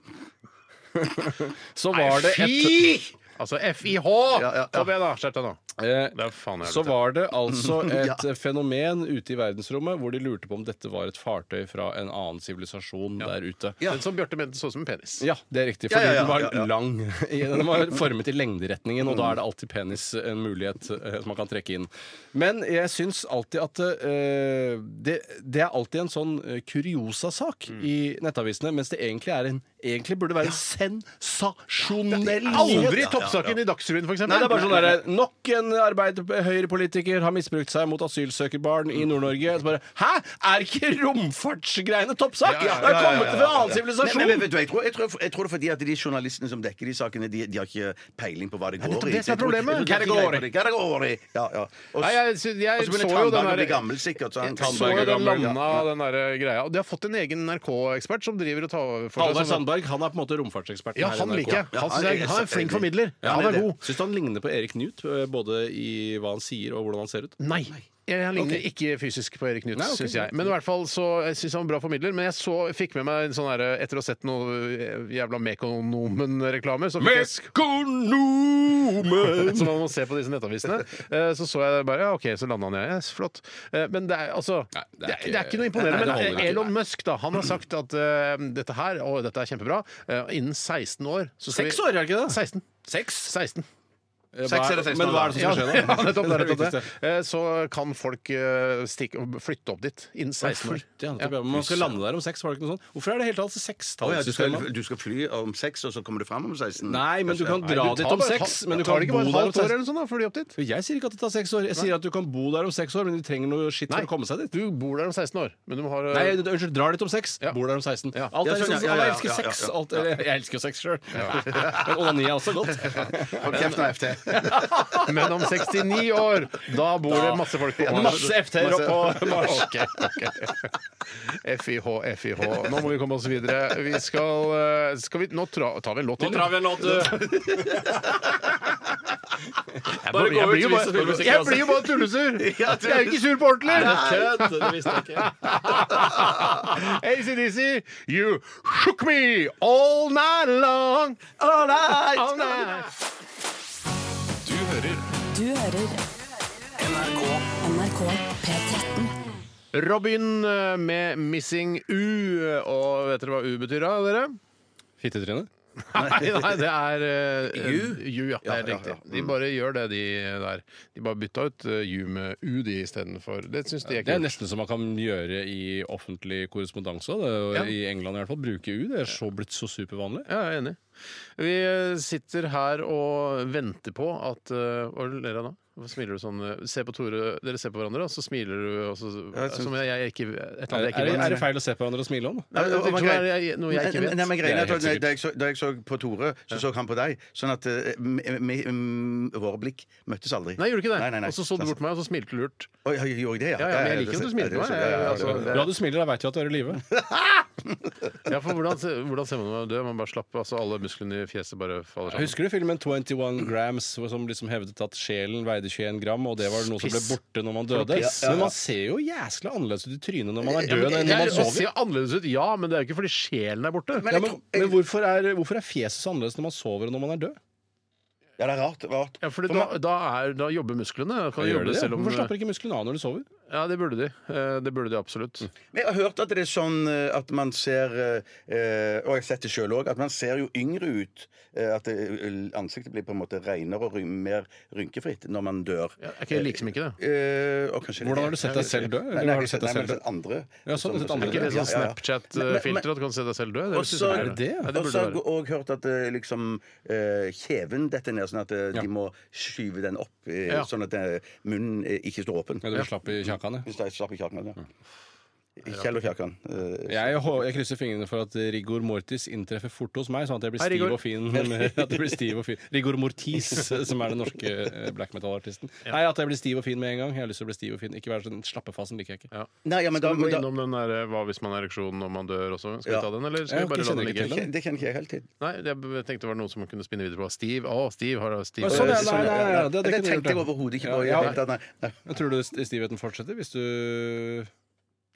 S9: så var det
S5: Fy!
S9: et
S5: Altså FIH! Kom igjen, da. Skjerp deg nå.
S9: Eh,
S5: faen
S9: så
S5: helvete.
S9: var det altså
S5: Ja.
S9: et fenomen ute i verdensrommet hvor de lurte på om dette var et fartøy fra en annen sivilisasjon der ute.
S5: Den som Bjarte mente så ut som en penis.
S9: Ja, det er riktig.
S5: Ja,
S9: Fordi
S5: ja, ja,
S9: den var
S5: ja, ja.
S9: lang. Den var formet i lengderetningen, og da er det alltid penis en mulighet eh, som man kan trekke inn. Men jeg syns alltid at eh, det, det er alltid en sånn eh, kuriosa-sak
S5: Mm.
S9: i nettavisene, mens det egentlig er en Egentlig burde være en sensasjonell
S5: Aldri toppsaken i Dagsrevyen, for eksempel.
S9: Nei, det er bare sånn der, Nok en arbeid, høyrepolitiker har misbrukt seg mot asylsøkerbarn i Nord-Norge. Så bare, Hæ! Er ikke romfartsgreiene toppsak?
S12: Ja, ja,
S9: Det har
S12: ja, ja,
S9: kommet fra
S12: ja,
S9: en
S12: ja,
S9: annen
S12: ja.
S9: sivilisasjon!
S12: Men- men vet du, Jeg, tror- jeg, tror- jeg tror det er fordi at de journalistene som dekker de sakene, de, de har ikke peiling på hva det går i.
S5: nettopp det som er
S12: Jeg tror- jeg tror
S5: problemet.
S12: de har ikke greie på det. Kategori! Ja, ja. Og
S5: Nei,
S12: s-
S5: jeg, sy- jeg
S12: og så
S5: så jo
S12: begynner
S5: den
S12: Tandberg å
S5: der
S12: bli gammel, sikkert. Så han,
S5: Jeg så jo den landa, den der eh, greia. Og de har fått en egen NRK-ekspert som driver og tar for
S9: Halvard
S5: sånne-
S9: Sandberg han er på en måte romfartseksperten.
S5: Ja,
S9: her i
S5: han
S9: NRK.
S5: liker jeg. Han
S9: Ja,
S5: synes jeg- han er en flink formidler.
S9: Ja,
S5: Han er
S9: det det.
S5: god.
S9: Syns du han ligner på Erik Knut, eh, både i hva han sier og hvordan han ser ut?
S5: Nei. Jeg han ligner
S9: Ok.
S5: ikke fysisk på Erik Knut,
S9: Nei, ok,
S5: syns jeg.
S9: greit.
S5: Men i hvert fall så jeg synes han var en bra formidler. Men jeg så, fikk med meg en sånn her Etter å ha sett noe eh, jævla Mekonomen-reklame så fikk jeg sk- Som man må se på disse nettavisene. eh, Så så jeg bare Ja, OK, så landa han, ja. Yes, flott. Eh, Men det er altså det, er, det er ikke noe imponerende. Men
S9: Nei, det
S5: eh,
S9: holder ikke.
S5: Elon Musk, da, han har sagt at eh, dette her, og dette er kjempebra, eh, innen 16 år så skal
S9: Seks
S5: vi-
S9: år, er det ikke det?
S5: 16. 16.
S9: Eh, hva
S5: Seks
S9: er-
S5: eller seksten
S9: Men
S5: år,
S9: hva er det som skal
S5: da?
S9: skje nå?
S5: Ja, nettopp, det er
S9: Det er det
S5: nettopp det. Eh, Så kan folk eh, stikke, flytte opp dit innen 16 år.
S9: Flytte, ja, nettopp, ja. Men Man skal lande der om seks, var det ikke noe sånt? Hvorfor er det hele tatt
S12: Å ja, du,
S9: sekstallssystemet?
S12: skal, du skal fly om seks, og så kommer du fram om 16?
S9: Nei, men du kan
S12: Kanskje.
S9: dra dit om seks. Men du kan bo der om seks.
S5: eller sånn da, før de opp dit?
S9: Jeg sier ikke at det tar seks år. Jeg sier at du kan bo der om seks år, men du trenger noe skitt for å komme seg dit.
S5: Du bor der om 16 år, men du eh, må ha
S9: Nei, du- unnskyld, drar dit om seks, bor der om 16.
S5: Ja,
S9: Alt er
S5: sånn, ja,
S9: liksom,
S5: ja, ja,
S9: alle elsker
S5: ja, ja,
S9: sex.
S5: ja.
S9: Alt, eller, jeg elsker jo sex sjøl. Men onani er også godt.
S12: Hold kjeft nå, FT.
S5: Men om 69 år, da bor det
S9: Da-
S5: masse folk
S9: Ja, masse FT-er opp på Mars.
S5: Ok, ok. FIH, FIH. Nå må vi komme oss videre. Vi skal, eh, skal vi, Nå tra, tar vi en låt
S9: Nå tar vi en låt, du.
S5: Jeg,
S9: Bare
S5: bare,
S9: gå
S5: jeg,
S9: ut,
S5: blir jo
S9: hvis du spiller
S5: bare,
S9: musikk,
S5: jeg
S9: altså.
S5: blir jo bare tullesur! Jeg er jo ikke sur på ordentlig!
S9: Nei, det er kødd. Det visste jeg ikke.
S5: ACDC, you shook me all night long. All night. All night.
S4: Du hører
S7: Du hører NRK. NRK P13.
S5: Robin eh, med 'Missing U'. Og vet dere hva U betyr, da, dere?
S9: Fittetryne?
S5: Nei, nei, det er eh, eh,
S9: U?
S5: U, ja. Det er
S9: Ja, ja,
S5: riktig.
S9: ja. Mm.
S5: De bare gjør det, de der. De bare bytta ut eh, U med U, de istedenfor. Det syns de er
S9: Det er
S5: kult.
S9: nesten som man kan gjøre i offentlig korrespondanse. Det, er jo-
S5: Ja.
S9: I England i hvert fall. Bruke U. Det er så blitt så supervanlig.
S5: Ja, jeg er enig. Vi eh, sitter her og venter på at eh, Hva er det du ler av nå? Hvorfor smiler du sånn? eh, Se på Tore, dere ser på hverandre, og så smiler du og så,
S12: Ja, jeg synes-
S5: som jeg, jeg ikke Et eller
S9: Er,
S5: annet jeg ikke
S9: det-
S5: vet.
S9: er det feil å se på hverandre og smile om?
S5: Nei, det tror jeg er jeg- noe jeg ikke vet.
S12: Nei, men greien er
S9: Det er
S12: at
S9: helt
S12: da jeg, så, da jeg så på Tore, så så han på deg. Sånn at eh, m- m- m- våre blikk møttes aldri.
S5: Nei, jeg gjorde ikke det.
S12: Nei, nei, nei.
S5: Og så så du bort på meg, og så smilte du lurt.
S12: Oi, jeg gjorde jeg det, ja.
S5: Ja, ja, men jeg liker at du smiler til meg, jeg- altså, det-
S9: Ja, du smiler, da veit du at du er i live.
S5: Ja, for hvordan, se- hvordan ser man når man dør? Man bare slapper, altså alle musklene i fjeset bare faller sammen.
S9: Husker du filmen 21 Grams, hvor- som liksom hevdet at sjelen veide 21 gram, og det var noe som ble
S5: Piss.
S9: borte når man
S5: For noe
S9: døde?
S5: piss.
S9: Men man ser jo jæskla annerledes ut i trynet når man er
S5: Ja,
S9: død
S5: men det
S9: enn når
S5: er-
S9: man
S5: det
S9: sover.
S5: ser annerledes ut, ja, men det er jo ikke fordi sjelen er borte.
S9: Ja, men men hvorfor, er, hvorfor er fjeset så annerledes når man sover og når man er død?
S12: Ja, det er rart. rart.
S5: Ja, fordi da, da, er, da jobber musklene. Da Kan
S9: Gjør
S5: jobbe
S9: det det?
S5: selv om,
S9: Hvorfor slapper ikke musklene av når de Mm. sover?
S5: Ja, det burde de. Eh, Det burde de absolutt.
S12: Men jeg har hørt at det er sånn eh, at man ser eh, eh, Og jeg har sett det sjøl òg, at man ser jo yngre ut. eh, At det- ansiktet blir på en måte renere og ryn- mer rynkefritt når man dør.
S5: er ikke- liksom ikke det.
S12: Eh, og kanskje det
S9: Hvordan har
S12: er-
S9: du sett deg selv dø?
S12: Nei,
S9: Eller
S12: nei,
S9: har du
S12: jeg-
S9: sett deg
S12: nei, men
S9: selv
S12: jeg har sett andre.
S9: Ja, sånn, sett andre.
S5: Er ikke det sånn Snapchat-filter sånn. at du kan se deg selv dø? Det er jo
S12: Også,
S5: sånn-
S12: er det det?
S5: Ja, det burde
S12: også
S5: det være.
S12: og hørt at eh, liksom eh, kjeven detter ned, sånn at eh,
S9: Ja.
S12: de må skyve den opp, eh,
S5: Ja.
S12: sånn at eh, munnen eh, ikke står åpen.
S9: Ja, du blir slapp i kjakan, ja.
S12: Hvis det er slapp i kjakan, ja. Kjell og kjakan. eh,
S9: Jeg, hå- jeg krysser fingrene for at rigor mortis inntreffer fort hos meg, sånn at jeg blir
S5: Hei,
S9: stiv
S5: Rigor.
S9: og fin. At jeg blir stiv og fin. Rigor mortis, som er den norske eh, black metal-artisten. Nei, at jeg blir stiv og fin med en gang. Jeg har lyst til å bli stiv og fin. Ikke være sånn slappefasen liker jeg ikke.
S5: Ja.
S12: Nei, ja, men da,
S5: Skal vi gå
S12: men da
S5: innom den der, eh, hva hvis man har ereksjon når man dør også? Skal
S12: Ja.
S5: vi ta den, eller skal
S9: Jeg
S5: vi bare la
S9: kjenner
S5: den
S9: ikke til
S5: ligge?
S9: den.
S12: det kjenner ikke jeg helt til.
S5: Nei, jeg b- tenkte det var noen som kunne spinne videre på. Stiv, å, Stiv har Stiv
S9: Å, sånn, ja,
S5: Eh,
S9: nei, nei, nei, det-
S12: det,
S9: det kunne du
S12: tenkte
S9: gjort,
S12: jeg
S9: ja.
S12: overhodet ikke på. i
S9: Ja,
S12: det hele tatt, nei. Nei.
S9: Men Tror du st- stivheten fortsetter hvis du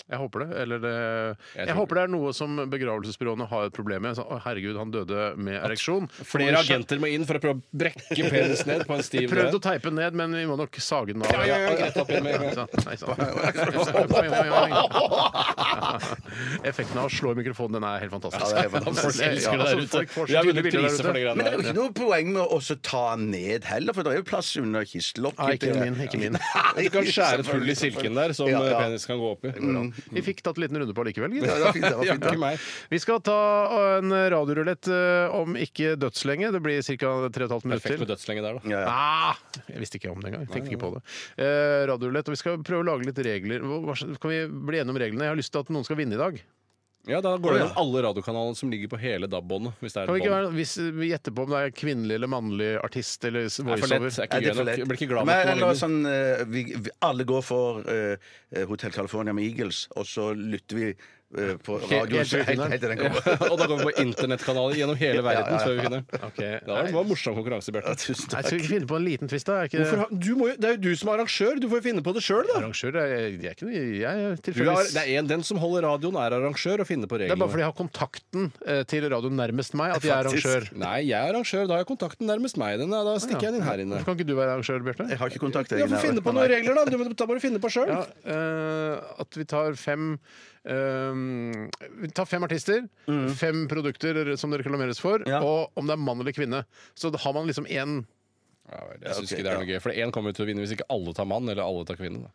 S5: Jeg håper det. Eller det jeg, håper det er noe som begravelsesbyråene har et problem med. Sånn, å, herregud, han døde med ereksjon.
S9: Flere agenter må inn for å prøve å brekke penis ned på en stiv
S5: Prøvd å teipe den ned, men vi må nok sage den av.
S9: Ja, ja, ja, greit, opp igjen med en gang.
S5: Sånn, nei, sånn. Effekten av å slå i mikrofonen, den er helt fantastisk.
S12: Ja, det er helt fantastisk.
S5: Folk elsker det der
S9: altså,
S5: ute.
S12: Folk får så
S5: Vi har
S12: stille
S5: vunnet
S12: bilder
S5: priser
S12: der
S5: for
S12: ute.
S5: det greiene
S12: Men det er jo
S5: der.
S12: ikke noe poeng med å så ta den ned heller, for det er jo plass under kistelokket.
S5: Nei, ikke min, ikke min.
S12: Nei,
S9: Du kan skjære et hull i
S12: selvfølgelig,
S9: silken der som
S12: Ja, ja.
S9: eh, penis kan gå opp i.
S12: Mm.
S5: Vi fikk tatt en liten runde på likevel, gitt.
S12: Ja, det var fint, det var fint, det.
S5: Ikke meg. Vi skal ta en radiorulett eh, om ikke dødslenge. Det blir ca. 3,5 minutter
S9: Perfekt
S5: til.
S9: med dødslenge der, da.
S5: Ah, jeg visste ikke om det engang. Jeg Tenkte ikke på det. Eh, radiorulett, og Vi skal prøve å lage litt regler. Hva- hva slags- Kan vi bli enige om reglene? Jeg har lyst til at noen skal vinne i dag.
S9: Ja, da går det
S5: Å, ja.
S9: gjennom alle radiokanalene som ligger på hele DAB-båndet. Hvis det er
S5: Kan vi
S9: et
S5: ikke
S9: bånd.
S5: være, hvis vi gjetter på om det er kvinnelig eller mannlig artist eller s-
S9: for lett.
S5: voiceover
S9: Det er ikke gøy nok. Jeg blir ikke glad nok
S12: Men
S9: når
S12: eller
S9: man
S12: sånn, eh, vi, vi, alle går for eh, Hotel California med Eagles, og så lytter vi eh, på
S9: Helt-
S12: radioen
S9: helt til vi
S12: helt-
S9: finner den.
S12: helt til den kommer.
S9: Ja, og da går vi på internettkanaler gjennom hele verden
S12: Ja, ja, ja.
S9: før vi finner den.
S5: Ok.
S9: Det var det var en morsom konkurranse, Bjarte.
S5: Nei, skal vi ikke finne på en liten twist, da? Er ikke
S9: Hvorfor har- du må jo- det er jo du som er arrangør, du får jo finne på det sjøl, da.
S5: Arrangør, jeg, jeg er ikke noe Jeg er
S9: Du er,
S5: tilfeldigvis
S9: det er en, den som holder radioen, er arrangør og finner på
S5: Det er bare fordi
S9: reglene.
S5: jeg har kontakten eh, til radioen nærmest meg at jeg er
S9: Faktisk.
S5: arrangør.
S9: Nei, jeg er arrangør. Da har jeg kontakten nærmest meg. Den er, da stikker jeg den inn her inne.
S5: Kan ikke du være arrangør, Bjarte?
S12: Jeg har ikke kontakt.
S9: Ja, Få finne på noen regler, da. Du må, da må du finne på sjøl.
S5: Ja, eh, at vi tar fem eh, Vi tar fem artister, fem produkter eh, som det reklameres for, og om det er mann eller kvinne. Så da har man liksom én
S9: Ja, vel, jeg syns ikke det er noe gøy. For én kommer jo til å vinne hvis ikke alle tar mann, eller alle tar kvinne. Da.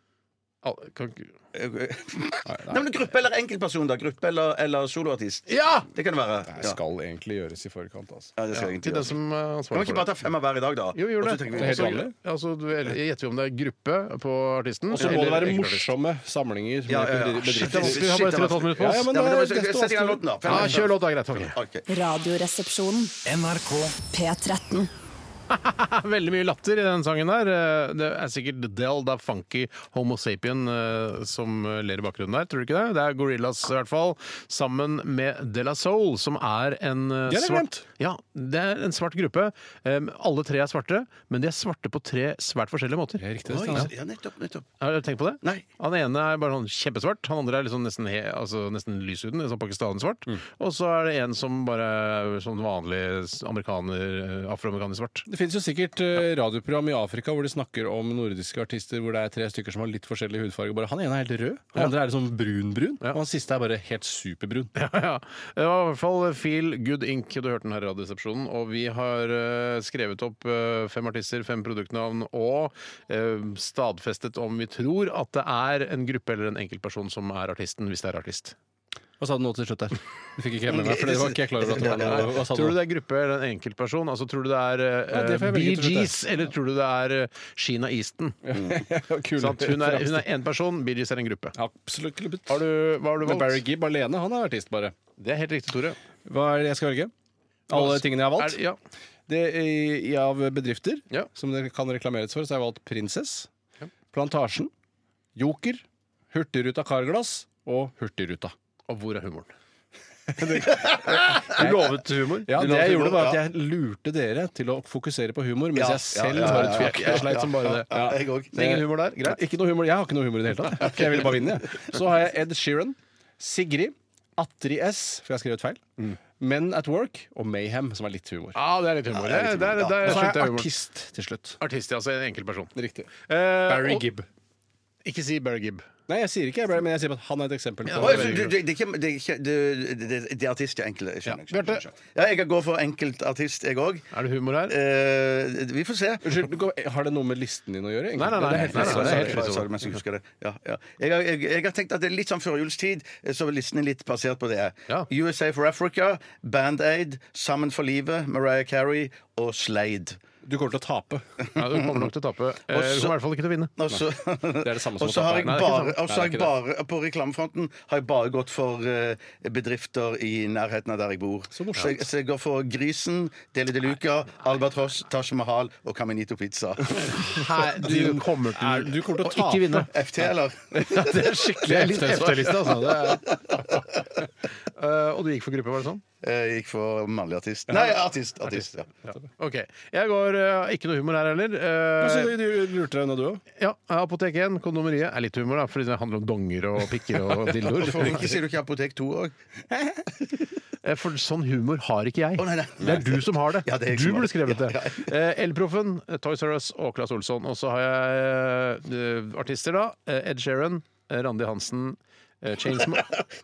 S5: Al- kan ikke-
S12: Nei, men Gruppe eller enkeltperson, da? Gruppe eller, eller soloartist?
S5: Ja!
S12: Det kan det være.
S9: Det skal egentlig gjøres i forkant, altså.
S12: Ja, det skal
S5: Ja,
S12: egentlig
S5: til den
S12: gjøres.
S5: som er
S12: Kan vi
S5: ansvarlig
S12: ikke
S5: for
S12: bare
S5: det.
S12: ta fem av hver i dag, da?
S5: Jo, vi gjør
S12: Og så
S5: det.
S12: tenker vi-
S9: Det er helt vanlig.
S5: Altså, du- eller gjetter vi om det er gruppe på artisten.
S9: Og så må det
S5: eller
S9: være
S5: enkeltartist.
S9: morsomme samlinger.
S12: Ja, ja, ja.
S9: med bedrifter.
S12: Shit,
S5: Det er vanskelig, Vi har bare
S12: Shit, det er
S5: 3,5 minutter på oss.
S9: Ja, ja, men
S12: Ja, men
S9: da-
S12: det var-
S9: desto
S12: Sett i gang låten, da.
S5: Ja, kjør låt, da. Greit. ok.
S12: Ok.
S7: Radioresepsjonen.
S2: NRK.
S7: P13.
S5: Veldig mye latter i den sangen der. Eh, Det er sikkert Del da Funky Homo Sapien eh, som ler i bakgrunnen der, tror du ikke det? Det er Gorillas i hvert fall, sammen med De La Soul, som er en eh,
S9: Det har jeg
S5: svart Ja, det er en svart gruppe. Eh, Alle tre er svarte, men de er svarte på tre svært forskjellige måter.
S9: Riktig,
S12: Oi,
S9: Stian.
S12: Ja, nettopp, nettopp.
S5: Har dere tenkt på det?
S12: Nei.
S5: Han ene er bare sånn kjempesvart, han andre er liksom nesten, he, altså nesten lyshuden, sånn pakistanersvart.
S9: Mm.
S5: Og så er det en som bare er sånn vanlig amerikaner, afroamerikaner svart.
S9: Det finnes jo sikkert eh, radioprogram i Afrika hvor de snakker om nordiske artister hvor det er tre stykker som har litt forskjellig hudfarge. Bare, han ene er helt rød, han andre er liksom brun-brun, og han siste er bare helt superbrun.
S5: Ja, det var i hvert fall Feel Good Inc. Du hørte den her i Radioresepsjonen. Og vi har eh, skrevet opp eh, fem artister, fem produktnavn, og eh, stadfestet om vi tror at det er en gruppe eller en enkeltperson som er artisten, hvis det er artist.
S9: Hva sa du nå til slutt der? Det fikk ikke jeg med meg, for det var ikke jeg klar over at det var noe. Hva sa du
S5: Tror du
S9: nå?
S5: det er gruppe eller en enkeltperson? Altså, tror du det er
S9: Ja, det
S5: eh,
S9: får jeg velge
S5: Bee
S9: til slutt,
S5: Gees, eller tror du det er eh, Sheena Easton?
S9: Kul
S5: Sant? Hun er
S9: referanse.
S5: hun er én person, Bee Gees er en gruppe.
S9: Absolutt klubbet.
S5: Har du, hva har du
S9: Men Barry
S5: valgt?
S9: Gibb alene, han er artist bare.
S5: Det er helt riktig, Tore.
S9: Hva er det jeg skal velge? Alle tingene jeg har
S5: Er,
S9: valgt?
S5: ja.
S9: Det er, i- av bedrifter
S5: Ja.
S9: som det kan reklameres for, så har jeg valgt Prinsess, Plantasjen, Joker, Hurtigruta Karglass og Hurtigruta.
S5: Og hvor er humoren?
S9: Du lovet humor? Ja,
S12: Du
S5: altså,
S9: det
S12: lovet
S9: jeg
S12: humor,
S9: gjorde var at
S12: ja.
S9: jeg lurte dere til å fokusere på humor, mens
S12: Ja,
S9: jeg selv
S12: ja, ja,
S9: har
S12: ja,
S9: et
S12: ja,
S9: fjekk. Jeg sleit som bare det.
S12: Ja, jeg òg.
S5: Det er ingen humor der? Greit.
S9: Ikke noe humor. Jeg har ikke noe humor i det hele tatt. Jeg ville bare vinne, jeg. Så har jeg Ed Sheeran, Sigrid, Atri S, for jeg har skrevet feil, Men at Work og Mayhem, som er litt humor.
S5: Ja, det er litt humor.
S12: Ja, det er litt
S5: Det er-
S12: humor,
S5: det er-
S9: Og så har
S5: skjønte jeg
S9: jeg
S5: humoren.
S9: artist til slutt.
S5: Artist, ja. Altså en enkeltperson.
S9: Riktig.
S5: Eh,
S9: Barry
S5: og-
S9: Gibb.
S5: Ikke si Barry Gibb.
S9: Nei, jeg sier ikke jeg, Barry, men jeg sier at han er et eksempel på
S12: Oi, så du- du- Det er ikke- det er ikke- du- det- det- det er artist, ja. Enkel. jeg skjønner, skjønner,
S5: Bjarte.
S12: skjønner. Ja, jeg kan gå for enkeltartist, jeg òg.
S5: Er det humor her?
S12: Eh, vi får se.
S9: Unnskyld, du går- har det noe med listen din å gjøre? egentlig?
S5: Nei, nei, nei,
S9: Det er helt
S5: nei, nei,
S9: fritt.
S5: nei,
S12: Sorry,
S9: Det er helt
S12: sorry,
S5: fritt.
S12: sorry, sorry, mens jeg husker det. Ja, ja. Jeg, har- jeg, jeg har tenkt at det er litt sånn førjulstid, eh, så er listen er litt basert på det.
S5: Ja.
S12: USA for Africa, Band-Aid, Sammen for livet, Mariah Carey og Slade.
S9: Du kommer til å tape.
S5: Ja, du kommer nok til å tape. Eh, Du kommer i hvert fall ikke til å vinne.
S12: Og så
S9: er det samme som
S12: og så
S9: å tape.
S12: har jeg
S9: Nei,
S5: det er ikke
S12: bare,
S5: sant.
S12: og så har
S9: Nei, det er
S12: jeg bare på reklamefronten har jeg bare gått for eh, bedrifter i nærheten av der jeg bor. Så, jeg, så jeg går for Grisen, Deli de Luca, Albatross, Taj Mahal og Caminito Pizza.
S5: Nei, du kommer til,
S9: Er- du kommer til å
S5: å ikke
S9: tape.
S5: vinne.
S12: FT, eller?
S5: Det er skikkelig
S9: FT-liste,
S5: FT-liste, altså. Det er... Eh, og du gikk for gruppe, var det sånn?
S12: Jeg gikk for mannlig artist. Nei, artist. artist ja.
S5: Ok, Jeg går eh, Ikke noe humor her heller.
S9: Så
S5: Eh,
S9: du du lurte deg unna, du òg?
S5: ja, Apotek 1, kondomeriet, er litt humor, da, fordi det handler om donger og pikker og dildoer.
S12: Hvorfor ikke sier du ikke Apotek 2 òg?
S5: Eh, For sånn humor har ikke jeg.
S12: nei, nei.
S5: Det er du som har det.
S12: Ja, det er jeg
S5: du
S12: som har
S5: burde
S12: det.
S5: skrevet det.
S12: Ja,
S5: Eh, Elproffen, eh, Toys R Us og Claes Olsson. Og så har jeg eh, artister, da. Eh, Ed Sheeran, eh, Randi Hansen, eh, Chainsm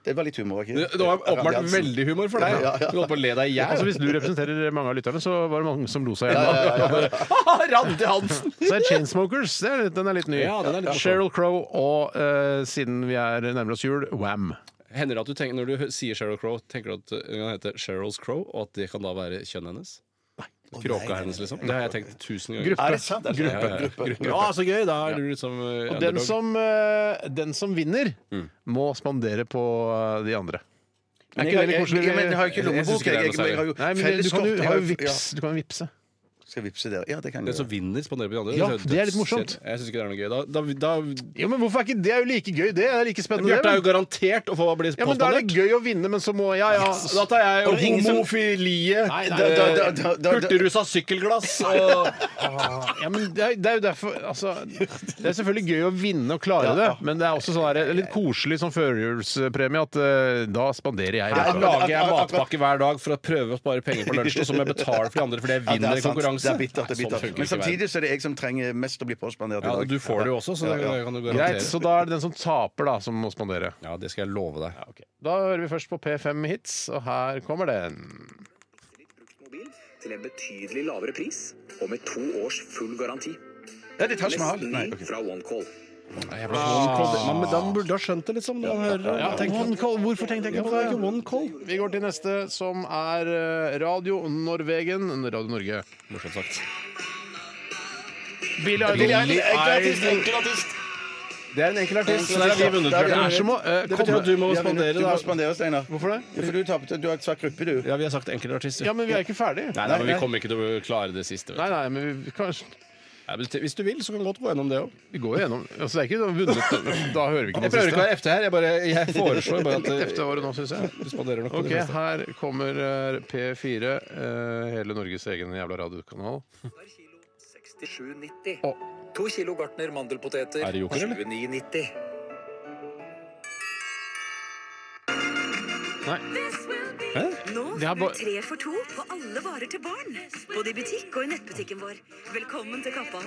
S12: Det var litt humor, ikke
S9: Det det var åpenbart
S12: Radiansen.
S9: veldig humor for deg.
S12: Ja, ja.
S9: Du holdt på å le deg i hjel.
S5: Altså, hvis du representerer mange av lytterne, så var det mange som lo seg
S9: Ja,
S5: hjemme.
S9: ja, ja, Randi Hansen!
S5: Så er Chainsmokers. Det er, litt- den er litt ny.
S9: Ja, den er litt morsom.
S5: Sheryl Crow og, eh, siden vi er nærmer oss jul, Wham.
S9: Hender det at du tenker, Når du hø- sier Sheryl Crow, tenker du at eh, hun heter Sheryl's Crow, og at det kan da være kjønnet hennes? Kråka hennes, liksom? Det har jeg tenkt tusen ganger.
S5: Gruppe. Er det
S12: sant?
S9: Gruppe. Ja, ja, ja. gruppe. Ja, så gøy! Da er Mm. du litt som eh,
S5: Og den
S9: underdog.
S5: som, eh, den som vinner, må spandere på eh, de andre. Er
S12: Men
S5: ikke det
S12: jeg-
S5: litt koselig?
S12: jeg- jeg- men jeg har jo
S9: Jeg
S12: ikke
S9: synes
S12: lommebok.
S9: ikke det er
S12: Jeg, jeg,
S9: noe
S12: jeg har jo
S5: Nei, men du kan
S12: felleskort.
S5: jo,
S12: Jeg
S5: har jo
S12: jo-
S5: vips, du kan vipse.
S12: Ja, skal jeg vipse dere? Ja, det kan jeg
S9: Den som
S12: gjøre.
S9: vinner, spanderer på de andre.
S5: Ja,
S9: høres
S5: det er litt
S9: dødskjedelig.
S5: morsomt.
S9: Jeg syns ikke det er noe gøy. Da, da, da,
S5: Jo, men hvorfor er ikke det er jo like gøy? Det er like spennende.
S9: Bjarte er
S5: det,
S9: jo garantert å få bli
S5: men- ja, men Da er
S9: påspandert.
S5: det gøy å vinne, men så må Ja, ja.
S9: Yes. Da tar jeg
S5: Og det er ingen som-
S9: homofilie,
S5: Nei, nei,
S12: da- da-
S9: eh,
S12: da- da-
S9: hurtigrusa sykkelglass og
S5: ja men det, er, det er jo derfor altså, Det er selvfølgelig gøy å vinne og klare det, men det er også sånn her, det er litt koselig som førjulspremie at eh, da spanderer jeg.
S9: Her
S5: rett og slett.
S9: lager jeg matpakke hver dag for å prøve å spare penger på lunsj, og så må jeg betale for de andre fordi jeg
S12: Ja, det
S9: vinner
S12: er
S9: i
S12: sant. Det
S9: konkurranse.
S12: er bittert. Det er
S9: Sånn
S12: bittert.
S9: funker
S12: Men
S9: ikke verden.
S12: samtidig så er det jeg som trenger mest å bli påspandert i
S9: ja,
S12: dag.
S9: Du får det jo også, så det kan du
S5: Greit,
S9: garantere.
S5: så da er det den som taper, da, som må spandere.
S9: Ja, det skal jeg love deg.
S5: Da hører vi først på P5 Hits, og her kommer den.
S14: til en betydelig lavere pris og med to års full garanti.
S12: Ja, det tar som jeg har. Nei, ok.
S14: fra OneCall.
S9: Man, men han burde ha skjønt det, liksom. Når han hører
S5: Ja,
S9: tenker-
S5: one call. Hvorfor tenkte jeg ikke på
S9: Ja,
S5: det?
S9: ikke one call.
S5: Vi går til neste, som er eh, Radio Norwegen. Radio Norge.
S9: Morsomt sagt.
S5: Billy
S9: Billie
S5: Idol.
S9: Eilish, enkel artist,
S5: Idol.
S9: Det er en enkel artist.
S12: Enkel
S9: så Der har vi
S12: artist,
S9: vunnet.
S12: ja. Der er vi
S9: Bjarte.
S5: Det er som å eh,
S9: Det betyr
S5: komme
S9: at du må
S12: Ja, men
S9: spandere,
S12: du
S9: da.
S12: må spandere, Steinar.
S5: Hvorfor det?
S12: Ja, for du tapte. Du har et svart gruppe, du.
S9: Ja, vi har sagt enkelartist.
S5: Ja, men vi er ikke ferdig.
S9: Nei, nei, men vi kommer ikke til å klare det siste. Vet.
S5: Nei, nei, men vi, kanskje,
S9: du. Nei, men Hvis du vil, så kan vi godt gå gjennom det òg.
S5: vi går jo gjennom altså, Det er ikke vunnet. Da hører vi ikke
S9: Jeg
S5: den
S9: prøver ikke å
S5: siste.
S9: være FT her. Jeg, bare, jeg foreslår bare at
S5: Litt efter året nå, syns jeg.
S9: du spanderer nok. på
S5: Ok,
S9: det meste.
S5: her kommer eh, P4, eh, hele Norges egen jævla radiokanal.
S14: 67,90. To kilo gartner mandelpoteter.
S9: Er det joker, eller?
S14: 29,90.
S15: Nå
S5: Det
S15: får
S5: er
S15: du
S5: bare-
S15: tre for to på alle varer til barn. Både i butikk og i nettbutikken vår. Velkommen til Kappa.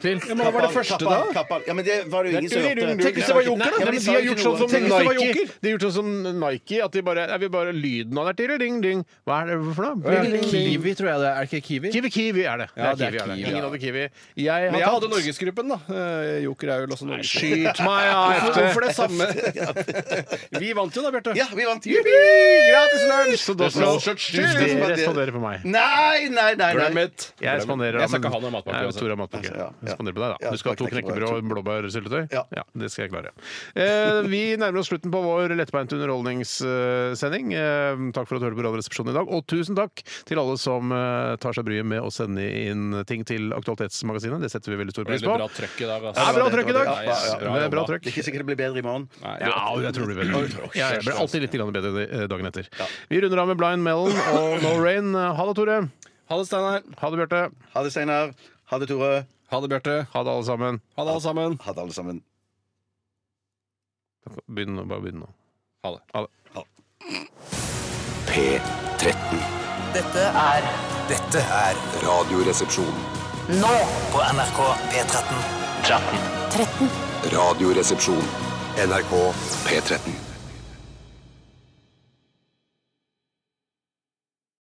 S5: Til.
S9: Ja, men Hva var det første, da?
S12: Ja, men det var det jo ingen som hørte.
S9: Tenk hvis det var joker, da?
S5: Nei,
S12: Ja,
S5: men
S12: men
S5: de har gjort sånn som
S9: Tenk hvis det var
S5: Nike.
S9: joker.
S5: De har gjort sånn som Nike At de bare, er vi bare lyden av det til, ding, ding. Hva er det for noe?
S9: Ja,
S5: Ding, ding, ding.
S9: Kiwi, tror jeg det er. Er det ikke Kiwi?
S5: Kiwi Kiwi er det. Det
S9: Ja,
S5: er Kiwi, er det. Ingen
S9: ja.
S5: hadde Kiwi. Jeg
S9: Men jeg
S5: har
S9: hadde
S5: tatt
S9: Norgesgruppen, da. Eh, Joker er jo også Norgesgruppen.
S5: Skyt meg,
S9: Hvorfor
S5: AFT!
S9: hvorfor det samme? Vi vant jo da, Bjarte.
S12: Ja, vi vant.
S5: Gratis lunsj! Så da
S9: Dere
S5: skal dere spandere på meg.
S12: Nei, nei, nei. nei.
S9: Glem it.
S5: Jeg
S9: Glem it.
S5: spanderer
S9: Jeg skal ikke ha noe matpakke.
S5: Nei,
S9: altså.
S5: Tore har matpakke.
S12: Altså, ja, ja.
S5: Jeg spanderer på deg,
S12: Ja,
S5: da. Du skal ha to
S12: takk, takk, takk.
S5: knekkebrød og blåbærsyltetøy?
S12: Ja.
S5: det skal jeg klare. Eh, vi nærmer oss slutten på vår lettbeinte underholdningssending. Eh, takk for at du hørte på Radioresepsjonen i dag, og tusen takk til alle som eh, tar seg bryet med å sende inn ting til Aktualitetsmagasinet. Det setter vi veldig stor
S9: Det
S5: pris
S9: ble
S5: på.
S9: bra trøkk i dag.
S5: Ja,
S9: altså.
S5: det er bra trøkk i dag!
S12: Ja, ja, ja.
S5: Det er bra
S12: Det er
S5: trøkk.
S12: ikke sikkert det blir bedre i morgen.
S9: Nei, det
S5: Ja,
S9: var-
S5: jeg tror det blir bedre. Ja, Jeg blir alltid litt grann bedre eh, dagen etter. Vi runder av med Blind Melon og No Rain. Ha det, Tore.
S9: Ha det, Steinar.
S5: Ha det, Bjarte.
S12: Ha det, Steinar. Ha det, Tore.
S9: Ha det, Bjarte.
S5: Ha det, alle sammen.
S9: Ha det, alle sammen.
S12: Ha det, alle sammen.
S5: Begynn nå. Bare begynn nå.
S9: Ha det.
S5: Ha det.
S2: P13.
S3: Dette er
S2: Dette er Radioresepsjon.
S3: nå på NRK P13.
S7: 13.
S2: Radioresepsjon. NRK P13.